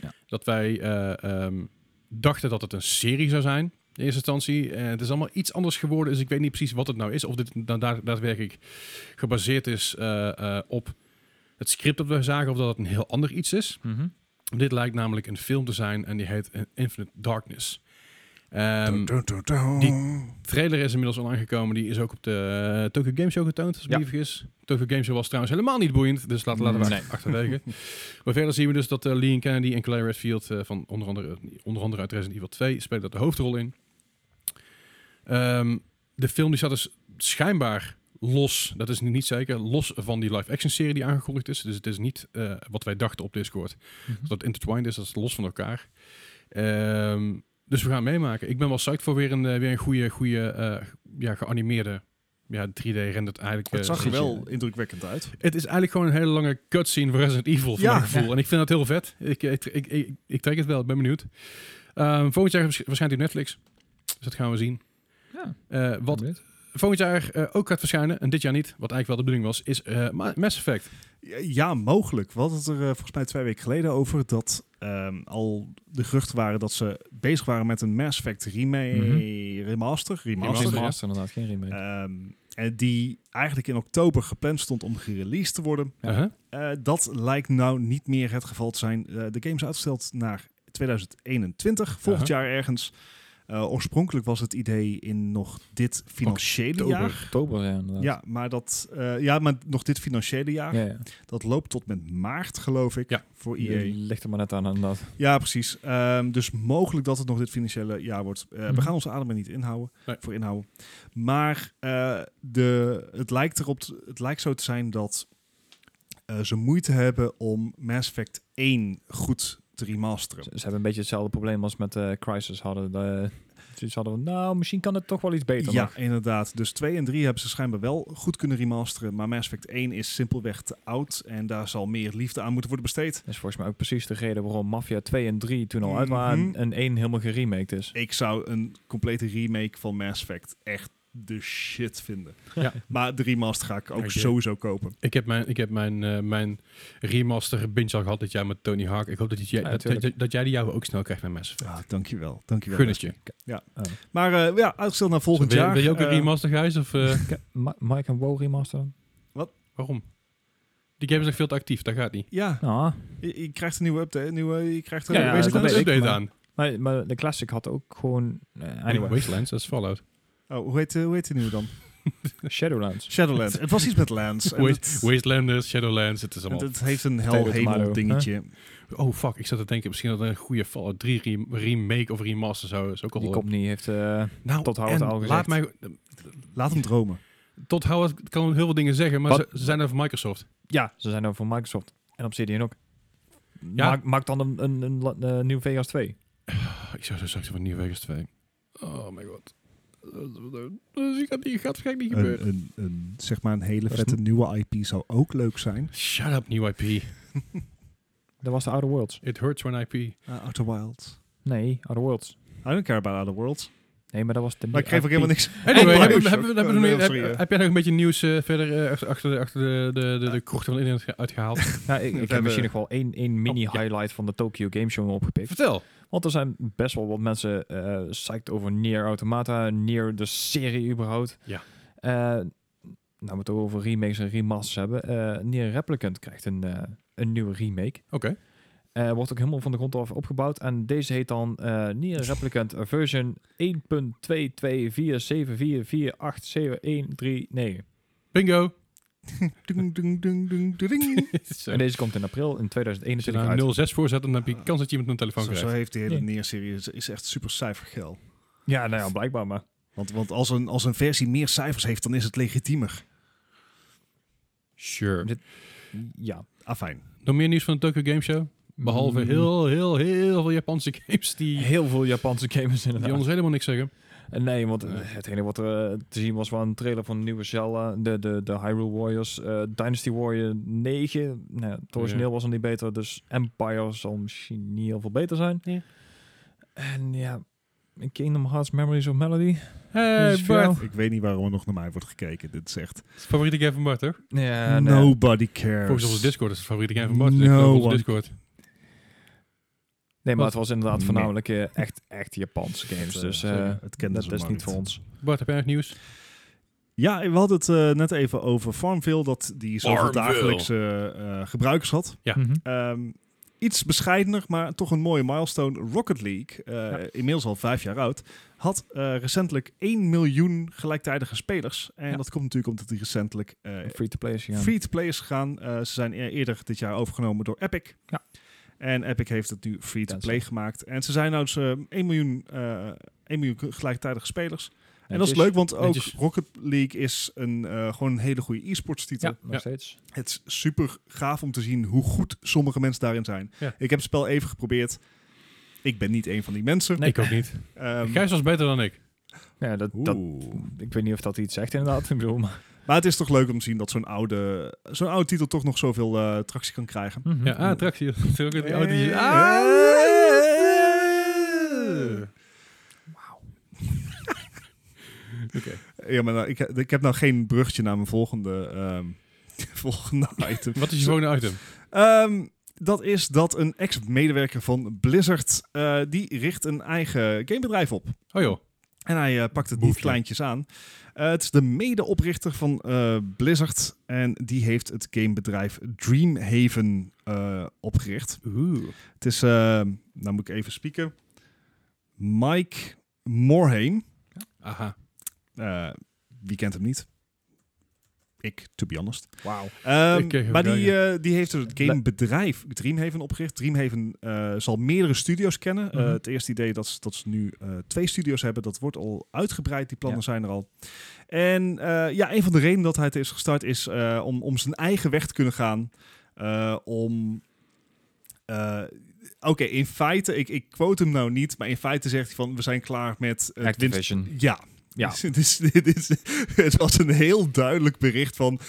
Ja.
Dat wij eh, ehm, dachten dat het een serie zou zijn in eerste instantie. Eh, het is allemaal iets anders geworden, dus ik weet niet precies wat het nou is. Of dit nou daar, daadwerkelijk gebaseerd is eh, eh, op het script dat we zagen, of dat het een heel ander iets is.
Mhm.
Dit lijkt namelijk een film te zijn en die heet eh, Infinite Darkness. Ehm,
Dun, dun, dun, dun.
trailer is inmiddels online gekomen. Die is ook op de eh, Tokyo Game Show getoond, als ik
Ja.
me niet vergis. Tokyo Game Show was trouwens helemaal niet boeiend, dus laten, laten we
Nee.
achterwege. maar verder zien we dus dat eh Lee Kennedy en Claire Redfield eh, van onder andere, onder andere uit Resident Evil 2 spelen dat de hoofdrol in. Ehm, de film die zat dus schijnbaar los, dat is nu niet zeker, los van die live-action serie die aangekondigd is. Dus het is niet eh, wat wij dachten op Discord. Dat het intertwined is, dat is los van elkaar. Ehm, dus we gaan meemaken. Ik ben wel psyched voor weer een, eh, weer een goede, goede eh, ja, geanimeerde ja, 3D-rendert eigenlijk. eh,
Het zag er
Precies,
wel indrukwekkend uit.
het is eigenlijk gewoon een hele lange cutscene voor Resident Evil, voor
Ja.
mijn gevoel. En ik vind dat heel vet. Ik, eh, ik, ik, ik, ik trek het wel, ik ben benieuwd. Ehm volgend jaar waarsch- verschijnt hij op Netflix. Dus dat gaan we zien.
Ja.
Eh, wat
Wat?
volgend jaar eh, ook gaat verschijnen, en dit jaar niet, wat eigenlijk wel de bedoeling was, is eh, Ma- Mass Effect.
Ja, mogelijk. We hadden het er eh, volgens mij twee weken geleden over dat ehm, al de geruchten waren dat ze bezig waren met een Mass Effect remake,
Mhm.
remaster, remaster.
Remaster, ja.
Master inderdaad, geen remake.
Ehm, en die eigenlijk in oktober gepland stond om gereleased te worden.
Ja.
Uh-huh.
Eh, dat lijkt nou niet meer het geval te zijn. Eh, de game is uitgesteld naar 2021, volgend jaar ergens. Eh, oorspronkelijk was het idee in nog dit financiële jaar.
Oktober, ja, inderdaad.
Ja maar, dat, eh, ja, maar nog dit financiële jaar.
Ja, ja.
Dat loopt tot met maart, geloof ik,
Ja.
voor
Je
EA.
Ligt er maar net aan, inderdaad.
Ja, precies. Ehm, dus mogelijk dat het nog dit financiële jaar wordt. Eh,
Mhm.
We gaan onze ademen niet inhouden,
Nee.
voor inhouden. Maar eh, de, het, lijkt erop, te- het lijkt zo te zijn dat eh, ze moeite hebben om Mass Effect 1 goed te remasteren.
Ze, ze hebben een beetje hetzelfde probleem als met eh Crisis hadden. De, zoiets hadden van, nou, misschien kan het toch wel iets beter.
ja,
nog.
inderdaad. Dus 2 en 3 hebben ze schijnbaar wel goed kunnen remasteren. Maar Mass Effect 1 is simpelweg te oud. En daar zal meer liefde aan moeten worden besteed.
Dat is volgens mij ook precies de reden waarom Mafia 2 en 3 toen al uit
Mhm.
waren en 1 helemaal geremaked is.
Ik zou een complete remake van Mass Effect echt de shit vinden.
Ja.
Maar de remaster ga ik ook
Ja, ik-
sowieso kopen.
Ik heb mijn, ik heb mijn, eh, mijn remaster binge al gehad dit jaar met Tony Hawk. Ik hoop dat, jij-
Ja,
dat,
tuurlijk.
dat, dat jij die jouwe ook snel krijgt met Mass Effect.
Ah, dankjewel. dankjewel
Gun het je.
Maar eh, ja, uitgesteld naar volgend
wil,
jaar.
Wil je ook een
Eh,
remaster, Gijs? Of, eh,
Ma- Mike en Wow remaster?
waarom? Die game is nog veel te actief, dat gaat niet.
Ja,
Nou,
je, je krijgt een nieuwe update. Nieuwe, je krijgt een
Ja, ja,
wees
dat
er een
weet ik,
update
maar-
aan.
maar, maar de Classic had ook gewoon... eh,
Anyway.
anyway,
Wastelands, dat is Fallout.
Oh, hoe heet, eh, hoe heet die nieuwe dan?
Shadowlands.
Shadowlands. het was iets met Lands. En
Waste,
het,
Wastelanders, Shadowlands, het is
en
allemaal...
het heeft een
Potato,
hel
tomato,
dingetje.
Oh fuck, ik zat te denken, misschien dat er een goede Fallout 3 rem- remake of remaster zou is ook al...
Die komt niet, heeft... eh,
nou,
tot Howard
en
al gezegd.
laat mij...
Laat hem dromen.
Tot Howard kan heel veel dingen zeggen, maar ze,
Wat?
ze zijn er van Microsoft.
Ja, ze zijn over van Microsoft. En Obsidian ook.
Ja.
Maak, maak dan een, een, een, la- eh, nieuw Vegas 2.
Ik zou zo straks van New Vegas 2. Oh my god. Dat gaat niet, gaat waarschijnlijk niet gebeuren.
Een, een, een, zeg maar een hele
Dat is
vette nieuwe IP zou ook leuk zijn.
eh,
Shut up, nieuw IP.
Dat was de Outer Worlds.
It hurts when IP.
Eh,
Uh, Outer Wilds.
Nee, Outer Worlds.
I don't care about Outer Worlds.
Nee, maar dat was de
Maar ik geef ook helemaal niks.
Anyway,
Oh,
hebben
sorry.
we- hebben we- hebben we
Oh,
nog
nee,
meer- heb
sorry, eh.
heb jij nog een beetje nieuws eh, verder eh, achter- achter de- achter de- de- de- de krochten van het internet uitgehaald?
Ja, ik, ik heb
hebben-
misschien nog wel één, één
Oh, ja.
mini-highlight van de Tokyo Game Show opgepikt.
Vertel.
Want er zijn best wel wat mensen eh psyched over Nier Automata, Nier de serie überhaupt.
Ja.
Eh, nou, we het ook over remakes en remasters hebben. Eh Nier Replicant krijgt een, eh, een nieuwe remake.
Oké.
Eh, wordt ook helemaal van de grond af opgebouwd. En deze heet dan eh Nier Replicant version 1.22474487139.
Bingo.
Dung, dung, dung, dung, dung.
En deze komt in april
Als
in
je
2021
daar
uit. Ah.
een 06 voor zet, dan heb je kans dat je iemand een telefoon
Zo, zo
krijgt.
heeft die hele
Nee.
neerserie is, is echt super cijfergel.
Ja, nou ja, blijkbaar maar.
Want, want als, een, als een versie meer cijfers heeft, dan is het legitiemer.
Sure.
Ja.
Afijn.
Nog meer nieuws van de Tokyo Game Show? Behalve
Mm,
heel, heel, heel veel Japanse games die,
Heel veel Japanse gamers inderdaad.
die ons helemaal niks zeggen.
En Nee, want eh,
Nee.
het enige wat er eh, te zien was wel een trailer van de nieuwe Zelda, de, de, de Hyrule Warriors, eh, Dynasty Warrior 9. Nou, ja, het origineel was nog niet beter, dus Empire zal misschien niet heel veel beter zijn.
Ja.
En ja, Kingdom Hearts Memories of Melody.
Hey,
Is het voor
Bart.
jou?
Ik weet niet waarom er nog naar mij wordt gekeken. Dit is echt...
Favoriete game van Bart, toch?
Ja, Eh, nee.
Nobody cares.
Volgens onze Discord is het favoriete game van Bart.
No
Ik geloof onze
one-
Discord.
Nee,
Wat?
maar het was inderdaad
Nee.
voornamelijk eh, echt, echt Japanse games.
eh,
Dus
zeker.
eh,
Het kennen
dat
ze
is
maar
niet
niet.
voor ons.
Bart, heb jij nog nieuws?
Ja, we hadden het eh, net even over Farmville, dat die zoveel
Farmville.
dagelijkse eh, gebruikers had.
Ja.
Mhm.
Ehm, iets bescheidener, maar toch een mooie milestone. Rocket League, eh, inmiddels al vijf jaar oud, had eh, recentelijk 1 miljoen gelijktijdige spelers. En
Ja.
dat komt natuurlijk omdat die recentelijk eh,
Free-to-play is gegaan.
free to play is gegaan. Eh, ze zijn e- eerder dit jaar overgenomen door Epic.
Ja.
En Epic heeft het nu free to play
Tencent.
gemaakt. En ze zijn nou dus eh, 1 miljoen, eh 1 miljoen gelijktijdige spelers. En dat is
Netjes.
leuk, want ook
Netjes.
Rocket League is een, eh, gewoon een hele goede e-sports titel.
Ja.
Nog steeds.
Het is super gaaf om te zien hoe goed sommige mensen daarin zijn.
Ja.
Ik heb het spel even geprobeerd. Ik ben niet een van die mensen.
Ik ook niet.
Ehm,
Gijs was beter dan ik.
Ja, dat, dat,
oeh.
ik weet niet of dat iets zegt inderdaad. Ik bedoel, maar...
Maar het is toch leuk om te zien dat zo'n oude, zo'n oude titel toch nog zoveel eh, tractie kan krijgen.
Mhm.
Ja, ah, attractie. Dat is ook het- oh, die-
Eh,
Ah!
eh,
Oké.
eh. ja, maar nou, ik, ik heb nou geen bruggetje naar mijn volgende, ehm, volgende item.
Wat is je volgende item?
Ehm, dat is dat een ex-medewerker van Blizzard, eh, die richt een eigen gamebedrijf op.
Oh joh.
En hij eh, pakt het niet
Boefje.
kleintjes aan. Eh, het is de medeoprichter van eh, Blizzard. En die heeft het gamebedrijf Dreamhaven eh, opgericht.
Oeh.
Het is, eh, nou moet ik even spieken. Mike Morhaime.
Aha.
Eh, wie kent hem niet? Ik, to be honest.
Wauw.
Ehm,
Ik kreeg hem
maar die, eh, die heeft het gamebedrijf Dreamhaven opgericht. Dreamhaven eh, zal meerdere studio's kennen. Eh,
Mhm.
het eerste idee dat ze, dat ze nu eh, twee studio's hebben, dat wordt al uitgebreid. Die plannen
Ja.
zijn er al. En eh, ja, een van de redenen dat hij het is gestart is eh, om, om zijn eigen weg te kunnen gaan. Eh, om... eh, Oké, in feite, ik, ik quote hem nou niet, maar in feite zegt hij van we zijn klaar met eh, het winst-
Activision.
ja.
Ja.
Dus het, is- dit is- het was een heel duidelijk bericht van...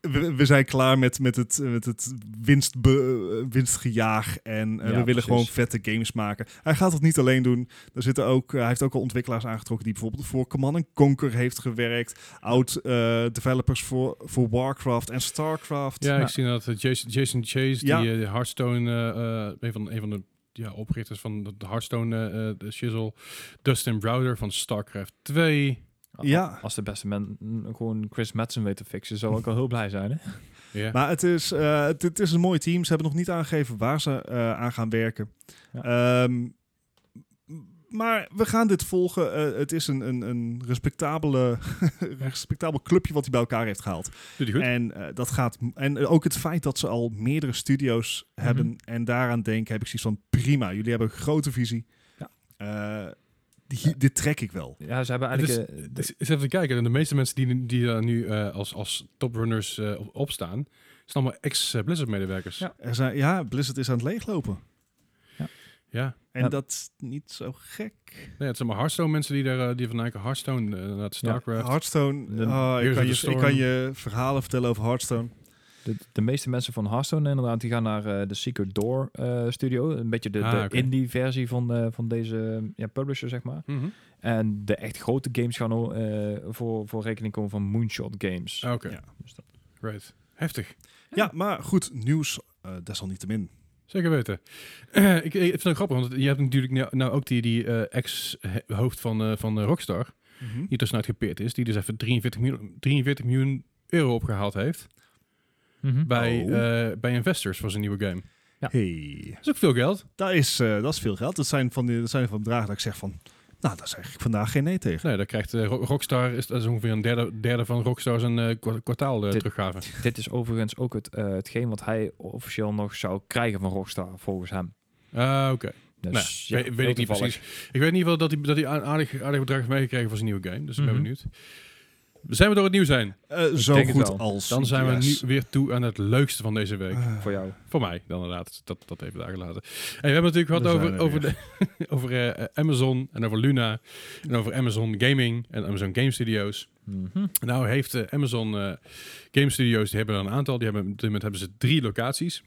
We, we zijn klaar met, met het, met het winstbe, eh, winstgejaag en eh, we willen
precies.
gewoon vette games maken. Hij gaat dat niet alleen doen. Er zitten ook, eh, hij heeft ook al ontwikkelaars aangetrokken die bijvoorbeeld voor Command Conquer heeft gewerkt. Oud eh, developers voor, voor Warcraft en Starcraft.
Ja,
Nou.
ik zie dat eh, Jason, Jason Chase,
Ja.
die eh, de Hearthstone, eh, eh, een van, een van de ja, oprichters van de de Hearthstone eh, eh, de shizzle. Dustin Browder van StarCraft 2.
Ja.
Als de beste man gewoon Chris Madsen weet te fixen, zou ik al heel blij zijn. Hè?
Ja.
Maar het is, eh, het, het is een mooi team. Ze hebben nog niet aangegeven waar ze eh, aan gaan werken.
Ja.
Ehm, m- maar we gaan dit volgen. Eh, het is een, een, een respectabele, respectabel clubje wat hij bij elkaar heeft gehaald.
Doet hij goed?
En, eh, dat gaat, m- en ook het feit dat ze al meerdere studio's
Mhm.
hebben en daaraan denken, heb ik zoiets van prima. Jullie hebben een grote visie.
Ja.
Eh, die, dit trek ik wel.
Ja, ze hebben
Het is-
eigenlijk... eh, de-
Het is- is Dus even te kijken. En de meeste mensen die, die daar nu eh, als, als toprunners eh, op- opstaan, zijn allemaal ex-Blizzard-medewerkers.
Ja.
Er zijn, ja, Blizzard is aan het leeglopen.
ja.
En
Ja.
dat is niet zo gek.
Nee, het zijn maar Hearthstone mensen die daar eh, die vanuit Hearthstone eh, naar Starcraft.
Hearthstone.
De-
Ah, ik, kan
Heroes of the
je, ik
Storm.
kan je verhalen vertellen over Hearthstone.
De, de meeste mensen van Hearthstone inderdaad, die gaan naar eh, de Secret Door eh, studio. Een beetje de,
Ah,
de
oké.
indie versie van, eh, van deze ja, publisher, zeg maar.
Mhm.
En de echt grote games gaan al, eh, voor, voor rekening komen van Moonshot Games.
Ah, Oké,
Ja.
Dus dat-
right. Heftig.
Ja, maar goed, nieuws eh, desalniettemin.
Zeker weten. ik, ik vind het ook grappig, want je hebt natuurlijk nou, nou ook die, die eh, ex-hoofd van, eh, van eh, Rockstar, die tussenuit gepeerd is, die dus even 43 miljoen, 43 miljoen euro opgehaald heeft
Mhm.
bij,
Oh.
eh, bij investors voor zijn nieuwe game.
Ja.
Hey.
Dat is ook veel geld.
Dat, is, eh, dat is veel geld. Dat zijn van, die, dat zijn van bedragen dat ik zeg van... Nou, daar zeg ik vandaag geen nee tegen.
Nee, daar krijgt eh, Ro- Rockstar, is, dat is ongeveer een derde, derde van Rockstar zijn eh, kwa- kwartaal eh,
Dit-
teruggave.
Dit is overigens ook het, eh, hetgeen wat hij officieel nog zou krijgen van Rockstar, volgens hem.
Ah, oké.
Dus,
Nou,
ja,
weet- weet
heel
ik niet
toevallig.
Ik weet in ieder geval dat hij, dat hij een aardig, aardig bedrag heeft meegekregen voor zijn nieuwe game, dus ik ben
Mhm.
benieuwd. Zijn we door het nieuws heen?
Eh, zo
denk het
goed
wel.
als.
Dan zijn
yes.
we nu weer toe aan het leukste van deze week.
Eh,
Voor jou.
Voor mij dan inderdaad. Dat, dat even daar gelaten. En we hebben het natuurlijk gehad
We
over,
zijn er
over, de, over eh, Amazon en over Luna. En over Amazon Gaming en Amazon Game Studios.
Mhm.
Nou heeft eh, Amazon eh, Game Studios, die hebben er een aantal. Die hebben, op dit moment hebben ze drie locaties.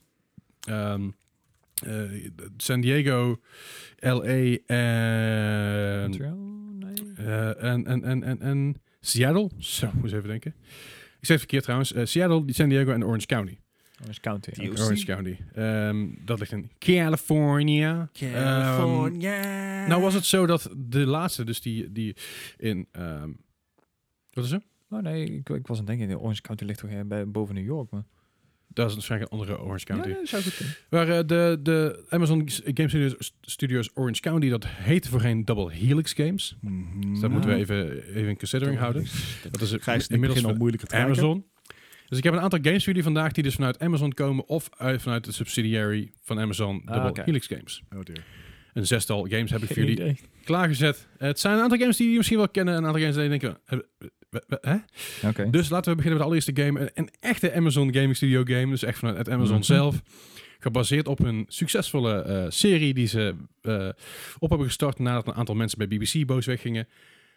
Ehm, eh, San Diego, LA en
Montreal? Nee.
eh, en, en, en, en, en Seattle. Zo, moet eens even denken. Ik zeg het verkeerd trouwens. Eh, Seattle, San Diego en Orange County. Eh,
Orange County.
Die-
oké.
Orange County. Ehm, dat ligt in California. Ehm, nou was het zo dat de laatste, dus die, die in... ehm, wat is er?
Oh nee, ik, ik was aan het denken, Orange County ligt toch eh, bij, boven New York, man.
Dat is waarschijnlijk een andere Orange County.
Ja, nee, zou goed kunnen.
Waar eh, de, de Amazon Game Studios, Studios Orange County, dat heette voorheen Double Helix Games.
Mhm.
Dus dat moeten we even, even in considering houden. Dat is
Gijs, ik
inmiddels
begin al
ver-
moeilijker te kijken.
Amazon. Dus ik heb een aantal games voor jullie vandaag die dus vanuit Amazon komen of uit, vanuit de subsidiary van Amazon,
Ah,
Double
oké.
Helix Games.
Oh dear.
Een zestal games heb ik voor
Geen
jullie
idee.
klaargezet. Het zijn een aantal games die jullie misschien wel kennen en een aantal games die je denkt, eh, eh, eh, hè?
Oké.
Dus laten we beginnen met de allereerste game. Een, een echte Amazon Gaming Studio game. Dus echt vanuit het Amazon
Mhm.
zelf. Gebaseerd op een succesvolle eh, serie die ze eh, op hebben gestart nadat een aantal mensen bij BBC boos weggingen.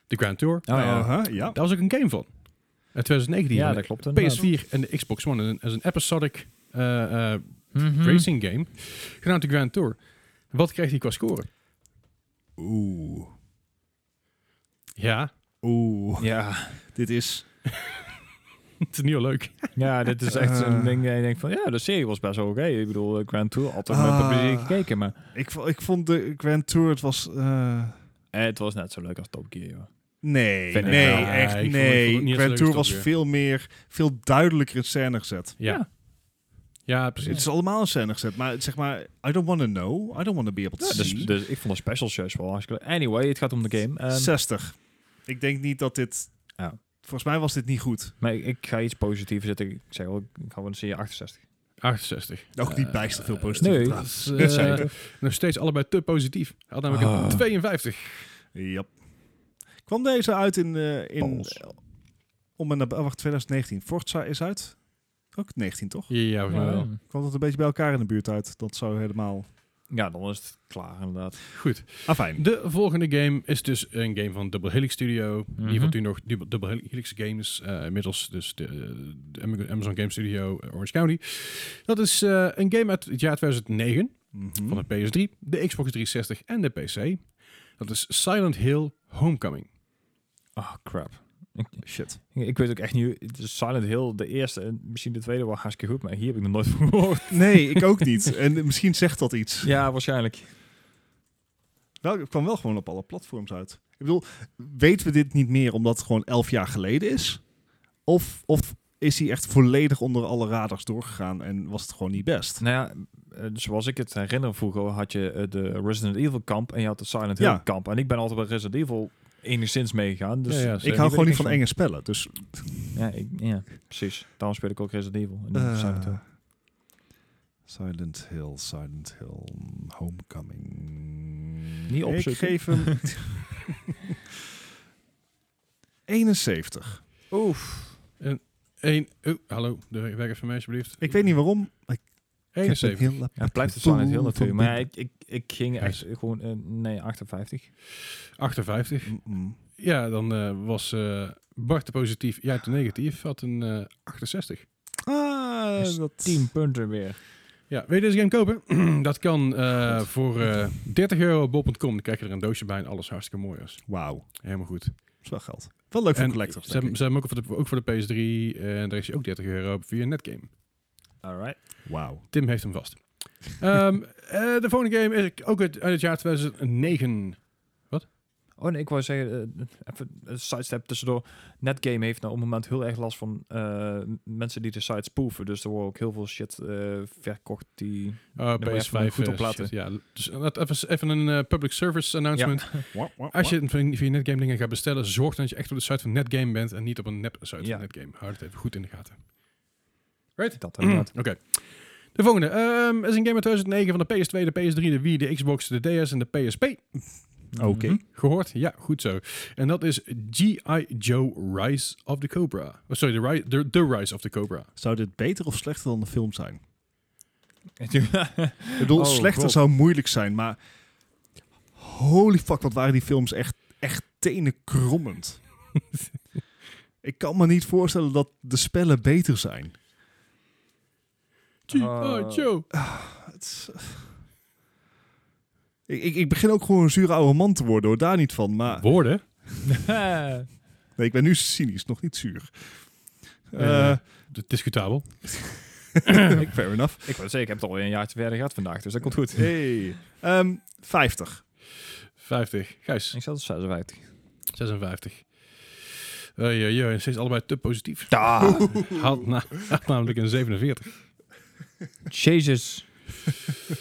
De Grand Tour.
Oh, ja.
Aha, ja.
Daar was ook een game van. In 2019.
ja,
van
dat klopt.
de
inderdaad.
PS4 en de Xbox One. En is een episodic eh, eh,
Mhm.
racing game. Genaamd de Grand Tour. Wat kreeg hij qua score?
Oeh.
Ja,
oeh,
Ja,
dit is...
het is niet heel leuk.
ja dit is echt zo'n
Ah.
Eh.
ding. dat Je denkt van ja, de serie was best wel oké. Ik bedoel, eh, Grand Tour altijd met
Ah.
plezier gekeken, maar
Ik, vo- ik vond de Grand Tour, het was... eh,
eh, het was net zo leuk als Top Gear. joh.
Nee,
Vind ik
nee,
wel. Ja,
echt
ik vond- ik vond het
nee.
niet
Grand
eens
Tour
leuk
was
als Top Gear.
veel meer, veel duidelijker in scène gezet.
Ja. Ja, precies.
Het is allemaal in scène gezet, maar het- zeg maar, I don't want to know, I don't want to be able to
Ja, dus,
see.
dus ik vond de specials juist wel hartstikke leuk. Anyway, het gaat om de game. Ehm,
60. Ik denk niet dat dit...
Ja.
Volgens mij was dit niet goed.
maar ik, ik ga iets positiefs zetten. Ik zeg wel, ik ga wel een serie 68.
68.
Ook niet
Eh,
bijster veel
eh,
positief.
nee.
trouwens.
Dat is eh,
Dat zei ik toch?
nog steeds allebei te positief. Hij had namelijk
Ah.
een 52.
Yep. Kwam deze uit in... eh, in
Balls.
om en nabij- wacht, 2019. Forza is uit. Ook 19, toch?
Ja, volgens mij wel.
Kwam dat een beetje bij elkaar in de buurt uit? Dat zou helemaal... Ah,
Ja, dan is het klaar inderdaad.
Goed.
Afijn.
De volgende game is dus een game van Double Helix Studio. In ieder geval
Mhm.
toen nog Dub- Double Helix Games. eh, inmiddels dus de, de Am- Amazon Game Studio eh, Orange County. Dat is eh, een game uit het jaar 2009.
Mhm.
van de PS3, de Xbox 360 en de PC. Dat is Silent Hill Homecoming.
Oh, crap.
Shit.
Ik, ik weet ook echt niet, het is Silent Hill, de eerste en misschien de tweede wel hartstikke goed, maar hier heb ik nog nooit van gehoord.
Nee, ik ook niet. En misschien zegt dat iets.
Ja, waarschijnlijk.
Wel, het kwam wel gewoon op alle platforms uit. Ik bedoel, weten we dit niet meer omdat het gewoon elf jaar geleden is? Of, of is hij echt volledig onder alle radars doorgegaan en was het gewoon niet best?
Nou ja, eh, zoals ik het herinner vroeger had je eh, de Resident Evil kamp en je had de Silent Hill
Ja.
kamp. En ik ben altijd bij Resident Evil enigszins meegegaan. Dus
Ja, ja,
eh,
ik
zeker.
hou
weet
gewoon niet
niks
van
van.
enge spellen, dus...
ja, ik, ja, precies. Daarom speel ik ook Resident Evil. En niet
Eh,
Silent Hill.
Silent Hill, Silent Hill, Homecoming...
Niet
Ik
opzoeken.
geef hem... 71.
Oef.
Eén, oh, hallo, de weg van mij alsjeblieft.
Ik weet niet waarom. maar ik heb een
71.
heel lap-
Ja, het blijft de Silent Hill
Poeh,
natuurlijk. Maar ja,
verdiep.
ik, ik, ik ging echt gewoon, eh, nee, 58.
58.
Mm-mm.
Ja, dan eh, was eh, Bart de positief, jij de negatief. Had een eh, 68.
Ah,
Dus
dat...
10 punten weer.
Ja, wil je deze game kopen? dat kan eh, voor eh, 30 euro op bol.com. Dan krijg je er een doosje bij en alles hartstikke mooi is.
Wauw.
Helemaal goed.
Dat is wel geld. Wel leuk voor
en
collectors,
ze
denk
hebben,
ik.
ze hebben hem ook voor, de, ook voor de PS3 en daar is hij ook 30 euro op via Netgame.
Alright.
Wauw.
Tim heeft hem vast. Ehm, eh, de volgende game is ook uit, uit het jaar 2009.
Oh nee, ik wou zeggen, eh, even een sidestep tussendoor. Netgame heeft nou op het moment heel erg last van eh, m- mensen die de sites spoeven. Dus er wordt ook heel veel shit eh, verkocht die...
Oh,
maar even
PS5.
goed
eh,
oplaten.
shit, ja, dus laat even, even een eh, public service announcement. Als je het van- via Netgame dingen gaat bestellen, zorg dan dat je echt op de site van Netgame bent en niet op een nep site
Ja.
van Netgame. Houd het even goed in de gaten.
Dat inderdaad.
Oké. De volgende ehm, is een game uit 2009 van de PS2, de PS3, de Wii, de Xbox, de DS en de PSP. Mm.
Oké.
Mhm.
Gehoord? Ja, goed zo. En dat is G.I. Joe Rise of the Cobra. Oh, sorry, the, ri- the, the Rise of the Cobra.
Zou dit beter of slechter dan de film zijn?
Ja.
Ik bedoel,
Oh,
slechter
God.
zou moeilijk zijn, maar... Holy fuck, wat waren die films echt, echt tenenkrommend. ik kan me niet voorstellen dat de spellen beter zijn.
G.I.
Oh.
Joe.
Het is- eh, ik, ik, ik begin ook gewoon een zure oude man te worden, hoor. Daar niet van, maar...
Woorden?
Nee, ik ben nu cynisch, nog niet zuur.
Eh,
Eh,
d- discutabel.
fair enough.
ik wou zeggen, ik heb het alweer een jaartje verder gehad vandaag, dus dat komt goed.
Hey. Ehm, 50.
50. Gijs,
Ik zat op 56.
56. Oei, oei, oei, en steeds allebei te positief.
Da!
Haalt, na, haalt namelijk een 47.
Jezus.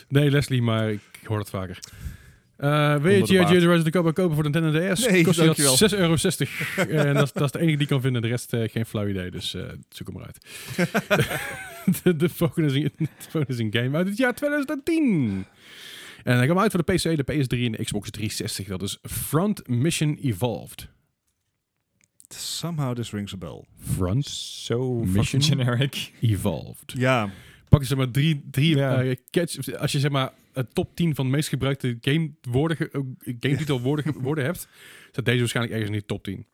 Nee, Leslie, maar ik hoor het vaker. Eh wil je
Onder de
G.I.
baard.
Joe The Rise of the Cobra kopen voor de Nintendo DS?
Nee,
Kost je
dankjewel.
dat 6,60 euro. eh, en dat, is- dat is de enige die ik kan vinden. De rest eh, geen flauw idee, dus eh, zoek hem maar uit. de, de, volgende is een, de volgende is een game uit het jaar 2010. En hij kwam uit voor de PC, de PS3 en de Xbox 360. Dat is Front Mission Evolved.
Somehow this rings a bell.
Front
Zo
Mission?
fucking generic.
Evolved.
Ja,
Pak je zeg maar drie, drie
Ja.
eh, catch. of Als je zeg maar het top 10 van de meest gebruikte game woorden, ge- eh, game titel woorden, ge- woorden hebt, staat deze waarschijnlijk ergens in die top 10.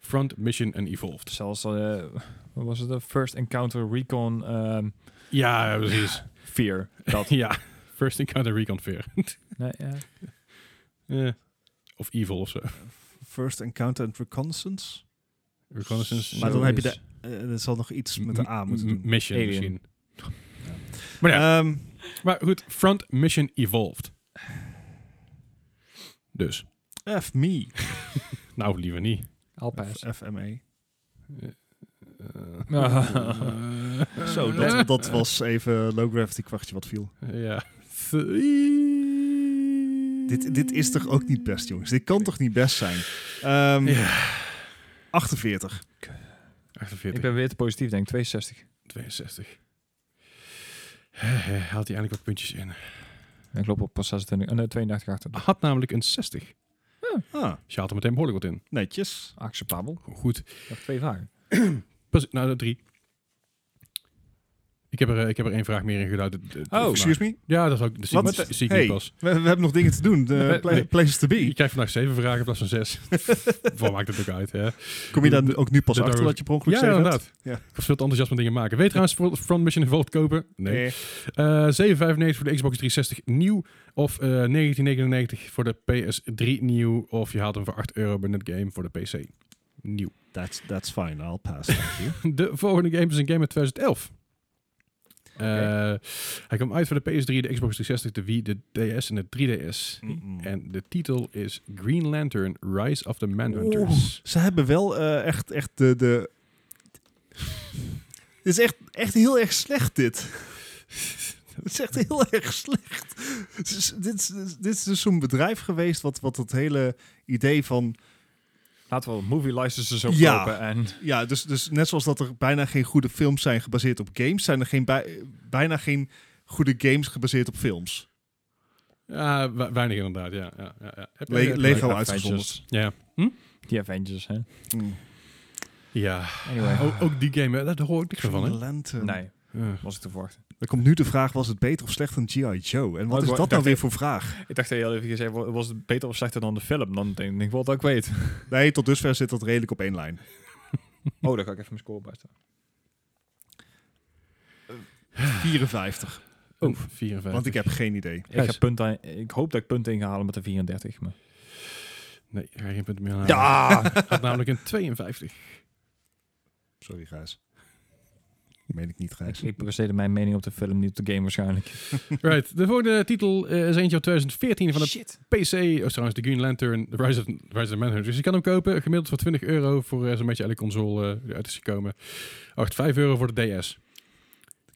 Front, Mission en Evolved.
Zelfs, eh, wat was het? eh, First Encounter Recon ehm
Ja, precies.
Fear. Dat.
ja. First Encounter Reconfigure.
nee, ja.
Eh Of evil of zo.
First Encounter and Reconnaissance.
Reconnaissance.
maar
Zo
dan heb je
is-
de, eh, er zal nog iets met de A moeten
M-
doen.
Mission
Alien.
misschien. Maar ja,
Ehm,
maar goed. Front Mission Evolved. Dus.
F E. me.
Nou, liever niet.
Alpijs.
E.
FME.
Eh,
Zo, dat, dat was even low gravity kwartje wat viel.
Ja.
Dit, dit is toch ook niet best, jongens? Dit kan toch niet best zijn? Ehm,
Ja.
48.
Ik
48,
ben weer te positief, denk ik. 62.
62. Haalt hij eindelijk wat puntjes in.
Ik loop op pas 26. eh, nee, 82 achter.
Had namelijk een 60.
Ah,
Dus je haalt er meteen behoorlijk wat in.
netjes.
Acceptabel.
Goed.
Nog twee vragen.
Pas, nou, drie. Ik heb, er, eh, ik heb er één vraag meer in geduid. De- de- de-
Oh.
Excuse me?
Ja, dat, is ook, dat zie ik,
Wat?
niet- zie ik
Hey.
niet pas.
We, we hebben nog dingen te doen. De pla-
Nee.
places to
Je
be.
krijgt vandaag zeven vragen in plaats van zes. Wat maakt het ook uit, hè?
Kom je daar ook nu pas
dat-
achter dat je per ongeluk
Ja,
zeven hebt?
inderdaad.
Ja.
Ik was veel te enthousiast met dingen maken. Weet je trouwens Front- Front Mission Evolved kopen? Nee.
Eh,
Eh 7,95 voor de Xbox 360 nieuw. Of eh 19,99 voor de PS3 nieuw. Of je haalt hem voor 8 euro bij Netgame voor de PC nieuw.
That's, that's fine, I'll pass. Thank you.
De volgende game is een game uit 2011.
Oké.
Eh, hij kwam uit voor de PS3, de Xbox 360, de Wii, de DS en de 3DS.
Mm-mm.
En de titel is Green Lantern Rise of the Manhunters.
Ze hebben wel eh, echt, echt de... de... Het is echt, echt heel erg slecht, dit. Het is echt heel erg slecht. Het is- dit, is, dit is dus zo'n bedrijf geweest wat, wat het hele idee van...
Laten we movie licenses
Ja.
opkopen. En
Ja, dus, dus net zoals dat er bijna geen goede films zijn gebaseerd op games... zijn er geen, bij- bijna geen goede games gebaseerd op films.
Ja, we- weinig inderdaad, ja. ja, ja, ja. Heb je-
Le-
heb je-
Lego
Avengers. Hm?
uitgezonderd.
Ja.
Die Avengers, hè.
ja.
Anyway.
Ook, ook die game, hè, daar hoor ik niks meer van, hè?
Lantern.
Nee,
Ja.
was ik te verwachten.
Dan komt nu de vraag, was het beter of slechter dan G.I. Joe? En
Oh,
wat
ik
is
wou-
dat nou
eh,
weer voor vraag?
Ik dacht dat je al even gezegd wa- was het beter of slechter dan de film? Dan denk ik, ik wil dat ik weet.
Nee, tot dusver zit dat redelijk op één lijn.
Oh, daar ga ik even mijn score bij staan.
Ah.
54.
Oh, 54.
Want ik heb geen idee.
Ik,
Gijs.
heb punten, ik hoop dat ik punten in ga halen met de 34. Maar...
Nee, ik ga geen punt meer halen.
Ja!
Had namelijk een 52.
Sorry, Gijs. Meen ik niet, Gijs.
ik presteerde mijn mening op de film, niet op de game waarschijnlijk.
Right, de volgende titel eh, is eentje uit 2014 van de PC. Of trouwens, de Green Lantern, The Rise of, Rise of the Manhunters. Dus je kan hem kopen, gemiddeld voor 20 euro voor eh, zo'n beetje elke console eh, die uit is gekomen. 8, 5 euro voor de DS.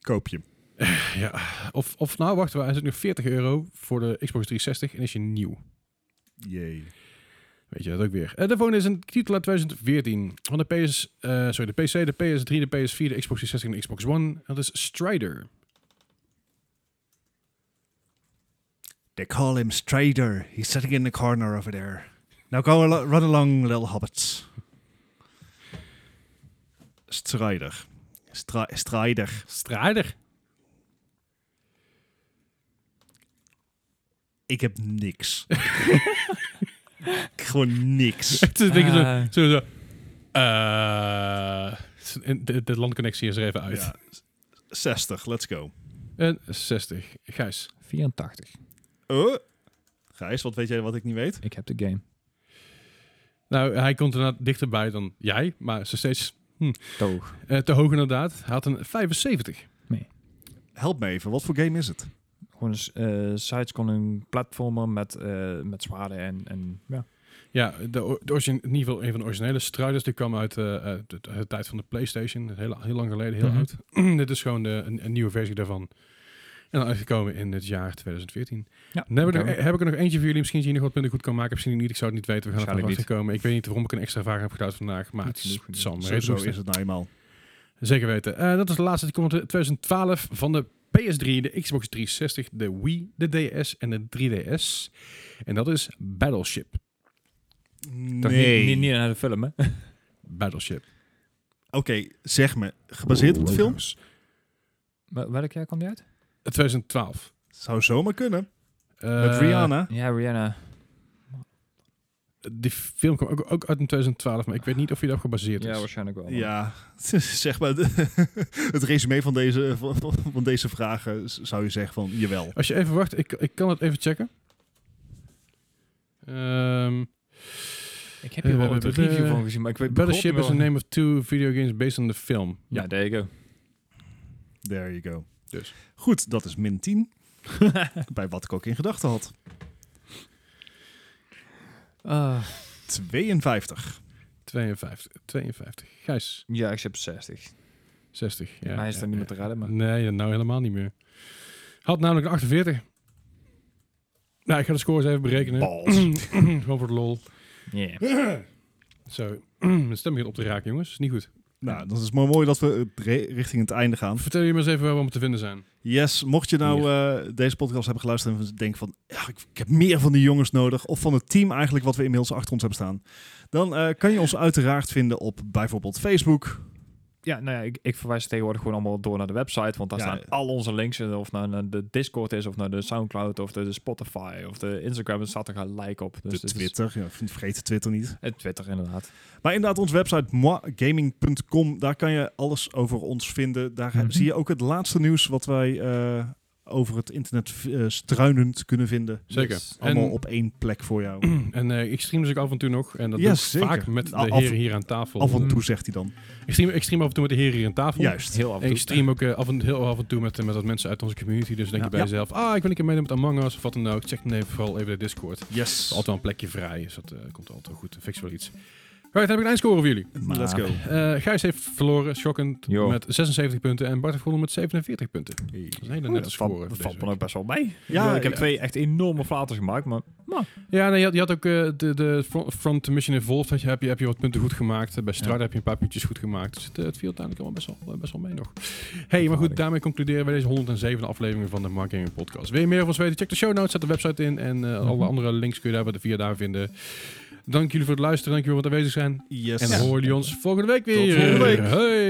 Koop je. hem.
Ja, of, of nou, wachten we, hij zit nog 40 euro voor de Xbox 360 en is je nieuw.
Jee.
Weet je dat ook weer. Eh, de volgende is een titel uit 2014 van de, PS, eh, sorry, de PC, de PS3, de PS4, de Xbox 360 en de Xbox One. Dat is Strider.
They call him Strider. He's sitting in the corner over there. Now go al- run along, little hobbits. Strider. Stra- Strider.
Strider?
Ik heb niks. Gewoon niks.
Het is een beetje zo-
Ah.
zo- zo, eh, de, de landconnectie is er even uit.
Ja. 60, let's go.
En 60. Gijs.
84.
Oh. Gijs, wat weet jij wat ik niet weet?
Ik heb de game.
Nou, hij komt inderdaad dichterbij dan jij, maar is nog steeds
Toog.
eh, te hoog inderdaad. Hij had een 75.
Help me even, wat voor game is het?
Gewoon een s- eh side-scrolling platformer met, eh, met zwaarden en, en ja.
Ja, de, o- de origine, in ieder geval een van de originele Striders, die kwam uit eh, uit de, uit de tijd van de PlayStation. Heel, heel lang geleden, heel
Mhm.
oud. Dit is gewoon de, een, een nieuwe versie daarvan. En dan uitgekomen in het jaar 2014.
Ja,
Dan heb ik,
oké.
er, heb ik er nog eentje voor jullie. Misschien dat je nog wat punten goed kan maken. Misschien niet. Ik zou het niet weten. We gaan er
Waarschijnlijk
vanaf komen. Ik weet niet waarom ik een extra vraag heb gedaan vandaag. Maar
Goed
het
genoeg,
is- het
goed
zal me
Zo,
reden
zo
doen.
is het nou eenmaal.
Zeker weten. Eh, dat is de laatste. Die komt uit 2012 van de PS3, de Xbox 360, de Wii, de DS en de 3DS. En dat is Battleship.
Toch
Nee.
Niet, niet, niet naar de film, hè?
Battleship. Oh,
Oké, zeg me. Gebaseerd op de film?
Wel- Welk jaar kwam die uit?
Eh, 2012.
Zou zomaar kunnen.
Eh,
Met Rihanna.
Ja, Rihanna.
Die film kwam ook, ook uit in 2012, maar ik weet niet of hij daarop gebaseerd
dus- Ja,
is.
waarschijnlijk wel.
Ja, zeg maar. het resume van deze, van, van deze vragen z- zou je zeggen van jawel.
Als je even wacht, ik, ik kan het even checken. Ehm,
Ik heb hier wel
Eh,
ooit een
eh, eh,
review van gezien, maar ik weet
Battleship
begon
is
wel-
the name of two video games based on the film.
Ja, there you go.
There you go.
Dus.
Goed, dat is min 10. Bij wat ik ook in gedachten had.
Ah.
52.
52. 52. Gijs,
ja, ik heb 60.
60. Ja,
Maar hij is
ja,
daar niet
ja.
meer te redden, maar...
Nee, nou helemaal niet meer. Had namelijk een 48. Nou, ik ga de scores even berekenen.
Balls.
Gewoon voor de lol.
Yeah.
Zo, mijn stem begint op te raken, jongens. Is niet goed.
nou, dat is maar mooi dat we eh, re- richting het einde gaan.
Vertel je maar eens even waar we om te vinden zijn.
Yes, mocht je nou eh, deze podcast hebben geluisterd en denken van... Ja, ik, ik heb meer van die jongens nodig. Of van het team eigenlijk wat we inmiddels achter ons hebben staan. Dan eh, kan je ons uiteraard vinden op bijvoorbeeld Facebook.
Ja, nou ja, ik, ik verwijs tegenwoordig gewoon allemaal door naar de website, want daar
Ja,
staan
eh.
al onze links, eh, of naar, naar de Discord is, of naar de Soundcloud, of de, de Spotify, of de Instagram, er staat er gelijk op. Dus
de
dit is-
Twitter. Ja, vergeet de Twitter niet.
En Twitter, inderdaad.
Maar inderdaad, onze website moagaming.com. Daar kan je alles over ons vinden. Daar
Mhm.
zie je ook het laatste nieuws wat wij eh, over het internet eh, struinend kunnen vinden.
Zeker.
Yes.
Allemaal
En-
op één plek voor jou.
En eh, ik stream dus ook af en toe nog. En dat
Ja,
doe ik
zeker.
vaak met de
Af-
heren hier aan tafel.
Af en toe zegt hij dan.
Ik stream, ik stream af en toe met de heren hier aan tafel.
Juist.
Heel af
En
en
ik
toe.
stream ook eh, af en, heel af en toe met, eh, met wat mensen uit onze community. Dus denk
Ja.
je bij
Ja.
jezelf, ah, ik wil een keer meedoen met Among Us of wat dan ook. Check dan even, vooral even de Discord. Er is
Yes.
altijd wel een plekje vrij, dus dat eh, komt altijd wel goed. Dan Fix wel iets. Right, heb ik een eindscore voor jullie.
Maar Let's go.
Eh, Gijs heeft verloren, schokkend,
Jo.
met 76 punten. En Bart heeft gewonnen met 47 punten. Dat is een hele
Oh,
nette
Dat valt,
score.
dat
deze
valt me
week.
ook best wel bij.
Ja,
Ja, ik heb
ja.
twee echt enorme flaters gemaakt, maar...
Ja, nee, je, had, je had ook eh, de, de front, front Mission Evolved. Had je, heb, je, heb je wat punten goed gemaakt. Eh, Bij Strada heb je een paar puntjes goed gemaakt. Dus het, eh, het viel uiteindelijk allemaal best wel, eh, best wel mee nog. hey, maar goed, daarmee concluderen we deze 107 aflevering van de Mark Gaming Podcast. Wil je meer van ons weten? Check de show notes, zet de website in. En eh, alle andere links kun je daar bij de via daar vinden. Dank jullie voor het luisteren. Dank jullie voor het aanwezig zijn.
Yes.
En dan horen jullie ons volgende week weer.
volgende week.
Hey.